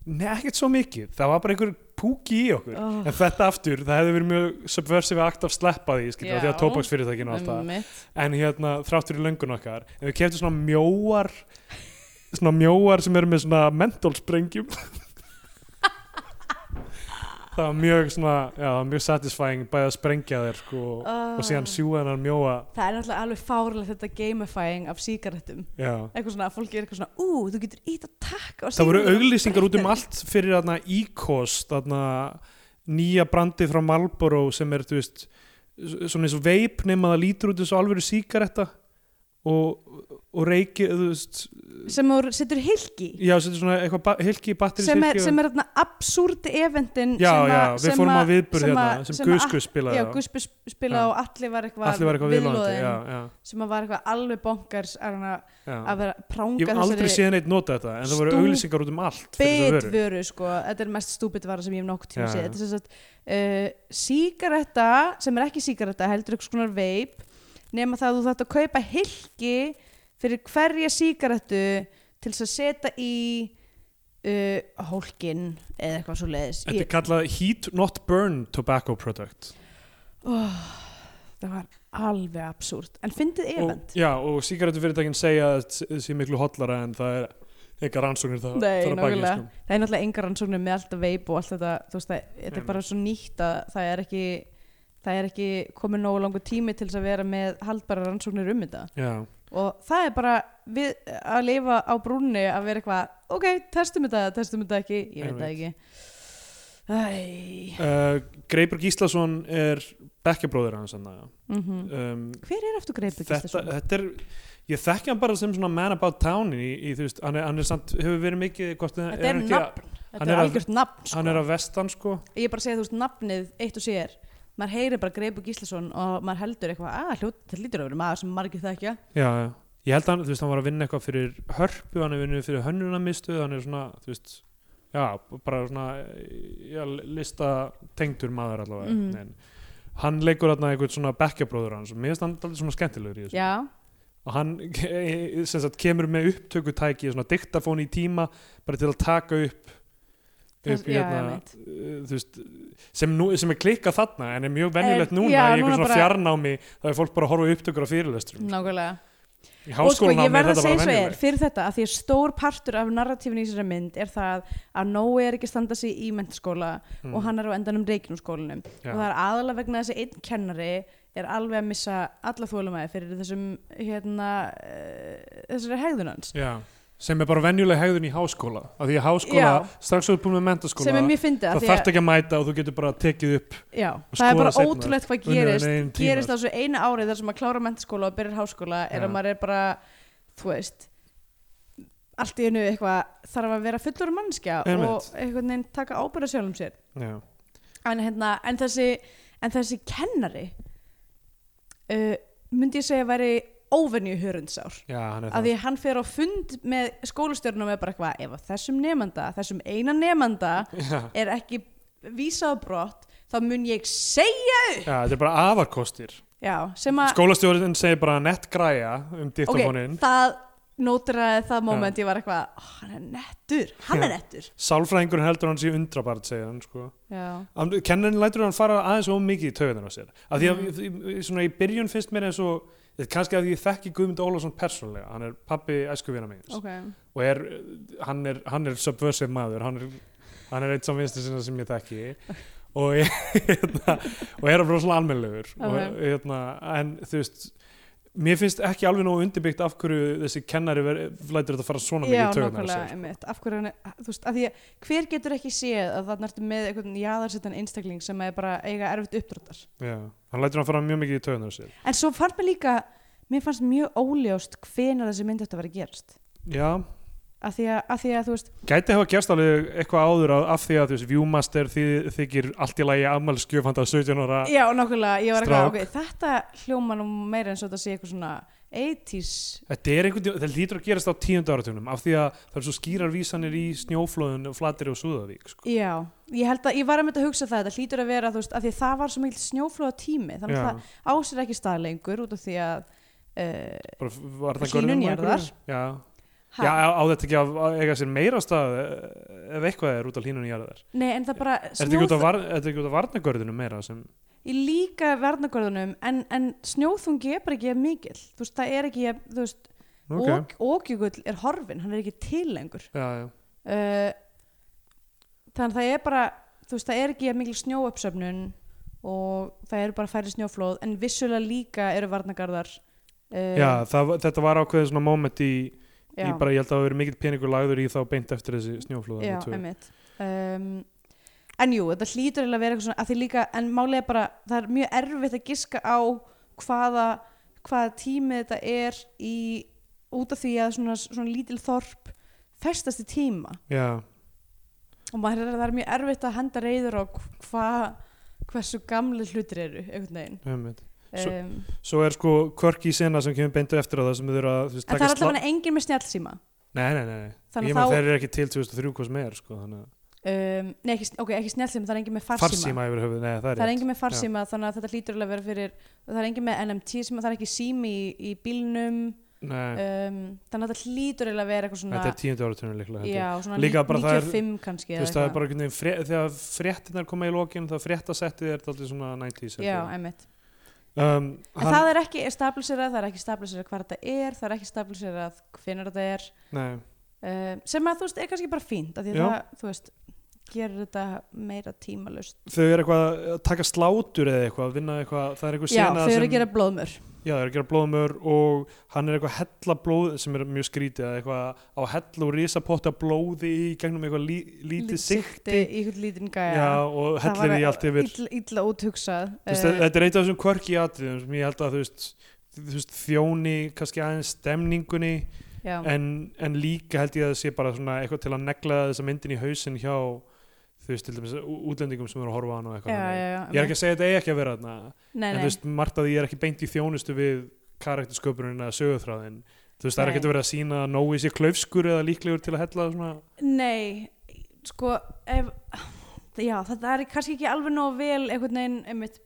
Speaker 2: Nei, ekkert svo mikið. Það var bara einhver púki í okkur.
Speaker 3: Oh.
Speaker 2: En þetta aftur, það hefði verið mjög subversive akt af sleppa því, skilja,
Speaker 3: Já.
Speaker 2: því að tópaksfyrirtækinu og allt það.
Speaker 3: Einmitt.
Speaker 2: En hérna, þráttur í löngun okkar, en við keftum svona mjóar, svona mjóar sem eru með svona mentólsprengjum. það var mjög svona, já, það var mjög satisfying bæði að sprengja þér, sko,
Speaker 3: Ah.
Speaker 2: og síðan sjúga hennar mjóa,
Speaker 3: það er náttúrulega alveg fárlega þetta gamifying af síkrættum
Speaker 2: já.
Speaker 3: eitthvað svona að fólki er eitthvað svona ú, þú getur ít að taka
Speaker 2: Það voru auglýsingar út um allt fyrir þarna Íkos, þarna nýja brandi frá Marlboro sem er, þú veist, s- svona eins og veip nema það lítur út eins og alvöru síkaretta og, og reiki, þú veist,
Speaker 3: sem þú setur hilki
Speaker 2: Já, setur svona eitthvað ba- hilki í batteri
Speaker 3: sem er, sem er þarna absúrdi eventin
Speaker 2: Já,
Speaker 3: sem
Speaker 2: já,
Speaker 3: að-
Speaker 2: við
Speaker 3: sem
Speaker 2: fórum
Speaker 3: að-
Speaker 2: að viðburð
Speaker 3: sem
Speaker 2: hérna
Speaker 3: að-
Speaker 2: sem
Speaker 3: sem að-
Speaker 2: Gusku spilaði
Speaker 3: já,
Speaker 2: á.
Speaker 3: Guspi spilaði
Speaker 2: Já.
Speaker 3: og allir var eitthvað
Speaker 2: Allir var eitthvað viðlóðandi
Speaker 3: viðloðin,
Speaker 2: já, já,
Speaker 3: sem að var eitthvað alveg bonkars að hana- að
Speaker 2: já.
Speaker 3: vera að pranga
Speaker 2: Ég hef aldrei
Speaker 3: þessari
Speaker 2: séð neitt nota þetta en það voru
Speaker 3: Stú-
Speaker 2: auglýsingar út um allt fyrir þessa vöru.
Speaker 3: bitvöru sko, þetta er mest stúbit vara sem ég hef nokkuð
Speaker 2: Já,
Speaker 3: tíma séð
Speaker 2: já.
Speaker 3: þetta er sem sagt uh, sígaretta sem er ekki sígaretta, heldur eitthvað svona veip nema það að þú þátt að kaupa hilki fyrir hverja sígarettu til þess að setja í uh, hólkin eða eitthvað svo leiðis
Speaker 2: Þetta er kallað Heat Not Burn Tobacco Product
Speaker 3: það var alveg absúrt en fyndið
Speaker 2: og,
Speaker 3: event
Speaker 2: Já, og sígarettufyrirtækin segja að þetta sé miklu hotlara en það er eitthvað rannsóknir það
Speaker 3: Nei,
Speaker 2: þar að baki,
Speaker 3: nákvæmlega.
Speaker 2: sko.
Speaker 3: það er náttúrulega engar rannsóknir með alltaf veip og allt þetta þú veist það, þetta er
Speaker 2: Nei,
Speaker 3: bara svo nýtt að það er ekki það er ekki komið nógu langur tími til þess að vera með haldbæra rannsóknir um þetta
Speaker 2: Já,
Speaker 3: og það er bara við að lifa á brúnni að vera eitthvað ok, testum þetta, testum þetta ekki ég veit það ekki Æ,
Speaker 2: uh, Greipur Gíslason er bekkjabróðir hans hann
Speaker 3: mhm.
Speaker 2: um,
Speaker 3: Hver er aftur greipur
Speaker 2: þetta,
Speaker 3: Gíslason?
Speaker 2: þetta er ég þekki hann bara sem svona man about town í, í, þú veist, hann er, hann er samt, hefur verið mikið hvort,
Speaker 3: Þetta
Speaker 2: er
Speaker 3: er
Speaker 2: hann ekki að-
Speaker 3: nafn,
Speaker 2: hann
Speaker 3: þetta
Speaker 2: er
Speaker 3: er
Speaker 2: að-
Speaker 3: algjört nafn sko.
Speaker 2: hann er að vestan sko
Speaker 3: Ég er bara að segja þú veist nafnið eitt og sér maður heyrir bara Greipur Gíslason og maður heldur eitthvað að hljótt, þetta lítur að vera maður sem margir þekkja
Speaker 2: já, já. ég held að hann, þú veist, hann var að vinna eitthvað fyrir hörpu, hann er vinnur fyrir hönnunamistu hann er svona, þú veist já, bara svona já, lista tengdur maður allavega
Speaker 3: Mhm.
Speaker 2: en, hann leikur þarna einhvern svona bekkjabróður hans og mér finnst hann alltaf svona skemmtilegur í þessu
Speaker 3: Já,
Speaker 2: og hann sem sagt, kemur með upptökutæki svona diktafón í tíma bara til að taka upp
Speaker 3: Það-
Speaker 2: upp í
Speaker 3: já,
Speaker 2: hérna
Speaker 3: einmitt.
Speaker 2: uh, þú veist, sem, nú, sem er klikkað þarna en er mjög venjulegt
Speaker 3: En-
Speaker 2: núna
Speaker 3: Eh, já,
Speaker 2: í
Speaker 3: núna
Speaker 2: einhver svona
Speaker 3: bara-
Speaker 2: fjarnámi þá er fólk bara að horfa á upptökur á fyrirlestrum
Speaker 3: nákvæmlega
Speaker 2: í
Speaker 3: og sko ég
Speaker 2: háskólanámi er
Speaker 3: verð að
Speaker 2: þetta
Speaker 3: segja
Speaker 2: bara
Speaker 3: svo er
Speaker 2: venjulegt
Speaker 3: fyrir þetta að því að stór partur af narratífinu í þessari mynd er það að Nói er ekki að standa sig í mentaskóla og hann er á endanum reiknumskólanum
Speaker 2: Hmm. Já.
Speaker 3: og það er aðalega vegna þess að einn kennari er alveg að missa alla þólumæði fyrir þessum hérna uh, þessari hegðun hans
Speaker 2: já, sem er bara venjuleg hegðun í háskóla af því að háskóla,
Speaker 3: Já.
Speaker 2: strax þú er búin með mentaskóla
Speaker 3: sem er mjög fyndið
Speaker 2: þá
Speaker 3: að því
Speaker 2: þarft
Speaker 3: að
Speaker 2: ekki að mæta og þú getur bara tekið upp
Speaker 3: já,
Speaker 2: og
Speaker 3: það er
Speaker 2: skoða
Speaker 3: bara
Speaker 2: seinna.
Speaker 3: ótrúlegt hvað
Speaker 2: Unnið
Speaker 3: gerist
Speaker 2: þinn eigin tíma.
Speaker 3: gerist á þessu eina árið þar sem maður klára mentaskóla og byrjar háskóla er
Speaker 2: Já.
Speaker 3: að maður er bara, þú veist allt í einu eitthvað þarf að vera fullur mannskja og
Speaker 2: Einmitt.
Speaker 3: einhvern veginn taka ábyrða sjálfum sér
Speaker 2: já,
Speaker 3: en, hérna, en, þessi, en þessi kennari uh, myndi ég segja að væri óvenju hörundsár
Speaker 2: já, hann er
Speaker 3: að
Speaker 2: það
Speaker 3: því hann fer á fund með skólastjórnum með bara eitthvað, ef að þessum nemanda þessum eina nemanda
Speaker 2: já,
Speaker 3: er ekki vísað á brott þá mun ég segja
Speaker 2: já, þetta er bara afarkostir
Speaker 3: já, sem að
Speaker 2: skólastjórinn segir bara nett græja um
Speaker 3: ok,
Speaker 2: diktafónin
Speaker 3: það nótraði það moment ég var eitthvað, oh, hann er nettur hann
Speaker 2: Já.
Speaker 3: er nettur
Speaker 2: sálfræðingur heldur hann sé undrabart segir hann sko
Speaker 3: já,
Speaker 2: Hann- kennarinn lætur hann fara aðeins of mikið í taugunar á sér af því að mm. svona í byrjun finnst mér eins og þetta er kannski að ég þekki Guðmund Ólafsson persónulega, hann er pappi æskuvina mín
Speaker 3: ok
Speaker 2: og er, hann, er, hann er subversive maður hann er, hann er eitt saman vinstu sinna sem ég þekki og, ég- hérna, og er að vera svona almennlegur
Speaker 3: Ok.
Speaker 2: og, hérna, en þú veist mér finnst ekki alveg nógu undirbyggt af hverju þessi kennari veri, lætur þetta fara svona
Speaker 3: já,
Speaker 2: mikið í taugunar á
Speaker 3: nákvæmlega,
Speaker 2: sér
Speaker 3: einmitt, af hverju hann er, þú veist, af því að hver getur ekki séð að það nertu með einhvern jaðarsettan einstakling sem er bara eiga erfitt uppdráttar
Speaker 2: Já, hann lætur hann fara mjög mikið í taugunar á sér
Speaker 3: en svo fannst mér líka, mér fannst mjög óljóst hvenar þessi mynd þetta var að gerast
Speaker 2: Já,
Speaker 3: af því að, af því að þú veist,
Speaker 2: gæti hafa gerst alveg eitthvað áður af, af því að þú veist, Viewmaster þið, þykir allt í lagi afmælskjöf handa 17 ára
Speaker 3: já, nákvæmlega ég var
Speaker 2: Strák.
Speaker 3: eitthvað, ok, þetta hljóma nú meira eins og þetta sé eitthvað svona 80s
Speaker 2: Þetta er einhvern tíma, það lítur að gerast á tíundu áratunum af því að það er svo skýrar vísanir í snjóflóðun, flatir og súðavík sko.
Speaker 3: já, ég held að, ég var að mynda að hugsa það þetta hlýtur að vera, þú veist, af því að það var svo mikil snjóflóða tími, þannig að
Speaker 2: Já,
Speaker 3: það á sér ekki stað lengur út af því að uh,
Speaker 2: bara f- var það
Speaker 3: Hlýnun
Speaker 2: görðum á einhverju?
Speaker 3: jarðar.
Speaker 2: Já, já á, á þetta ekki að, að eiga sér meira stað eh, ef eitthvað er út af hlínun jarðar
Speaker 3: nei, en það bara
Speaker 2: Er þetta ekki út af
Speaker 3: snjóþ-
Speaker 2: var- er þetta ekki út af varnagörðunum meira sem
Speaker 3: í líka verðnagörðunum en, en snjóþungi er bara ekki jafn mikill þú veist, það er ekki jafn, þú veist
Speaker 2: Ok,
Speaker 3: okay. ókjögull er horfin, hann er ekki til lengur
Speaker 2: já, já,
Speaker 3: uh, þannig að það er bara þú veist, það er ekki jafn mikil snjóöpsöfnun og það eru bara færri snjóflóð en vissulega líka eru varnagarðar uh,
Speaker 2: já það, þetta var ákveðið svona moment í, í bara, ég held að það hafi verið mikill peningur lagður í þá beint eftir þessi snjóflóða
Speaker 3: já, einmitt um, en jú, þetta hlýtur eiginlega að vera eitthvað svona að því líka, en málið er bara það er mjög erfitt að giska á hvaða, hvaða tími þetta er í, út af því að svona, svona lítil þorp festast í tíma
Speaker 2: já,
Speaker 3: og maður er, það er mjög erfitt að henda reyður á hvað hversu gamli hlutir eru einhvern veginn
Speaker 2: einmitt Svo-
Speaker 3: um,
Speaker 2: Svo er sko kvörki sena sem kemur beintu eftir á það sem þau eru að þú veist,
Speaker 3: en það er
Speaker 2: taka
Speaker 3: alltaf
Speaker 2: slá-
Speaker 3: hana engin með snjallsíma
Speaker 2: Nei, nei, nei, nei.
Speaker 3: Þannig
Speaker 2: Ég
Speaker 3: að
Speaker 2: maður
Speaker 3: þá-
Speaker 2: þeir eru ekki til 2003 hvað sem er sko, þannig að
Speaker 3: um, nei, ekki, ok, ekki snjallsíma, það er engin með farsíma,
Speaker 2: farsíma yfir höfuð, nei það er
Speaker 3: það er
Speaker 2: rétt
Speaker 3: engin með farsíma þannig að þetta hlýtur alveg að vera fyrir það er engin með NMT sem það er ekki sími í, í bílnum
Speaker 2: Nei,
Speaker 3: um, þannig að þetta hlýtur alveg að vera eitthvað svona,
Speaker 2: þetta er tíundu áratunum líklega held ég.
Speaker 3: já, svona
Speaker 2: Líka
Speaker 3: ní-
Speaker 2: bara það er-
Speaker 3: 95 kannski
Speaker 2: Þú
Speaker 3: eða
Speaker 2: veist, það er
Speaker 3: eitthvað.
Speaker 2: bara einhvern veginn, fre- þegar fréttinar koma í lokin, það fréttasettið er alltaf svona 90s held
Speaker 3: já,
Speaker 2: ég.
Speaker 3: einmitt
Speaker 2: um,
Speaker 3: en það er ekki stablisirað, það er ekki stablisirað hvað þetta er, það er ekki stablisirað hvenær þetta er
Speaker 2: Nei,
Speaker 3: Ehm, um, sem að þú veist er kannski bara fínt af því að
Speaker 2: Já.
Speaker 3: það, þú veist gerir þetta meira tímalust
Speaker 2: Þau eru eitthvað að taka slátur eða eitthvað, vinna eitthvað, það er eitthvað
Speaker 3: já,
Speaker 2: sena
Speaker 3: þau eru
Speaker 2: sem,
Speaker 3: að gera blóðmör
Speaker 2: já, þau eru að gera blóðmör og hann er eitthvað að hella blóð sem er mjög skrítið, eða eitthvað á að hella og risapotta blóði í gegnum eitthvað lí, lítið sikti,
Speaker 3: í hvern lítinn
Speaker 2: já,
Speaker 3: gæja
Speaker 2: og
Speaker 3: Það
Speaker 2: hellir
Speaker 3: var
Speaker 2: því allt yfir.
Speaker 3: illa, illa úthugsað
Speaker 2: Þú veist,
Speaker 3: Eh,
Speaker 2: þetta er eitt af þessum kvörki atriðum sem ég held að þú veist, þú veist þjóni kannski aðeins stemningunni
Speaker 3: já.
Speaker 2: en, en líka held ég að það sé bara svona eitthvað til að negla þessa myndin í hausin hjá þú veist til dæmis ú- útlendingum sem eru að horfa á hann og
Speaker 3: já,
Speaker 2: eitthvað
Speaker 3: já,
Speaker 2: þannig.
Speaker 3: já,
Speaker 2: ég er ekki að segja að þetta eigi ekki að vera þarna
Speaker 3: nei,
Speaker 2: en
Speaker 3: nei.
Speaker 2: þú veist margt að ég er ekki beint í þjónustu við karaktersköpunin eða sögurþráðin þú veist það er
Speaker 3: Nei.
Speaker 2: ekkert að vera að sína að nógu sé klaufskur eða líklegur til að hella svona
Speaker 3: Nei, sko ef, já, þetta er kannski ekki alveg nóg vel einhvern veginn einmitt,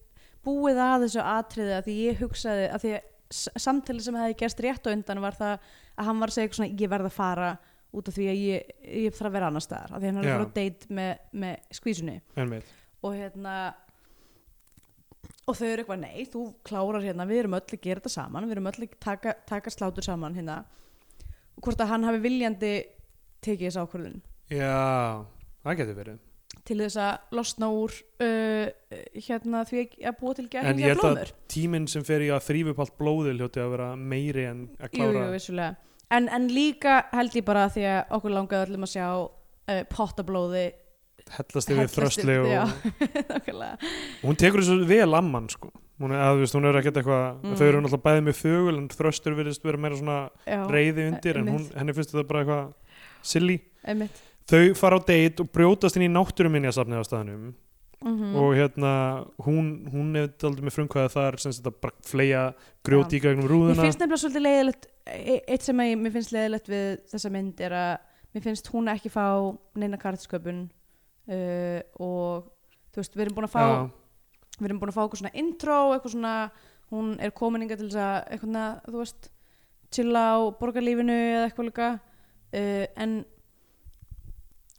Speaker 3: búið að þessu atriði að því ég hugsaði að því að samtali sem hefði gerst rétt á undan var það að hann var að segja eitthvað svona ég verð að fara út af því að ég, ég þarf að vera annar staðar af því að hann er
Speaker 2: Já.
Speaker 3: að fara á date með, með skvísunni
Speaker 2: ennveit
Speaker 3: og hérna og þau eru eitthvað nei, þú klárar hérna við erum öll að gera þetta saman, við erum öll að taka, taka slátur saman hérna og hvort að hann hafi viljandi tekið þessu ákvörðun
Speaker 2: já, það getur verið
Speaker 3: til þess að losna úr uh, hérna því að- að búa til
Speaker 2: en
Speaker 3: gerðingja
Speaker 2: ég held að
Speaker 3: blóðmör
Speaker 2: tíminn sem fer í að þrýfa upp allt blóðið hljóti að vera meiri en að
Speaker 3: jú, jú,
Speaker 2: klára
Speaker 3: vissulega en, en líka held ég bara að því að okkur langaði öllum að sjá uh, pottablóði
Speaker 2: hellast yfir
Speaker 3: hellast
Speaker 2: þrösli
Speaker 3: yfir- já,
Speaker 2: og
Speaker 3: nákvæmlega.
Speaker 2: hún tekur þessu vel amman sko hún er, að, þú veist, hún er ekkert eitthvað
Speaker 3: Mm.
Speaker 2: þau eru náttúrulega bæði með þögul en þröstur virðist vera meira svona
Speaker 3: já,
Speaker 2: reyði undir en hún,
Speaker 3: einmitt.
Speaker 2: henni finnst þetta bara eitthvað silly
Speaker 3: einmitt
Speaker 2: þau fara á date og brjótast inn í náttúruminjasafnið á staðnum
Speaker 3: mm
Speaker 2: og hérna hún, hún er aldrei með frumkvæða þar sem þetta bara fleja grjóti í gegnum
Speaker 3: mér
Speaker 2: rúðuna
Speaker 3: finnst nefnilega svolítið leiðilegt e- eitt sem að ég, mér finnst leiðilegt við þessa mynd er að mér finnst hún ekki fá neina kartsköpun uh, og þú veist, við erum búin að fá
Speaker 2: Já,
Speaker 3: við erum búin að fá eitthvað svona intro eitthvað svona, hún er komin inga til þess að eitthvað, na, þú veist chilla á borgarlífinu eða eitthvað líka uh, en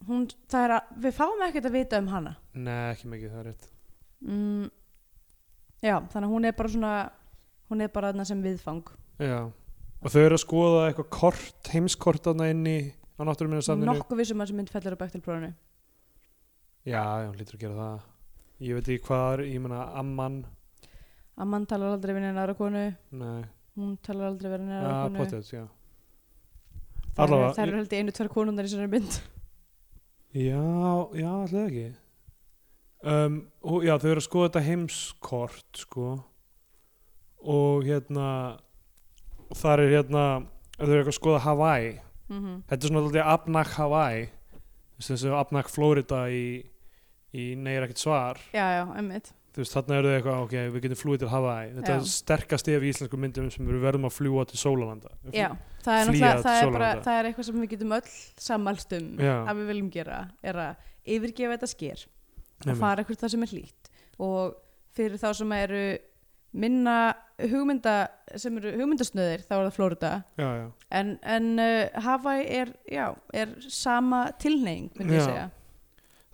Speaker 3: hún, það er að við fáum ekkert að vita um hana
Speaker 2: nei ekki mikið það er rétt
Speaker 3: mm, já, þannig að hún er bara svona hún er bara þarna sem viðfang
Speaker 2: já. og þau eru að skoða eitthvað kort heimskort þarna inni á náttúruminjasafninu
Speaker 3: nokkuð vissum að þessi mynd fellur upp eftir prófunu
Speaker 2: já, já, hún lítur að gera það ég veit ekki hvað er, ég meina amman
Speaker 3: Amman talar aldrei við neina aðra konu
Speaker 2: nei
Speaker 3: hún talar aldrei við neina
Speaker 2: Já,
Speaker 3: aðra konu
Speaker 2: pottet, já.
Speaker 3: það
Speaker 2: Allavega,
Speaker 3: eru held ég einu tvær konunar í þessari mynd
Speaker 2: Já, já, alltaf ekki. Um, og, já, þau eru að skoða þetta heimskort, sko. Og hérna, og þar er hérna, þau eru eitthvað að skoða Hawaii.
Speaker 3: mm -hmm.
Speaker 2: Þetta er svona alltaf Abnak Hawaii. Þessi þessi Abnak Florida í, í Nei er ekkert svar.
Speaker 3: já, já, emmitt
Speaker 2: Þú veist, þarna eru þau eitthvað, ok, við getum flúið til Hawaii. Þetta
Speaker 3: Já.
Speaker 2: er sterkast ef í íslensku myndum sem við verðum að fljúa til Sólalanda.
Speaker 3: Já, það er,
Speaker 2: Mhm. flýja
Speaker 3: náttúrulega- það, er
Speaker 2: sólarlanda.
Speaker 3: bara, það er eitthvað sem við getum öll sammælst um
Speaker 2: Já.
Speaker 3: að við viljum gera er að yfirgefa þetta sker
Speaker 2: Nei,
Speaker 3: og
Speaker 2: nei.
Speaker 3: fara eitthvað það sem er hlýtt og fyrir þá sem eru minna hugmynda sem eru hugmyndasnöðir þá er það Florida
Speaker 2: Já, já.
Speaker 3: en, en uh, Hawaii er, já, er sama tilneying myndi ég
Speaker 2: Já.
Speaker 3: segja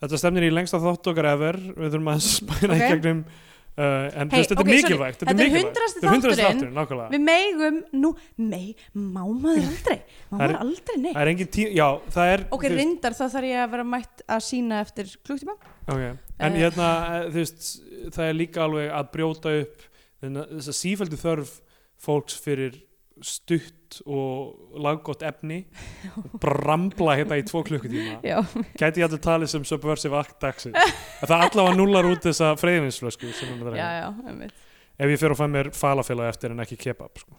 Speaker 2: Þetta stefnir í lengsta þátt okkar ever Við þurfum að spæna
Speaker 3: Ok.
Speaker 2: í gegnum uh, En hey, þetta
Speaker 3: Hey, ok,
Speaker 2: er
Speaker 3: sorry.
Speaker 2: mikilvægt
Speaker 3: Þetta er
Speaker 2: mikilvægt.
Speaker 3: 100.
Speaker 2: Þetta er 100.
Speaker 3: þátturinn.
Speaker 2: þátturinn, nákvæmlega
Speaker 3: Við megum, nú, mei, má maður aldrei má
Speaker 2: Það er-
Speaker 3: maður aldrei, nei
Speaker 2: Það er engin tí... Já, það er
Speaker 3: Ok,
Speaker 2: þú veist-
Speaker 3: reyndar þá þarf ég að vera mætt að sína eftir klúktíma
Speaker 2: okay. En
Speaker 3: Eh.
Speaker 2: hérna, eh, þú veist Það er líka alveg að brjóta upp þennan- þessa sífældu þörf fólks fyrir stutt og laggott efni bara rambla hérna í tvo klukkutíma
Speaker 3: Já,
Speaker 2: gæti ég alltaf talið sem subversive act dagsins að það allavega núlar út þessa freyðinsflösku sem hann er að
Speaker 3: já,
Speaker 2: drekka.
Speaker 3: já, einmitt
Speaker 2: ef ég fer og fæ mér falafélag eftir en ekki kebab sko.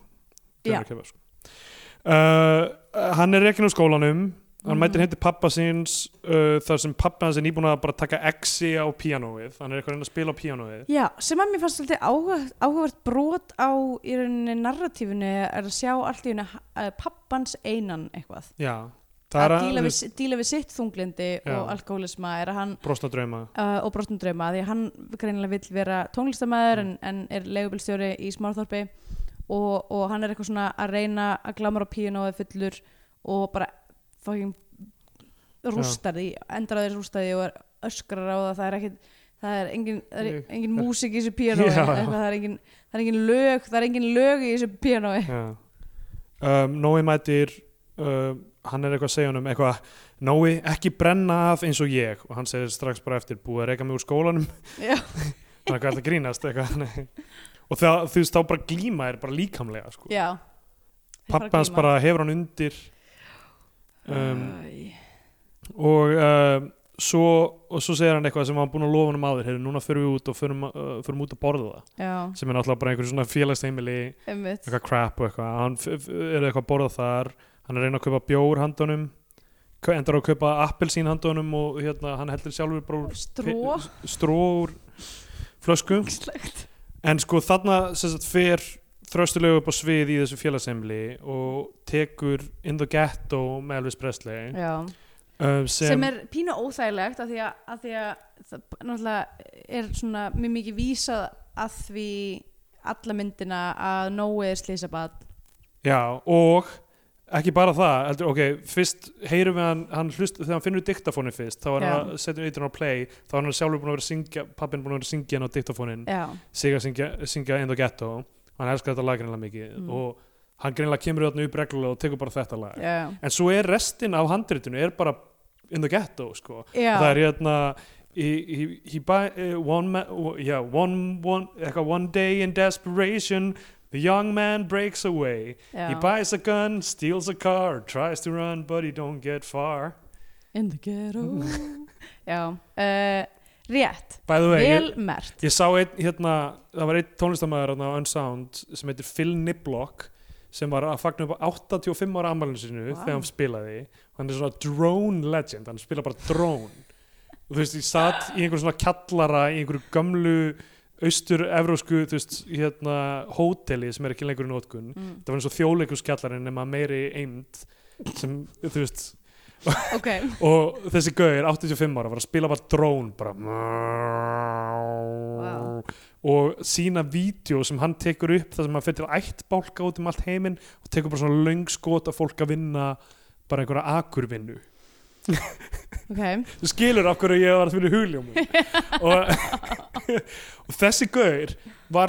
Speaker 2: Fer
Speaker 3: Já.
Speaker 2: mér kebab, sko. uh, hann er rekin úr skólanum hann
Speaker 3: Mhm.
Speaker 2: mætir hindi pappa síns uh, þar sem pappa hans er nýbúin að bara taka exi á píanóið, hann er eitthvað að reyna að spila á píanóið
Speaker 3: Já, sem að mér fannst svolítið áhuga- áhugavert brot á í rauninni narratífinu er að sjá allt í rauninni að pappans einan eitthvað.
Speaker 2: já, það
Speaker 3: Að
Speaker 2: er
Speaker 3: díla
Speaker 2: að
Speaker 3: við, díla við sitt þunglindi
Speaker 2: Já.
Speaker 3: og alkoholisma er að hann
Speaker 2: brosna drauma
Speaker 3: uh, og brotnum drauma því að hann greinilega vill vera tónlistamæður
Speaker 2: Mm.
Speaker 3: en, en er leigubilstjóri í smárþorpi og, og hann er eitthvað svona að reyna að glamra á píanóið fullur og bara fucking rústar því, endar að þeir rústar því og er öskrar á það, það er ekkit það er engin, það er
Speaker 2: Ég-
Speaker 3: engin músík í þessu píanói
Speaker 2: Já.
Speaker 3: eitthvað, það, er engin, það er engin lög það er engin lög í þessu píanói
Speaker 2: já. um, Nói mætir uh, hann er eitthvað að segja hann um eitthvað Nói, ekki brenna af eins og ég og hann segir strax bara eftir, búið að reyka mig úr skólanum
Speaker 3: Já.
Speaker 2: þannig að þetta grínast eitthvað Nei. og það, þú veist, þá bara glíma er bara líkamlega sko.
Speaker 3: Já Þeir fara að
Speaker 2: pappa hans
Speaker 3: glíma.
Speaker 2: bara hefur hann undir um,
Speaker 3: Æ.
Speaker 2: og uh, svo, og svo segir hann eitthvað sem hann var búin að lofa hann um áður, heyrðu, núna förum við út og förum, uh, förum út að borða það
Speaker 3: Já,
Speaker 2: sem er náttúrulega bara einhverjum svona félagsheimili
Speaker 3: einmitt
Speaker 2: eitthvað crap og eitthvað hann f- f- er eitthvað að borða þar hann er að reyna að kaupa bjór handunum kau- endar á að kaupa appelsín handunum og hérna, hann heldur sjálfur bara úr
Speaker 3: Stró
Speaker 2: stróur flösku
Speaker 3: Ógeðslegt.
Speaker 2: en sko þarna sem sagt fer þröstulegu upp á svið í þessu félagsemli og tekur In the Ghetto með Elvis Presley
Speaker 3: Já
Speaker 2: um,
Speaker 3: Eh, sem,
Speaker 2: sem,
Speaker 3: er pínu óþægilegt af því að, að, því að það b- náttúrulega er svona mjög mikið vísað að því alla myndina að Nói er slísabad
Speaker 2: já, og ekki bara það, heldur, ok, fyrst heyrum við hann, hann hlust, þegar hann finnur diktafónin fyrst, þá er
Speaker 3: Já.
Speaker 2: hann að setja eitrun á play þá er hann sjálfur búin að vera að syngja pappin búin að vera að syngja hann á diktafónin
Speaker 3: Já,
Speaker 2: sig að syngja, syngja In the Ghetto hann elskar þetta lag greinlega mikið
Speaker 3: Mm.
Speaker 2: og hann greinlega kemur þarna upp reglulega og tekur bara þetta lag
Speaker 3: já,
Speaker 2: en svo er restin af handritinu er bara In the Ghetto, sko
Speaker 3: já
Speaker 2: það er hérna he, he, he buy, uh, one, ma- uh, yeah, one, one, eitthvað, one day in desperation the young man breaks away he
Speaker 3: já.
Speaker 2: buys a gun, steals a car tries to run but he don't get far
Speaker 3: In the ghetto Já, uh, rétt
Speaker 2: by the way,
Speaker 3: Vel
Speaker 2: ég,
Speaker 3: mert
Speaker 2: ég sá einn hérna, það var einn tónlistamæður hérna, á Unsound sem heitir Phil Niblock sem var að fagna upp á 85 ára ammælinu sinu
Speaker 3: Vá.
Speaker 2: þegar hann spilaði hann er svona drone legend, hann spila bara drone og þú veist, ég satt í einhverjum svona kjallara í einhverju gömlu austur-evrósku, þú veist, hérna hóteli sem er ekki lengur í nótkun
Speaker 3: mm.
Speaker 2: það var eins og þjóðleikuskjallarinn nema meiri eind sem, þú veist
Speaker 3: Ok,
Speaker 2: og þessi gauðir 85 ára var að spila bara drón bara og sína vídeo sem hann tekur upp þar sem hann fyrir ætt bálka út um allt heiminn og tekur bara svona löng skot að fólk að vinna bara einhverja akurvinnu
Speaker 3: ok
Speaker 2: þú skilur af hverju ég var að finna hugljómun og, og þessi gaur var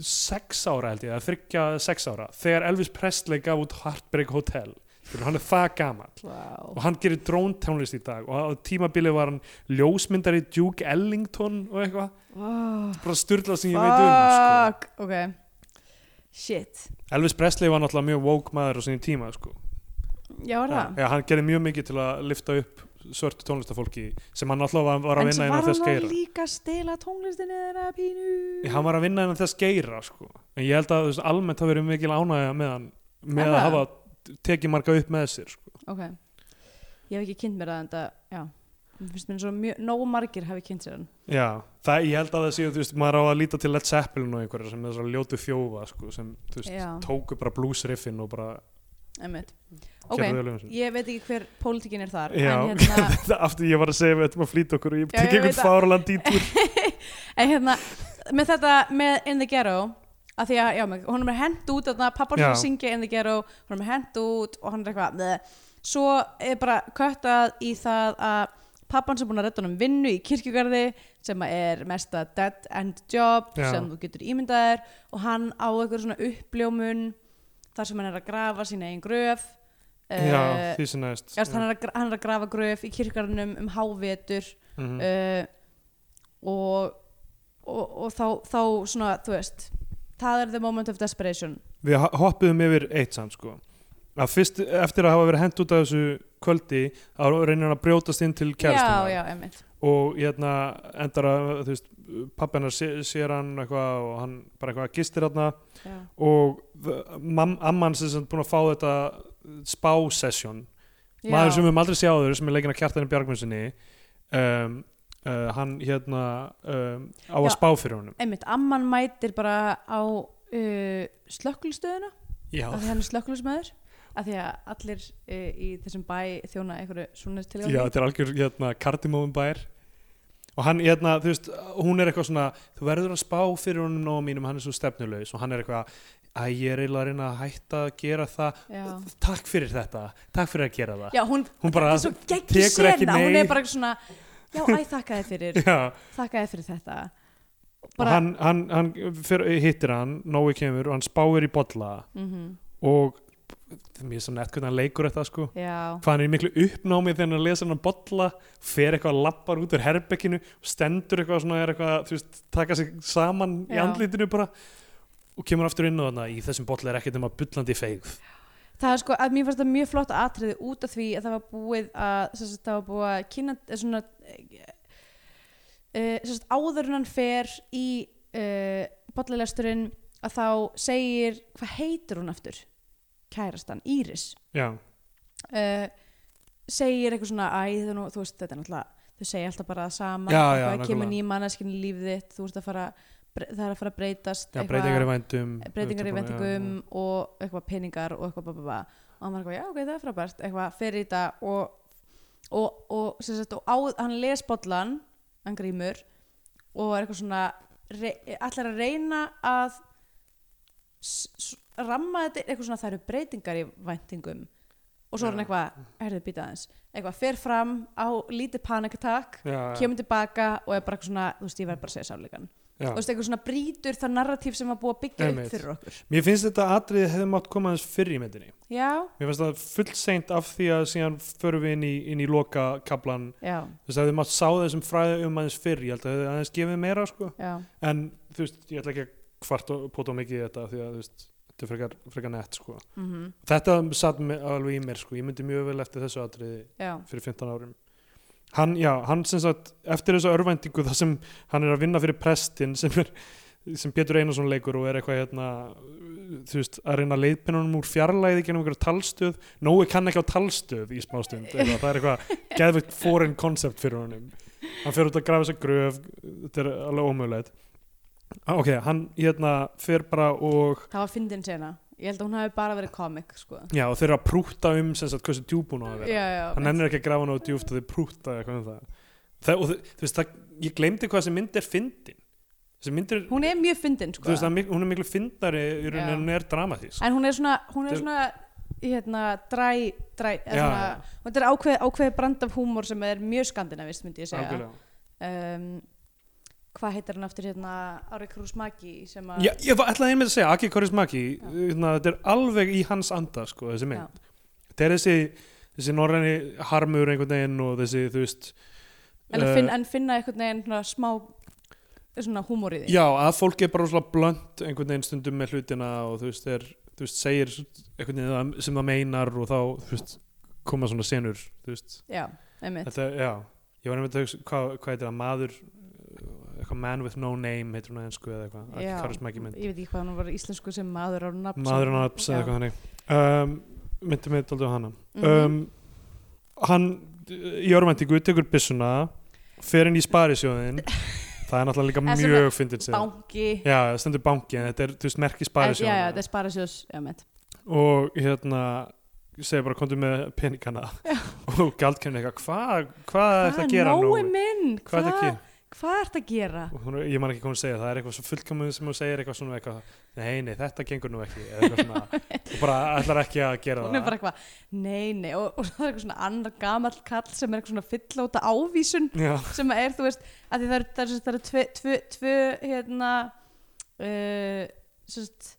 Speaker 2: 26 ára held ég að þryggja 6 ára þegar Elvis Presley gaf út Heartbreak Hotel Skilur, hann er það gamall
Speaker 3: Wow
Speaker 2: og hann gerir dróntónlist í dag og á tímabili var hann ljósmyndari Duke Ellington og eitthvað
Speaker 3: Wow
Speaker 2: bara styrla sem ég veit um sko.
Speaker 3: Fuck, ok Shit
Speaker 2: Elvis Presley var náttúrulega mjög woke maður á sinni tíma sko.
Speaker 3: Já, er það?
Speaker 2: ja, hann gerir mjög mikið til að lifta upp svörtu tónlistafólki sem hann náttúrulega var- var að
Speaker 3: En
Speaker 2: vinna
Speaker 3: svo
Speaker 2: innan
Speaker 3: var
Speaker 2: þess
Speaker 3: hann að
Speaker 2: geira
Speaker 3: líka að stela tónlistinni þeirra pínu
Speaker 2: Ég- hann var að vinna innan þess geira sko. en ég held að þú veist, almennt hafa verið mikil ánægja með hann með
Speaker 3: Er
Speaker 2: að
Speaker 3: það?
Speaker 2: hafa tekið marga upp með sér sko.
Speaker 3: Ok, ég hef ekki kynnt mér það en það, já, mér finnst mér eins og mjög, nógu margir hafi kynnt sér hann.
Speaker 2: já, það, ég held að það séu, þú veist, maður á að líta til Led Zeppelin og einhverja sem þessar ljótu þjófa sko, sem, þú veist,
Speaker 3: Já.
Speaker 2: tóku bara bluesriffin og bara
Speaker 3: Einmitt. Ok,
Speaker 2: gerðu lögum sinni.
Speaker 3: ég veit ekki hver pólitíkin er þar,
Speaker 2: Já.
Speaker 3: en hérna,
Speaker 2: Þetta aftur ég var að segja við ættum að flýta okkur og ég
Speaker 3: Já,
Speaker 2: tek
Speaker 3: ég
Speaker 2: einhvern
Speaker 3: veit að-
Speaker 2: fáraland í túr
Speaker 3: en hérna, með þetta, með In the Ghetto, að því að, já, með- honum er hent út, þarna, pappar sem
Speaker 2: Já.
Speaker 3: syngja In the Ghetto, honum er hent út og hann er eitthvað, með, svo er bara köttað í það að pappan sem er búin að redda honum vinnu í kirkjugarði sem að er mesta dead end job
Speaker 2: Já.
Speaker 3: sem þú getur ímyndaðir og hann á eitthvað svona uppljómun þar sem hann er að grafa sína eigin gröf
Speaker 2: já,
Speaker 3: Eh,
Speaker 2: því sem næst
Speaker 3: Erst, hann, er að, gra- hann er að grafa gröf í kirkarnum um hávetur
Speaker 2: Mhm.
Speaker 3: uh, og, og, og þá, þá svona, þú veist það er the moment of desperation
Speaker 2: við ho- hoppuðum yfir eitt samt sko að fyrst, eftir að hafa verið hent út af þessu kvöldi, þá reynir hann að brjótast inn til
Speaker 3: já, já,
Speaker 2: kæristum
Speaker 3: einmitt
Speaker 2: og hérna endar að þú veist, pappennar sér hann eitthvað og hann bara eitthvað gistir hann
Speaker 3: já.
Speaker 2: og þ- mam, amman sem sem búin að fá þetta spá session maður sem við höfum aldrei sjáður sem er leikinn að kjartanum Bjargmundsinni um, uh, hann hérna um, á að
Speaker 3: Já.
Speaker 2: spá fyrir honum
Speaker 3: einmitt, amman mætir bara á uh, slökkulstöðuna
Speaker 2: já,
Speaker 3: af því hann er slökkulismæður af því að allir uh, í þessum bæ þjóna einhverju svona tilgangi
Speaker 2: Já, þetta er algjör hérna, kardimóðum bær og hann, hérna, þú veist, hún er eitthvað svona þú verður að spá fyrir honum nóg mínum hann er svo stefnulegs og hann er eitthvað að ég er eiginlega að reyna að hætta að gera það
Speaker 3: já.
Speaker 2: takk fyrir þetta, takk fyrir að gera það
Speaker 3: já, hún
Speaker 2: hún bara
Speaker 3: þetta er svo geggi
Speaker 2: tekur ekki
Speaker 3: sena hún
Speaker 2: nei.
Speaker 3: er bara svona, já, æ, þakka þið fyrir
Speaker 2: Já,
Speaker 3: þakka þið fyrir þetta
Speaker 2: og hann, hann, hann fyr, hittir hann, Nói kemur og hann spáir í bolla
Speaker 3: mhm,
Speaker 2: og það er mjög svo nett hvernig hann leikur þetta sko
Speaker 3: já,
Speaker 2: hvað hann er í miklu uppnámi þegar hann er að lesa hann bolla, fer eitthvað lappar út úr herbekkinu, stendur eitthvað svona er eitthvað, þú veist, taka sig saman í
Speaker 3: Já.
Speaker 2: andlítinu bara og kemur aftur inn og þannig í þessum bolla er ekkert um að bullandi feigð
Speaker 3: það er sko að mér fannst það mjög flott atriði út af því að það var búið að sem sagt, það var búið að kynna eh, svona uh, sagt, áður en hann fer í uh, bollalesturinn að þá segir hvað heitir hún aftur kærastan, Íris
Speaker 2: já,
Speaker 3: uh, segir eitthvað svona æ, það er nú, þú veist, þetta er náttúrulega þau segja alltaf bara það sama,
Speaker 2: Já, já,
Speaker 3: eitthvað, kemur
Speaker 2: nákvæmlega.
Speaker 3: ný manneskinn í líf þitt þú veist að fara, bre- það er að fara að breytast
Speaker 2: já breytingar í vændum
Speaker 3: breytingar í
Speaker 2: auðvitað bara, já,
Speaker 3: vendingum og eitthvað peningar og eitthvað bá, bá, bá. og hann var eitthvað, já ok, það er frábært eitthvað, fer í þetta og, og, og, sem sagt, og á, hann les bollan hann grímur og er eitthvað svona re, allar að reyna að s, s, ramma þetta eitthvað svona það eru breytingar í vendingum og svo er hann
Speaker 2: Já.
Speaker 3: eitthvað, herðu býta aðeins eitthvað, fer fram á lítið panikatak
Speaker 2: já, já,
Speaker 3: kemur tilbaka og er bara eitthvað svona, þú veist, ég verð bara að segja sáleikan
Speaker 2: já.
Speaker 3: þú veist, eitthvað svona brýtur það narratíf sem var búið að byggja
Speaker 2: Einmitt.
Speaker 3: upp fyrir okkur
Speaker 2: mér finnst þetta atriði hefði mátt koma aðeins fyrr í myndinni
Speaker 3: já,
Speaker 2: mér finnst það fullseint af því að síðan förum við inn í, inn í loka kablan
Speaker 3: já,
Speaker 2: þess að þið mátt sá þessum fræðum um aðeins fyrr ég held að þið aðeins gefið meira sko
Speaker 3: já
Speaker 2: en þú veist, ég ætla ekki að kvart og póta mikið í þetta því að þú veist, þetta er frekar, frekar nett sko.
Speaker 3: mm
Speaker 2: þetta satt me- alveg í mér sko. ég myndi mjög vel eftir þessu atriði
Speaker 3: já,
Speaker 2: fyrir 15 árum hann, já, hann sem sagt, eftir þessa örvæntingu þar sem hann er að vinna fyrir prestin sem er sem Pétur Einarsson leikur og er eitthvað hérna, þú veist, að reyna að leiðbina honum úr fjarlæði genum einhverju talstöð Nói kann ekki á talstöð í smástund eitthvað. það er eitthvað geðveikt foreign concept fyrir honum hann fer út að grafa þessa gröf þetta er alveg ómögulegt Ah, ok, hann hérna fer bara og
Speaker 3: það var fyndin sena ég held að hún hafi bara verið komik sko.
Speaker 2: já, og þeir eru að prúta um sem sagt hversu djúbun á að vera
Speaker 3: já, já,
Speaker 2: hann ennir ekki að grafa nógu djúft og þau prúta eitthvað um það, það og þau- þú veist, það, ég glemdi hvað þessi mynd er fyndin þessi mynd er,
Speaker 3: hún er mjög fyndin
Speaker 2: þú
Speaker 3: sko.
Speaker 2: veist, það er mik- hún er miklu fyndari í rauninni
Speaker 3: Já.
Speaker 2: en hún er dramatísk
Speaker 3: en hún er svona, hún er
Speaker 2: Þetta-
Speaker 3: svona hérna, dræ, dræ eða
Speaker 2: Já,
Speaker 3: svona,
Speaker 2: já.
Speaker 3: þetta er ákveð, ákveð brand af húmor sem er mjög skandinavist myndi ég segja
Speaker 2: algjörlega
Speaker 3: um, hvað heitir hann aftur hérna Ári Krús Maki sem að
Speaker 2: Já, ég var- ætlaði einmitt að segja, Aki Korismaki hérna, þetta er alveg í hans anda sko, þessi mynd,
Speaker 3: Já.
Speaker 2: þetta er þessi þessi norræni harmur einhvern veginn og þessi, þú veist
Speaker 3: en,
Speaker 2: eh,
Speaker 3: að finna, en finna einhvern veginn svona smá svona húmor í því
Speaker 2: Já, að fólk er bara svona blönt einhvern veginn stundum með hlutina og þú veist, er, þú veist segir einhvern veginn það- sem það meinar og þá þú veist, koma svona senur þú veist,
Speaker 3: já, einmitt
Speaker 2: þetta, já ég var einmitt að hugsa, hvað, hvað heitir það, maður uh, eitthvað man with no name heitir hún að ennsku eða eitthvað,
Speaker 3: Já,
Speaker 2: ekki karismæki mynd
Speaker 3: ég veit ekki hvað hann var íslensku sem maður á nafn
Speaker 2: maður hann apps eða
Speaker 3: Já.
Speaker 2: eitthvað þannig um, myndi mig daldið á hana
Speaker 3: Mhm.
Speaker 2: um, hann í örmæntingu tekur byssuna fer inn í sparisjóðin það er náttúrulega líka
Speaker 3: En sem
Speaker 2: mjög fyndin sér
Speaker 3: banki
Speaker 2: Já, það stendur banki en þetta er, þú veist, merki
Speaker 3: En- já, já, þetta
Speaker 2: sparisjóðana
Speaker 3: er sparasjós já, mitt.
Speaker 2: og hérna segir bara, komdu með peningana og gjaldkemni eitthvað, hvað hva er það að gera nú?
Speaker 3: Nói minn,
Speaker 2: Hvað er það að
Speaker 3: um- hvað
Speaker 2: gera?
Speaker 3: hva er það að gera
Speaker 2: Og hún, ég man ekki hvað hún segir, það er eitthvað svo fullkomum sem hún segir eitthvað svona eitthvað, nei, nei, þetta gengur nú ekki eða eitthvað svona, og bara ætlar ekki að gera
Speaker 3: hún er
Speaker 2: það
Speaker 3: bara eitthvað, nei, nei og, og það er eitthvað svona annar gamall kall sem er eitthvað svona fyllóta ávísun
Speaker 2: Já,
Speaker 3: sem er, þú veist, að því það eru það eru- það eru tvö, tvö, tvö hérna uh, sérst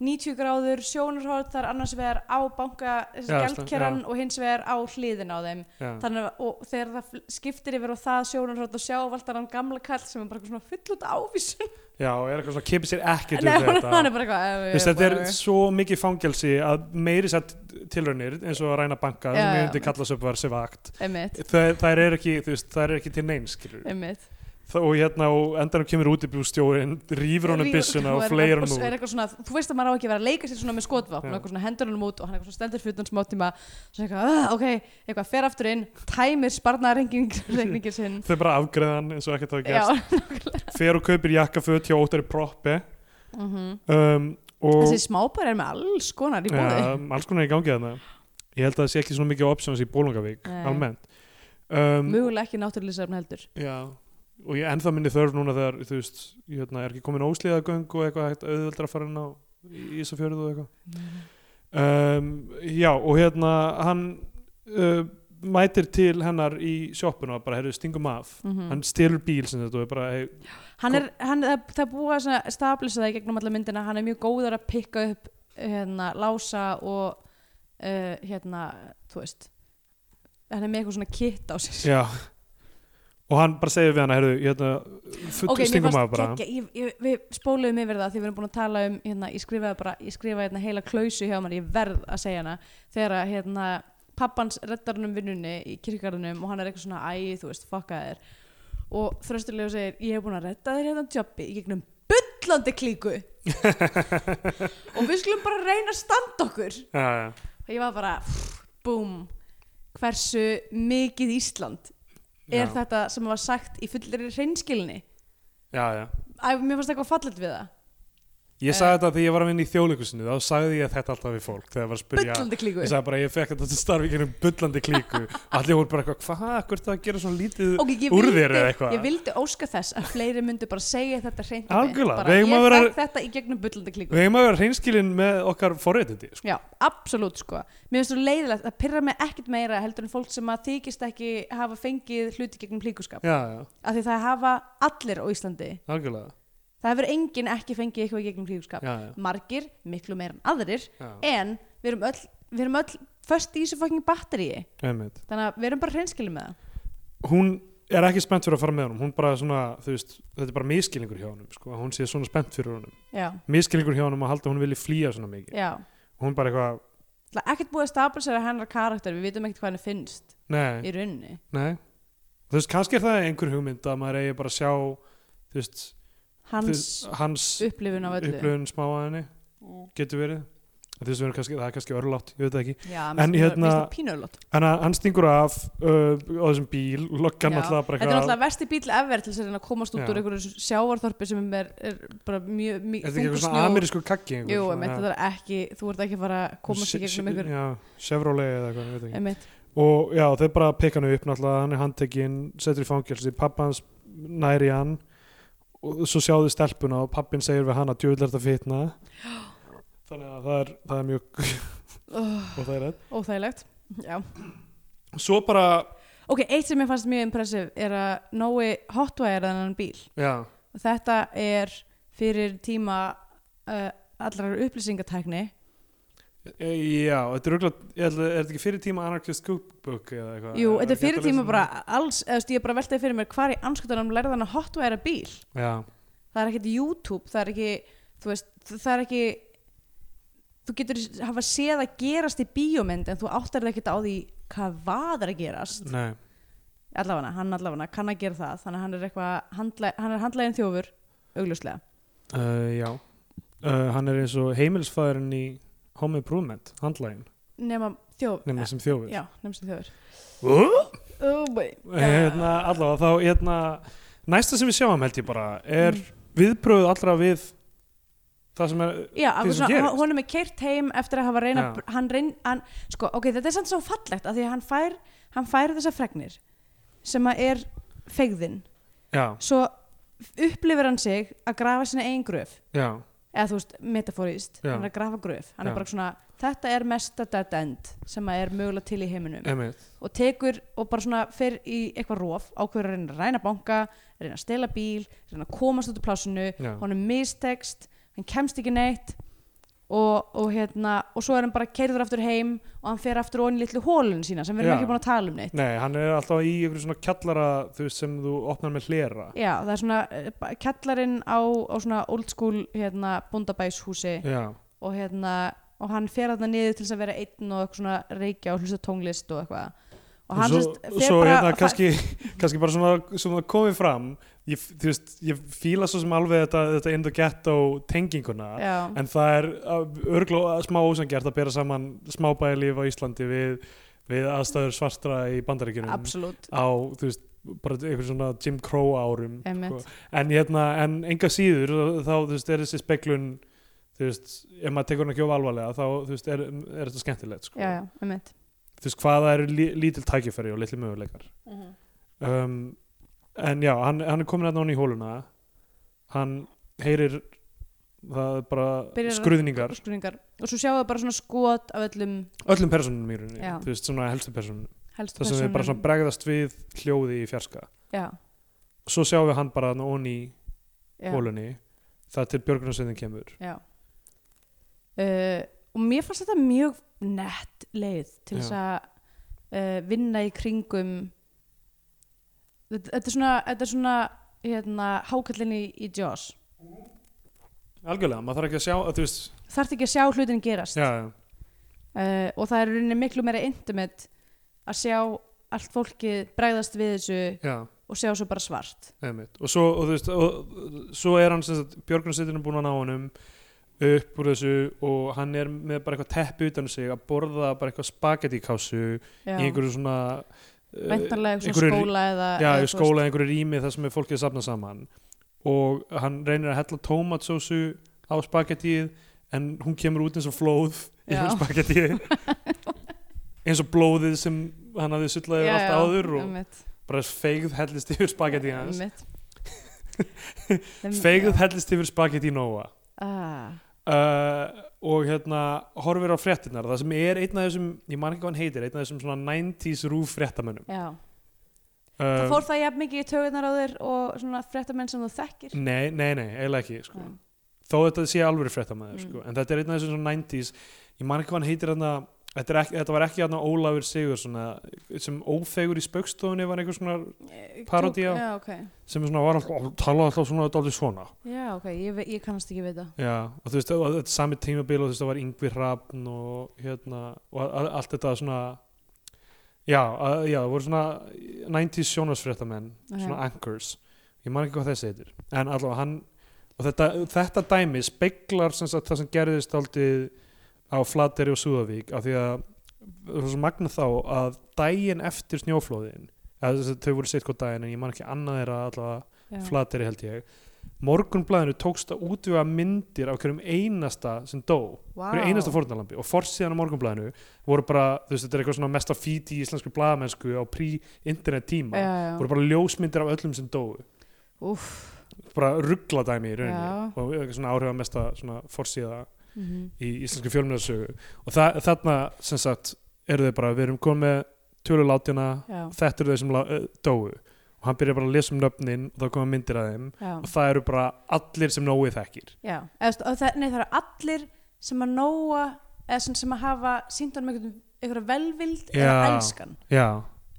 Speaker 3: 90 gráður sjónurhótt þar annars vegar á banka
Speaker 2: Já,
Speaker 3: gjaldkeran
Speaker 2: já.
Speaker 3: og hins vegar á hliðin á þeim
Speaker 2: já,
Speaker 3: þannig að og þegar það fl- skiptir yfir og það sjónurhótt og sjávaltar hann gamla kall sem er bara eitthvað svona full út ávísun
Speaker 2: já, og er eitthvað svona, kipir sér ekkert við
Speaker 3: Nei, hann,
Speaker 2: þetta
Speaker 3: hann er bara eitthvað eh,
Speaker 2: Þú veist,
Speaker 3: eh,
Speaker 2: þetta er
Speaker 3: whatever.
Speaker 2: svo mikið fangelsi að meiri sett tilraunir eins og að ræna banka,
Speaker 3: Já,
Speaker 2: sem ég
Speaker 3: já.
Speaker 2: myndi kalla sem var sem vakt,
Speaker 3: einmitt,
Speaker 2: þær, þær er ekki, þú veist, þær er ekki til neins, skilur
Speaker 3: einmitt
Speaker 2: Þa- og hérna og endanum kemur útibústjórin rýfur honum
Speaker 3: Rífur-
Speaker 2: byssuna
Speaker 3: og
Speaker 2: og
Speaker 3: er
Speaker 2: fleir
Speaker 3: eitthvað-
Speaker 2: honum
Speaker 3: er
Speaker 2: út
Speaker 3: eitthvað svona, þú veist að maður á ekki að vera að leika sér svona með skotvapn
Speaker 2: Já.
Speaker 3: og eitthvað svona hendur hann út og hann eitthvað svona stendur fyrir hann smá tíma svona eitthvað, "Ah, ok, eitthvað fer aftur inn tæmir sparnarreikningir sinn
Speaker 2: þau bara afgreða hann eins og ekkert hafa
Speaker 3: já,
Speaker 2: gerst fer og kaupir jakkaföt hjá óttari proppi
Speaker 3: mm
Speaker 2: um, og
Speaker 3: þessi smábær er með alls konar í bóði
Speaker 2: ja, alls konar í gangi þarna ég held að það sé ekki svona mikið options í Bólungavík
Speaker 3: Nei.
Speaker 2: almennt um,
Speaker 3: mögulega ekki náttúrulisafn heldur
Speaker 2: já, og ég ennþá minni þörf núna þegar þú veist, ég hérna, er ekki komin óslíðagöng og eitthvað hægt auðveldra að fara inn á Ísafjörðu og eitthvað um, já og hérna hann uh, mætir til hennar í sjoppuna og bara heyrðu stingum af
Speaker 3: Mhm.
Speaker 2: hann stelur bíl sem þetta og er bara hey,
Speaker 3: hann er, hann, það það er búið að svona stablisa það í gegnum alla myndina hann er mjög góður að pikka upp hérna, lása og uh, hérna, þú veist hann er með eitthvað svona kitt á sér
Speaker 2: Já Og hann bara segir við hana, heyrðu, hérna, full
Speaker 3: ok, mér
Speaker 2: stingum maður
Speaker 3: fannst
Speaker 2: bara.
Speaker 3: geggja, ég, ég, við spóluðum yfir það því við erum búin að tala um, hérna, ég skrifaði bara ég skrifaði hérna heila klausu hjá mér, ég verð að segja hana þegar að, hérna, pappans reddar hann um vinnunni í kirkarðunum og hann er eitthvað svona, æ, þú veist, fucka þér og þröstulegu segir, ég hef búin að redda þér hérna jobbi í gegnum bullandi klíku og við skulum bara reyna að standa okkur
Speaker 2: Já, já.
Speaker 3: og ég var bara pff, búm, hversu mikið Ísland er
Speaker 2: Já.
Speaker 3: þetta sem var sagt í fullir reynskilni
Speaker 2: Já, já.
Speaker 3: Æ, mér fannst eitthvað fallet við það
Speaker 2: Ég sagði
Speaker 3: Eh.
Speaker 2: þetta þegar ég var að vinna í þjóðleikusinu, þá sagði ég þetta alltaf við fólk þegar ég var að spyrja.
Speaker 3: Bullandi klíku
Speaker 2: Ég sagði bara, ég fekk þetta starf ekki um bullandi klíku. Allir voru bara eitthvað, hvað, hvert að gera svona lítið
Speaker 3: Ok, ég
Speaker 2: úr
Speaker 3: vildi-
Speaker 2: þér eða eitthvað?
Speaker 3: Ég vildi óska þess að fleiri myndu bara segja þetta hreint
Speaker 2: Algjörlega,
Speaker 3: bara,
Speaker 2: við
Speaker 3: Ég
Speaker 2: eigum að vera-
Speaker 3: fekk þetta í gegnum bullandi klíku
Speaker 2: Við hefum að vera hreinskilin með okkar forréttindi, sko.
Speaker 3: Já, absolutt sko Mér finnst þú leiðilegt, það pyrra mig ekkert meira heldur en fólk sem að þykist ekki hafa fengið hluti gegnum klíkuskap
Speaker 2: Já, já,
Speaker 3: af því það hafa allir á Íslandi
Speaker 2: algjörlega.
Speaker 3: það hefur enginn ekki fengið eitthvað gegnum klíkuskap
Speaker 2: Já, já.
Speaker 3: margir, miklu meira en aðrir
Speaker 2: Já.
Speaker 3: en við erum öll, við erum öll först í þessu fucking batteríi
Speaker 2: Einmitt.
Speaker 3: þannig að við erum bara hreinskilum með það
Speaker 2: Hún er ekki spennt fyrir að fara með honum, hún bara svona, þú veist, þetta er bara miskilningur hjá honum, sko, að hún sé svona spennt fyrir honum.
Speaker 3: Já,
Speaker 2: Miskilningur hjá honum að halda að hún vilji flýja svona mikið.
Speaker 3: já
Speaker 2: Hún bara eitthvað,
Speaker 3: Það er ekkert búið að stabilisera hennar karakter, við vitum ekkert hvað henni finnst
Speaker 2: nei,
Speaker 3: í rauninni.
Speaker 2: nei. Þú veist, kannski er það einhver hugmynd að maður eigi bara að sjá, þú veist, þú
Speaker 3: Hans
Speaker 2: veist, hans
Speaker 3: upplifun af öllu.
Speaker 2: upplöfun smá að henni, getur verið. Þú veist, við erum kannski, það er kannski örlátt, ég veit það ekki.
Speaker 3: Já,
Speaker 2: En
Speaker 3: mér finnst
Speaker 2: hérna-
Speaker 3: hérna, það pínurlót.
Speaker 2: En að- hann stingur af uh, á þessum bíl, lokkan
Speaker 3: Já,
Speaker 2: alltaf bara
Speaker 3: Þetta er náttúrulega versti bíl ever til þess að reyna að komast út
Speaker 2: Já.
Speaker 3: úr einhverju sjávarþorpi sem er, er bara mjög mjög
Speaker 2: Er þetta ekki
Speaker 3: þungur
Speaker 2: eitthvað svona
Speaker 3: snjór.
Speaker 2: amerísku kaggi? einhver
Speaker 3: Jú,
Speaker 2: svona,
Speaker 3: emitt,
Speaker 2: já.
Speaker 3: þetta er ekki, þú ert ekki að fara að komast í
Speaker 2: Sh-
Speaker 3: gegnum
Speaker 2: sh-
Speaker 3: einhver,
Speaker 2: Já, Chevrolet eða eitthvað, ég veit ekki
Speaker 3: emitt,
Speaker 2: Og já, þeir bara pikka hann upp náttúrulega, hann er handtekinn, setur í fangelsi, pappans næri hann og svo sjáðu stelpuna og pappin segir við hana djöfull er þetta fitna þannig að það er, það er mjög og það er rétt
Speaker 3: óþægilegt. Já.
Speaker 2: Svo bara,
Speaker 3: Ok, eitt sem ég fannst mjög impressiv er að Nói hotwire þennan bíl.
Speaker 2: já,
Speaker 3: Og Þetta er fyrir tíma uh, allrar upplýsingatækni.
Speaker 2: e, já, þetta er rúglega er þetta ekki fyrir tíma Anarchist Cookbook eða eitthvað?
Speaker 3: Jú,
Speaker 2: Er-
Speaker 3: þetta
Speaker 2: er
Speaker 3: er fyrir
Speaker 2: ekki hægt að
Speaker 3: tíma
Speaker 2: lesa
Speaker 3: bara alls, eða þú veist, ég bara veltaði fyrir mér hvar í anskotanum lærði hann að hotværa bíl
Speaker 2: það? Já,
Speaker 3: það er ekkert YouTube, það er ekki þú veist, það er ekki þú getur hafa séð að gerast í bíómynd en þú áttar það ekkert á því hvað var að gerast
Speaker 2: nei,
Speaker 3: allavega, hann allavega kann að gera það þannig að hann er eitthvað, handla, hann er handlægin þjófur augljóslega,
Speaker 2: uh, já uh, hann er eins og heimilsfæðurinn í Home Improvement, handlægin
Speaker 3: nema þjóf
Speaker 2: nema sem þjófur
Speaker 3: já, nema sem þjófur
Speaker 2: uh?
Speaker 3: oh boy.
Speaker 2: hérna, allavega þá hérna, næsta sem við sjáum held ég bara er viðbröð allra við það sem er
Speaker 3: Mm. Já, af
Speaker 2: því sem
Speaker 3: svona,
Speaker 2: gerist.
Speaker 3: honum er keirt heim eftir að hafa reyna,
Speaker 2: Já.
Speaker 3: hann reyn, hann, sko, ok, þetta er samt svo fallegt að því að hann fær, hann fær þessar fregnir sem að er feigðin,
Speaker 2: já,
Speaker 3: svo upplifir hann sig að grafa sína eigin gröf,
Speaker 2: já,
Speaker 3: eða þú veist, metaforist,
Speaker 2: Já.
Speaker 3: hann er að grafa gröf, hann
Speaker 2: Já.
Speaker 3: er bara svona, þetta er mesta dead end sem að er mögulega til í heiminum
Speaker 2: emitt
Speaker 3: og tekur og bara svona fer í eitthvað rof, ákveður að reyna að ræna banka, reyna að stela bíl, reyna að komast út úr plásinu,
Speaker 2: já,
Speaker 3: honum mistekst, hann kemst ekki neitt og, og hérna og svo er hann bara keirður aftur heim og hann fer aftur onni litlu hólun sína sem við erum
Speaker 2: Já.
Speaker 3: ekki búin að tala um neitt
Speaker 2: nei, hann er alltaf í ykkur svona kjallara þú veist sem þú opnar með hlera
Speaker 3: já, það er svona eh, ba- kjallarinn á, á svona old school hérna bóndabæshúsi
Speaker 2: já,
Speaker 3: og hérna og hann fer þarna niður til þess að vera einn og eitthvað svona reykja og hlusta á tónlist og eitthvað og hann
Speaker 2: svo,
Speaker 3: sérst fer
Speaker 2: svo
Speaker 3: bara
Speaker 2: hérna
Speaker 3: fa-
Speaker 2: kannski, kannski bara svona, svona komið fram ég, þú veist, ég fíla svo sem alveg þetta, þetta in the ghetto tenginguna
Speaker 3: já,
Speaker 2: en það er örgla smá ósangjart að bera saman smábæðilíf á Íslandi við, við aðstæður svartra í bandaríkjunum
Speaker 3: absolutt
Speaker 2: á, þú veist, bara einhver svona Jim Crow árum
Speaker 3: Einmitt.
Speaker 2: en hérna, en enga síður þá, þú veist, er þessi speklun þú veist, ef maður tekur hann ekki of alvarlega þá, þú veist, er, er þetta skemmtilegt sko.
Speaker 3: já, já, um
Speaker 2: þú veist, hvaða eru lí, lítil tækifæri og litli möguleikar
Speaker 3: Mhm.
Speaker 2: um, en já, hann, hann er komin að náni í hóluna hann heyrir það er bara
Speaker 3: Byrjar að-
Speaker 2: skruðningar
Speaker 3: skruðningar og svo sjáum við bara svona skot af öllum
Speaker 2: öllum personunum í rauninni,
Speaker 3: Já.
Speaker 2: þú veist, svona helstu personunum
Speaker 3: helstu
Speaker 2: þess að við bara svona bregðast við hljóði í fjarska
Speaker 3: já,
Speaker 2: svo sjáum við hann bara þarna onni í
Speaker 3: já.
Speaker 2: hólunni það til björgunarsveitin kemur
Speaker 3: Já uh, og mér fannst þetta mjög nett leið til þess
Speaker 2: Já.
Speaker 3: að uh, vinna í kringum þetta, þetta er svona, þetta er svona hérna, hákallinni í Jaws
Speaker 2: algjörlega, maður þarf ekki að sjá að þú veist,
Speaker 3: þarf ekki að sjá hlutin gerast
Speaker 2: já,
Speaker 3: uh,
Speaker 2: já,
Speaker 3: og það er í rauninni miklu meira intimate að sjá allt fólkið bregðast við þessu
Speaker 2: já
Speaker 3: og sjá svo bara svart
Speaker 2: Einmitt. og svo, og, þú veist, og, svo er hann Björgunarsveitin er búin að ná honum upp úr þessu og hann er með bara eitthvað teppi utan um sig að borða bara eitthvað spagetti kásu í
Speaker 3: Já.
Speaker 2: einhverju svona eh,
Speaker 3: væntanlega eitthvað
Speaker 2: einhverju-
Speaker 3: skóla eða,
Speaker 2: já,
Speaker 3: eða,
Speaker 2: í skóla eða einhverju rými þar sem er fólkið að safna saman og hann reynir að hella tómatsósu á spagettíð en hún kemur út eins og flóð í
Speaker 3: Já.
Speaker 2: hún spagettíð eins og blóðið sem hann hafði sullaðið allt áður og
Speaker 3: einmitt,
Speaker 2: bara feigð hellist yfir spagettíð hans
Speaker 3: einmitt.
Speaker 2: feigð hellist yfir spagetti Nóa
Speaker 3: ah,
Speaker 2: uh, og hérna horfir á fréttinar það sem er einn af þessum, ég man ekki hvað hann heitir einn af þessum svona 90s rúf fréttamönnum
Speaker 3: já Það
Speaker 2: um,
Speaker 3: fór það jafn mikið í tögunar á þér og svona fréttamenn sem þú þekkir
Speaker 2: nei, nei, nei, eiginlega ekki sko.
Speaker 3: Nei.
Speaker 2: þó þetta sé alveg fréttamöður
Speaker 3: Mm.
Speaker 2: sko. en þetta er einn af þessum svona 90s ég man ekki hvað hann heitir þarna Þetta, er ekki, þetta var ekki hérna Ólafur Sigur svona, sem ófegur í spaukstofunni var einhver svona Parodía.
Speaker 3: Já, ok,
Speaker 2: sem er svona var alltaf, talaði alltaf svona þetta aldrei svona
Speaker 3: já, ok, ég, ve- ég kannast ekki við það
Speaker 2: Já, og þú veist, og þetta er sami tímabil og þú veist, það var Yngvi Hrafn og hérna, og a- a- allt þetta svona já, að, já, það voru svona 90s sjónvarsfréttamenn
Speaker 3: Ok.
Speaker 2: svona anchors, ég man ekki hvað þessi heitir en allavega hann og þetta, þetta dæmi speglar sem sagt, það sem gerðist aldrei á Flateri og Súðavík af því að það var svo magna þá að daginn eftir snjóflóðin eða þess að þau voru sitt hvað daginn en ég man ekki annað þeirra allavega
Speaker 3: já.
Speaker 2: flateri held ég morgunblæðinu tókst að útvega myndir af hverjum einasta sem dó
Speaker 3: Vá.
Speaker 2: hverju einasta fórnalambi og forsíðan á morgunblæðinu voru bara, þú veist, þetta er eitthvað svona mesta fít í íslensku blaðamennsku á pre-internet tíma
Speaker 3: Já, já.
Speaker 2: voru bara ljósmyndir af öllum sem dóu
Speaker 3: Úff,
Speaker 2: bara ruggladæmi í rauninni
Speaker 3: Já.
Speaker 2: og eitthvað svona áhrif mesta svona forsíða
Speaker 3: mhm,
Speaker 2: í íslensku fjölmjörnsögu og þa þarna sem sagt eru þau bara, við erum komið með tölulátina
Speaker 3: já,
Speaker 2: þetta eru þau sem lá- eh, dóu og hann byrjar bara að lesa um nöfnin og þá koma myndir af þeim
Speaker 3: já,
Speaker 2: og það eru bara allir sem Nói þekkir
Speaker 3: já Eða, þú veist, og það, Nei, það eru allir sem að nóa eða sem, sem að hafa sínt honum einhvern einhverja velvild eða
Speaker 2: Já.
Speaker 3: elskan
Speaker 2: já,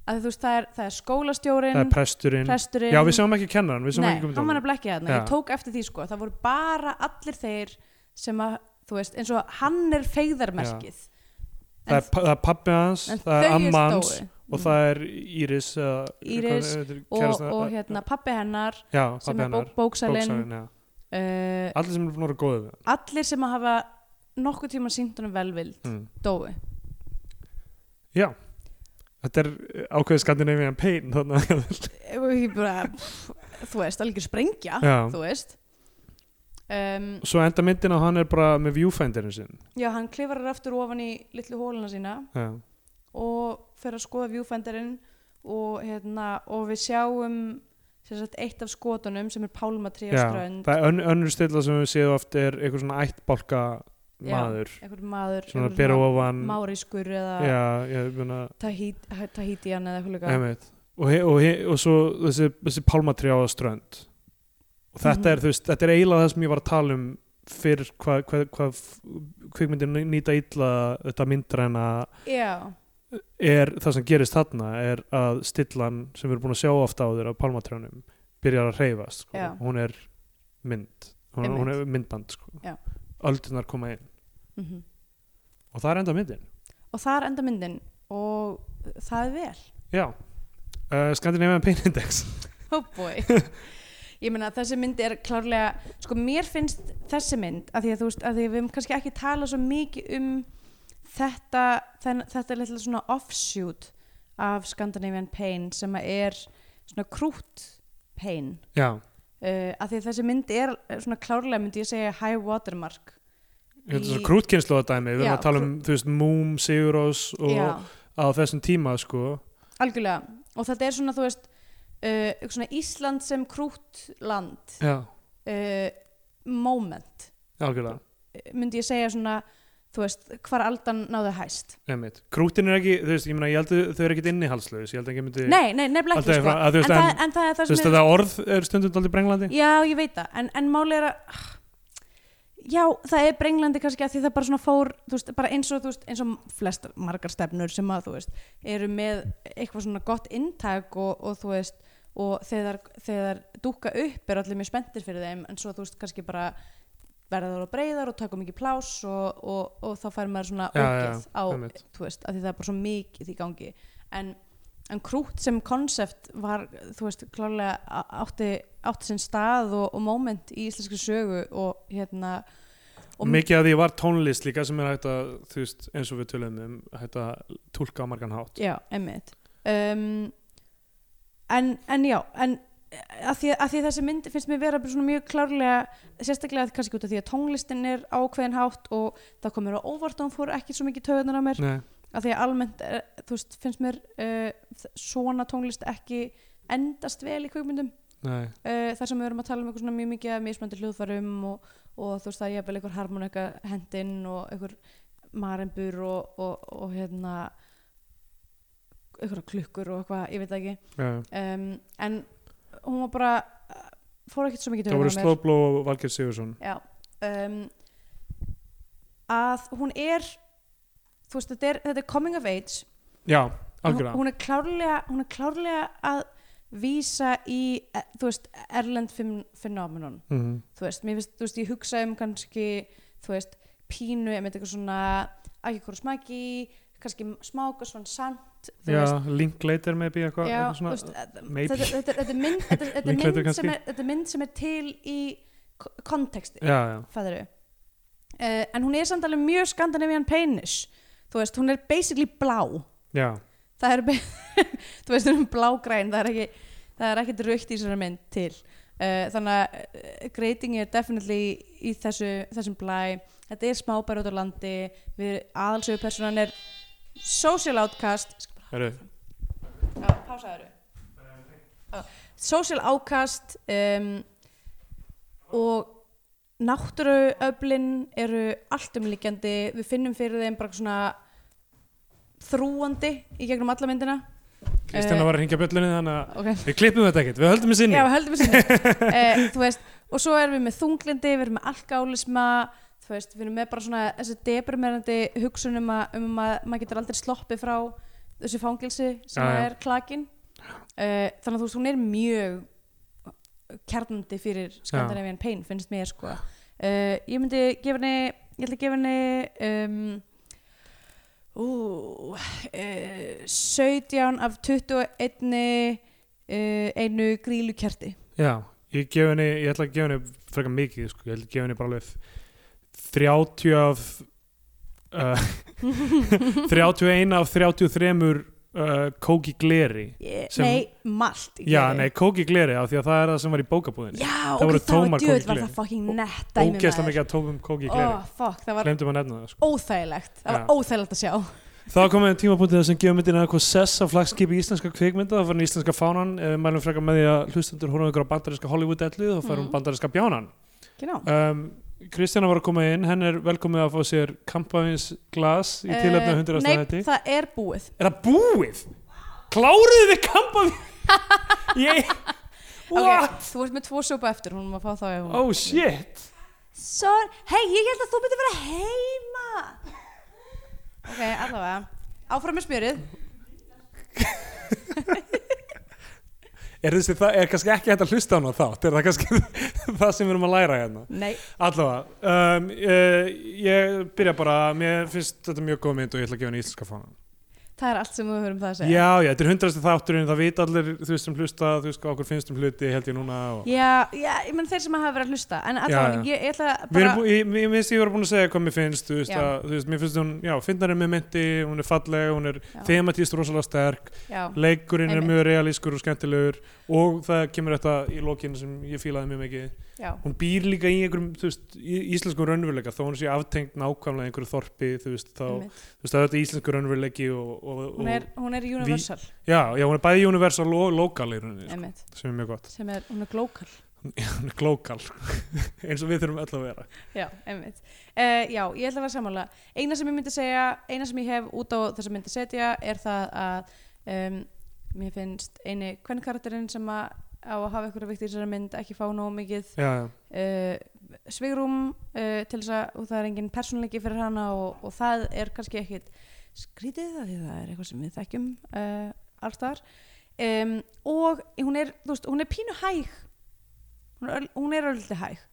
Speaker 3: að þú veist, það er, það er
Speaker 2: það er
Speaker 3: skólastjórinn
Speaker 2: presturinn
Speaker 3: presturinn
Speaker 2: já, við sjáum ekki kennaran, við sjáum
Speaker 3: Nei,
Speaker 2: ekki um
Speaker 3: hann var
Speaker 2: komið
Speaker 3: nefnilega ekki þarna,
Speaker 2: Já.
Speaker 3: ég tók eftir því sko það voru bara allir þeir sem að, þú veist, eins og hann er feigðarmerkið
Speaker 2: það er, pa- það er pappi hans,
Speaker 3: en
Speaker 2: það er
Speaker 3: þau
Speaker 2: amma hans
Speaker 3: stóðu.
Speaker 2: og það er Íris eða
Speaker 3: Íris
Speaker 2: eitthvað, eitthvað,
Speaker 3: og,
Speaker 2: kærasta-
Speaker 3: og hérna pappi hennar
Speaker 2: já,
Speaker 3: sem
Speaker 2: pappi
Speaker 3: er bók,
Speaker 2: hennar,
Speaker 3: bóksalinn
Speaker 2: bóksalinn já.
Speaker 3: uh,
Speaker 2: allir sem er búin að vera góðu við hann
Speaker 3: allir sem að hafa nokkuð tíma sínt honum velvild
Speaker 2: mm.
Speaker 3: dói
Speaker 2: já, þetta er eh, ákveðið skandinavian pain þannig að
Speaker 3: og ég bara, pff, þú veist, algjör sprengja
Speaker 2: Já.
Speaker 3: Ah, þú veist um,
Speaker 2: svo enda myndin að hann er bara með viewfinderinn sinn
Speaker 3: já, hann klifrar aftur ofan í litlu hóluna sína
Speaker 2: já,
Speaker 3: og fer að skoða viewfinderinn og, hérna, og við sjáum sem sagt, eitt af skotunum sem er pálmatrí á
Speaker 2: já.
Speaker 3: strönd
Speaker 2: það er ön, önnur stilla sem við séum oft er einhver svona ættbálka
Speaker 3: Já.
Speaker 2: maður
Speaker 3: einhver maður
Speaker 2: svona
Speaker 3: einhver
Speaker 2: bera
Speaker 3: svona
Speaker 2: ofan
Speaker 3: márískur eða
Speaker 2: já, ég meina
Speaker 3: Tahít- tahítian eða eitthvað líka
Speaker 2: Einmitt. og, he- og, he- og svo þessi, þessi pálmatri á strönd og þetta
Speaker 3: Mhm.
Speaker 2: er þú veist, þetta er eiginlega það sem ég var að tala um fyrir hvað hva, hva, kvikmyndir nýta illa þetta myndræna
Speaker 3: já,
Speaker 2: er það sem gerist þarna er að stillan sem við erum búin að sjá ofta á þér af pálmatrjánum byrjar að hreyfast sko.
Speaker 3: Já.
Speaker 2: hún er mynd hún,
Speaker 3: Einmitt.
Speaker 2: hún er myndband sko.
Speaker 3: Já.
Speaker 2: öldunar koma inn
Speaker 3: mhm.
Speaker 2: og það er enda myndin
Speaker 3: og það er enda myndin og það er vel
Speaker 2: já, uh, Scandinavian Pain Index
Speaker 3: oh boy ég meina þessi mynd er klárlega sko mér finnst þessi mynd að því að þú veist að því að við höfum kannski ekki tala svo mikið um þetta þenn, þetta er litla svona offshoot af Scandinavian Pain sem að er svona krút pain
Speaker 2: já,
Speaker 3: uh, að því að þessi mynd er eh, svona klárlega myndi ég segja high watermark
Speaker 2: Þetta er
Speaker 3: Í-
Speaker 2: svona krútkynslu að dæmi, við erum
Speaker 3: Já,
Speaker 2: að tala um, þú veist, Moom, Sigurós og
Speaker 3: Já.
Speaker 2: á þessum tíma, sko.
Speaker 3: algjörlega og þetta er svona þú veist uh, svona Ísland sem krútland
Speaker 2: Já,
Speaker 3: uh, moment
Speaker 2: algjörlega,
Speaker 3: eh, myndi ég segja svona þú veist, hvar aldan náðu hæst
Speaker 2: nefnitt. Krútin er ekki, þú veist, ég meina, ég held að þau eru ekkit innihaldslaus, ég held ekki að myndi,
Speaker 3: nei, nei, nefnilega
Speaker 2: Alltaf
Speaker 3: ekki
Speaker 2: er
Speaker 3: sko.
Speaker 2: frá- að þú veist,
Speaker 3: en,
Speaker 2: en-
Speaker 3: það, en það er það
Speaker 2: þú veist,
Speaker 3: sem er,
Speaker 2: þetta orð er stundum aldrei brenglandi.
Speaker 3: já, ég veit það en, en máli er að ah, já, það er brenglandi kannski að því það bara svona fór þú veist, bara eins og, þú veist, eins og flest margar stefnur sem að, þú veist, eru með eitthvað svona gott inntæk og, og þú veist, og þegar, þegar dúka upp er allir mjög spenntir fyrir þeim en svo, þú veist, kannski bara verða þar og breyðar og taka mikið pláss og, og, og þá fær maður svona
Speaker 2: Já, já,
Speaker 3: ógeð á,
Speaker 2: einmitt.
Speaker 3: þú veist, að því það er bara svo mikið í gangi en, en krút sem konsept var, þú veist, klárlega á- átti, átti sinn stað og, og moment í íslenski sögu og hérna og
Speaker 2: mikið af því var tónlist líka sem er hægt að þú veist, eins og við tölum um hægt að tólka á margan hátt
Speaker 3: Já, emmitt um, en, en já en að því, að því þessi mynd finnst mér vera bara svona mjög klárlega sérstaklega kannski út af því að tónlistin er ákveðin hátt og það komur á óvart og hún fór ekki svo mikið töðunar á mér
Speaker 2: Nei,
Speaker 3: að því að almennt er, þú veist, finnst mér uh, þ- svona tónlist ekki endast vel í kvikmyndum
Speaker 2: nei,
Speaker 3: uh, þar sem við erum að tala um eitthvað svona mjög mikið af mismöndir hljóðfærum og, og þú veist það er jafnvel einhver harmonika hendinn og einhver marimbur og, og, og hérna einhverja klukkur og eitthvað, ég veit það ekki
Speaker 2: já.
Speaker 3: um, en hún var bara uh, fór ekkert svo mikið
Speaker 2: það voru
Speaker 3: taugarnar á mér.
Speaker 2: Slóbló og Valgeir Sigursson
Speaker 3: Já, um, að hún er þú veist, þetta er, þetta er coming of age
Speaker 2: já,
Speaker 3: hún,
Speaker 2: algjörða
Speaker 3: hún er klárlega hún er klárlega að vísa í, eh, þú veist, erlend fenómenon,
Speaker 2: mm -hmm.
Speaker 3: þú veist, mér finnst, þú veist, ég hugsa um kannski, þú veist, pínu, ég eitthvað svona, ekki hvort smaki, kannski smák og svona samt, þú
Speaker 2: já,
Speaker 3: veist,
Speaker 2: Linklater maybe eitthvað
Speaker 3: já,
Speaker 2: eitthvað
Speaker 3: þú
Speaker 2: svona- uh,
Speaker 3: veist, þetta,
Speaker 2: maybe.
Speaker 3: þetta, þetta, þetta er mynd, þetta, þetta, er
Speaker 2: Líklegur
Speaker 3: mynd sem
Speaker 2: kannski.
Speaker 3: er, þetta er mynd sem er til í ko- konteksti,
Speaker 2: já, já,
Speaker 3: fæðru uh, en hún er samt alveg mjög skandinavian penis þú veist, hún er basically blá
Speaker 2: já,
Speaker 3: það er, be- þú veist, hún er blágræn það er ekki, það er ekkit raukt í þessari mynd til uh, þannig að uh, greiting er definitely í þessu, þessum blæ þetta er smábær út á landi við aðalsögu personan er social outcast Ég skal bara
Speaker 2: eru
Speaker 3: Já, pásaður Social ákast um, og náttúruöflin eru alltumlíkjandi við finnum fyrir þeim bara svona þrúandi í gegnum alla myndina
Speaker 2: Kristina
Speaker 3: Eh,
Speaker 2: var að hringja bjöllunni þannig að
Speaker 3: okay.
Speaker 2: við klippum þetta ekkert, við höldum í sinni
Speaker 3: Já, höldum við sinni uh, Þú veist, og svo erum við með þunglindi við erum með alkálisma þú veist, við erum með bara svona þessi deprimerandi hugsun um að, um að maður getur aldrei sloppið frá þessu fangilsi sem
Speaker 2: Já, já.
Speaker 3: er klakin uh, þannig að þú veist, hún er mjög kjarnandi fyrir Skandinavian Pain, finnst mér sko uh, ég myndi gefa henni ég ætla að gefa henni um, ú, uh, 17 af 21 uh, einu grílukjerti
Speaker 2: já, ég gef henni, ég ætla að gefa henni frekar mikið, sko, ég ætla að gefa henni bara alveg 30 af uh, 31 af 33 uh, kóki gleri
Speaker 3: Ég-
Speaker 2: Sem-
Speaker 3: nei, malt í
Speaker 2: Já,
Speaker 3: gleri.
Speaker 2: nei, kóki gleri af því að það er það sem var í bókabúðinni
Speaker 3: já,
Speaker 2: Það
Speaker 3: ok,
Speaker 2: voru
Speaker 3: það
Speaker 2: tómar
Speaker 3: var djöð
Speaker 2: kók í
Speaker 3: var
Speaker 2: gleri.
Speaker 3: það fucking nett dæmi
Speaker 2: Ógeðslega
Speaker 3: maður.
Speaker 2: mikið að tókum kóki gleri
Speaker 3: oh, fuck, það var
Speaker 2: Glemdum að nefna það sko.
Speaker 3: óþægilegt það var
Speaker 2: Já.
Speaker 3: óþægilegt að sjá
Speaker 2: Þá komið tímapunktið sem gefur myndina eitthvað sess af flagskipi íslenska kvikmynda þá farin íslenska fánan, eh, við mælum frekar með því að hlustendur horfum ykkur á bandarinska Hollywood-ellu þá farum
Speaker 3: Mm.
Speaker 2: mm. bandarinska bjánan
Speaker 3: Genau.
Speaker 2: um, Kristjana var að koma inn, henn er velkomið að fá sér kampavins glas í tilöfna
Speaker 3: Eh,
Speaker 2: 100.
Speaker 3: nei,
Speaker 2: hætti
Speaker 3: það er búið
Speaker 2: Er það búið? Kláruðu við kampavins? Ég... What?
Speaker 3: Ok, þú ert með tvo súpa eftir, hún má fá þá ef hún
Speaker 2: Oh shit
Speaker 3: Sorry, hei, ég held að þú myndir vera heima Ok, allavega Áfram með smjörið
Speaker 2: Er, þessi, það, er kannski ekki hægt að hlusta á hana þátt er það kannski það sem við erum að læra hérna
Speaker 3: Nei
Speaker 2: allavega um, uh, ég byrja bara, mér finnst þetta mjög góð mynd og ég ætla að gefa henni íslenska fána
Speaker 3: Það er allt sem við höfum það að segja
Speaker 2: já, já, þetta er hundrasti þátturinn, það vita allir þú veist sem hlusta, þú veist hvað okkur finnst um hluti held ég núna og...
Speaker 3: Já, já, ég menn þeir sem hafa verið að hlusta En
Speaker 2: Já,
Speaker 3: allavega,
Speaker 2: já.
Speaker 3: ég, ég ætla
Speaker 2: Við
Speaker 3: bara
Speaker 2: erum bú- Ég ég- ég minnst ég var búin að segja hvað mér finnst þú veist,
Speaker 3: Já.
Speaker 2: að, þú veist, mér finnst hún, já, finnarinn með myndi hún er falleg, hún er
Speaker 3: Já.
Speaker 2: thematíst rosalega sterk,
Speaker 3: Já,
Speaker 2: leikurinn er
Speaker 3: Einmitt.
Speaker 2: mjög realískur og skemmtilegur og það kemur þetta í lokinn sem ég fílaði mjög mikið
Speaker 3: já,
Speaker 2: hún býr líka í einhverjum þú veist, í- íslenskum raunveruleika þó hún sé aftengt nákvæmlega einhverju þorpi þú veist, þá,
Speaker 3: einmitt.
Speaker 2: þú veist, það er þetta íslenskur raunveruleiki og, og, og
Speaker 3: hún, er, hún er universal
Speaker 2: já, já, hún er bæði universal og lokal í rauninni, sko,
Speaker 3: einmitt,
Speaker 2: sem er mjög gott
Speaker 3: sem er, hún er glókal
Speaker 2: hún er glókal, eins og við þurfum öll að vera
Speaker 3: Já, einmitt. Uh, já, ég ætla að vera sammála. Eina sem ég myndi segja, eina sem ég hef út á þess að myndi setja er það að um, mér finnst eini hvern karakterinn sem að, á að hafa ykkur að vikta í þessari mynd ekki fá nógu mikið
Speaker 2: já, já,
Speaker 3: uh, svigrum uh, til þess að og það er engin persónleiki fyrir hana og, og það er kannski ekkit skrítið af því það er eitthvað sem við þekkjum uh, allstar um, og hún er, þú veist, hún er pínu hæg hún er, öl- hún er öllti hæg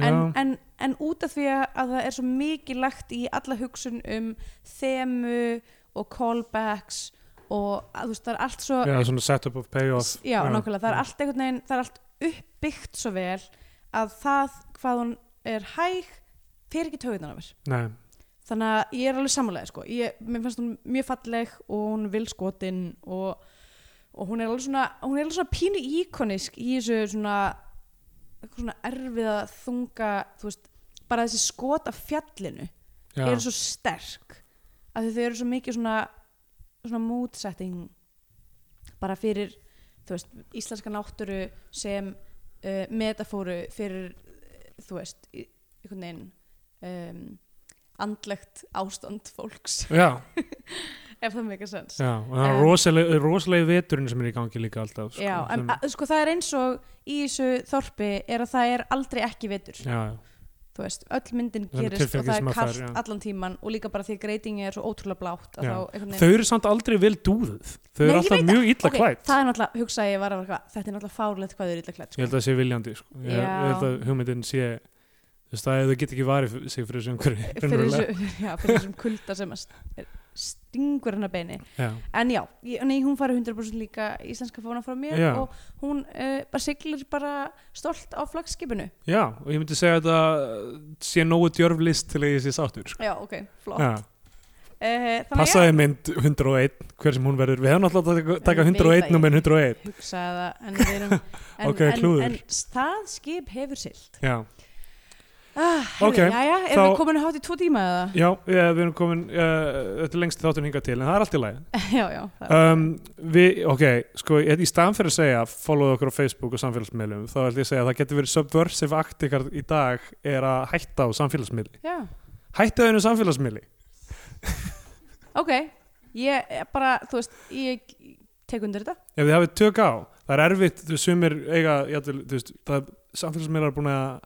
Speaker 3: en, en, en út af því að að það er svo mikið lagt í alla hugsun um þemu og callbacks og að, þú veist, það er allt svo
Speaker 2: já, já, svona setup of payoff
Speaker 3: já, nákvæmlega, það er allt einhvern veginn það er allt uppbyggt svo vel að það hvað hún er hæg fer ekki tögunan af mér
Speaker 2: Nei,
Speaker 3: þannig að ég er alveg samanlega sko. ég, mér finnst hún mjög falleg og hún er vilskotinn og, og hún er alveg svona hún er alveg svona pínu íkonisk í þessu svona, eitthvað svona erfiða þunga þú veist, bara þessi skot af fjallinu
Speaker 2: já,
Speaker 3: eru svo sterk af því þau eru svo mikið svona, svona mútsetting bara fyrir þú veist, íslenska náttúru sem uh, metafóru fyrir eh, þú veist, í- einhvern veginn um, andlegt ástand fólks
Speaker 2: já,
Speaker 3: ef það meika sens
Speaker 2: já og það
Speaker 3: En-
Speaker 2: er rosalegi, rosalegi veturinn sem er í gangi líka alltaf sko,
Speaker 3: Já, en
Speaker 2: sem,
Speaker 3: að, sko það er eins og í þessu þorpi er að það er aldrei ekki vetur
Speaker 2: já, já,
Speaker 3: þú veist, öll myndin
Speaker 2: Það er
Speaker 3: gerist og
Speaker 2: tilfinningin sem
Speaker 3: það er
Speaker 2: maður fær,
Speaker 3: kalt
Speaker 2: já.
Speaker 3: allan tíman og líka bara því að greitingi er svo ótrúlega blátt að
Speaker 2: Já.
Speaker 3: þá einhvern veginn
Speaker 2: þau eru samt aldrei vel dúðuð þau
Speaker 3: Nei,
Speaker 2: eru
Speaker 3: ég
Speaker 2: alltaf
Speaker 3: veit
Speaker 2: mjög illa
Speaker 3: Ok,
Speaker 2: klætt
Speaker 3: það er náttúrulega, hugsaði ég var að vera eitthvað, þetta er náttúrulega fárlegt hvað þau eru illa klætt
Speaker 2: ég held að
Speaker 3: sko.
Speaker 2: það sé viljandi sko. ég,
Speaker 3: Já.
Speaker 2: ég held að hugmyndin sé þú veist að þau get ekki varið f- sig fyrir þessu umhverfi
Speaker 3: fyrir,
Speaker 2: raunverulega.
Speaker 3: þessu, já, fyrir þessum kulda sem að st- stingur hennar beini
Speaker 2: já,
Speaker 3: en já, ég, nei, hún farið 100% líka íslenska fóna frá mér
Speaker 2: Já.
Speaker 3: og hún uh, bara siglir bara stolt á flagskipinu
Speaker 2: já, og ég myndi segja að það sé nógu djörf list til að ég sé sáttur sko.
Speaker 3: já, ok, flott
Speaker 2: já,
Speaker 3: uh, Eh, þannig að
Speaker 2: passaði mynd 101 hver sem hún verður, við hefum alltaf að taka- taka
Speaker 3: Ég veit það
Speaker 2: 101 nummer 101
Speaker 3: já, hugsaði það en, við erum, en,
Speaker 2: Ok,
Speaker 3: en,
Speaker 2: klúður.
Speaker 3: en það skip hefur silt
Speaker 2: já,
Speaker 3: ah,
Speaker 2: Ok,
Speaker 3: hefði, jæja, erum
Speaker 2: þá-
Speaker 3: við komin að hátt í tvo tíma eða?
Speaker 2: já eh, við erum komin uh, þetta er lengst þáttur hingað til, en það er allt í lagi
Speaker 3: já, já, það er
Speaker 2: um, við, ok, sko ég- í staðan fyrir að segja, follow okkur á Facebook og samfélagsmiðlum, þá ætlum ég að segja að það getur verið subversive act ykkar í dag er að hætta á samfélagsmiðli,
Speaker 3: já.
Speaker 2: hætta þau einu samfélagsmiðli
Speaker 3: ok, ég er bara, þú veist, ég tek undir þetta
Speaker 2: ef þið hafið tök á, það er erfitt þú veist, sumir eiga, jætul, þú veist það, samfélagsmiðlar er búin að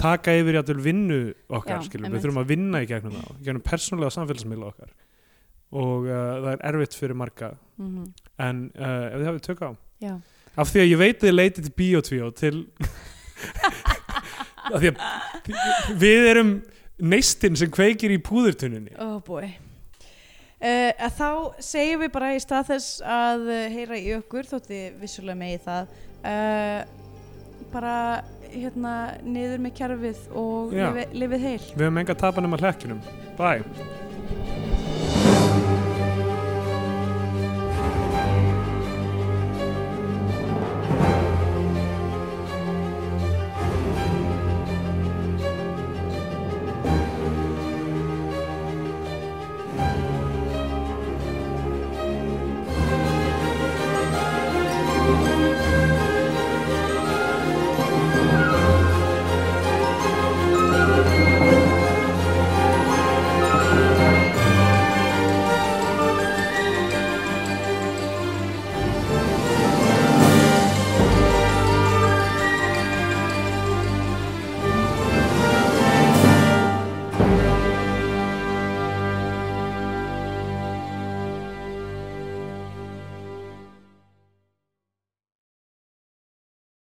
Speaker 2: taka yfir jætul vinnu okkar
Speaker 3: Já,
Speaker 2: skilur,
Speaker 3: einmitt.
Speaker 2: við þurfum að vinna í gegnum það í gegnum persónlega samfélagsmiðla okkar og uh, það er erfitt fyrir marga
Speaker 3: mm
Speaker 2: en uh, ef þið hafið tök á
Speaker 3: já,
Speaker 2: af því að ég veit að þið leitið til Bíotvíó til af því að við erum neistinn sem kveikir í púðurtunninni
Speaker 3: oh boy uh, að þá segjum við bara í stað þess að eh, heyra í okkur þótti vissulega megi það uh, bara hérna niður með kjarfið og
Speaker 2: Já.
Speaker 3: lifið, lifið heil
Speaker 2: við höfum enga tapan um að hlekkjunum bye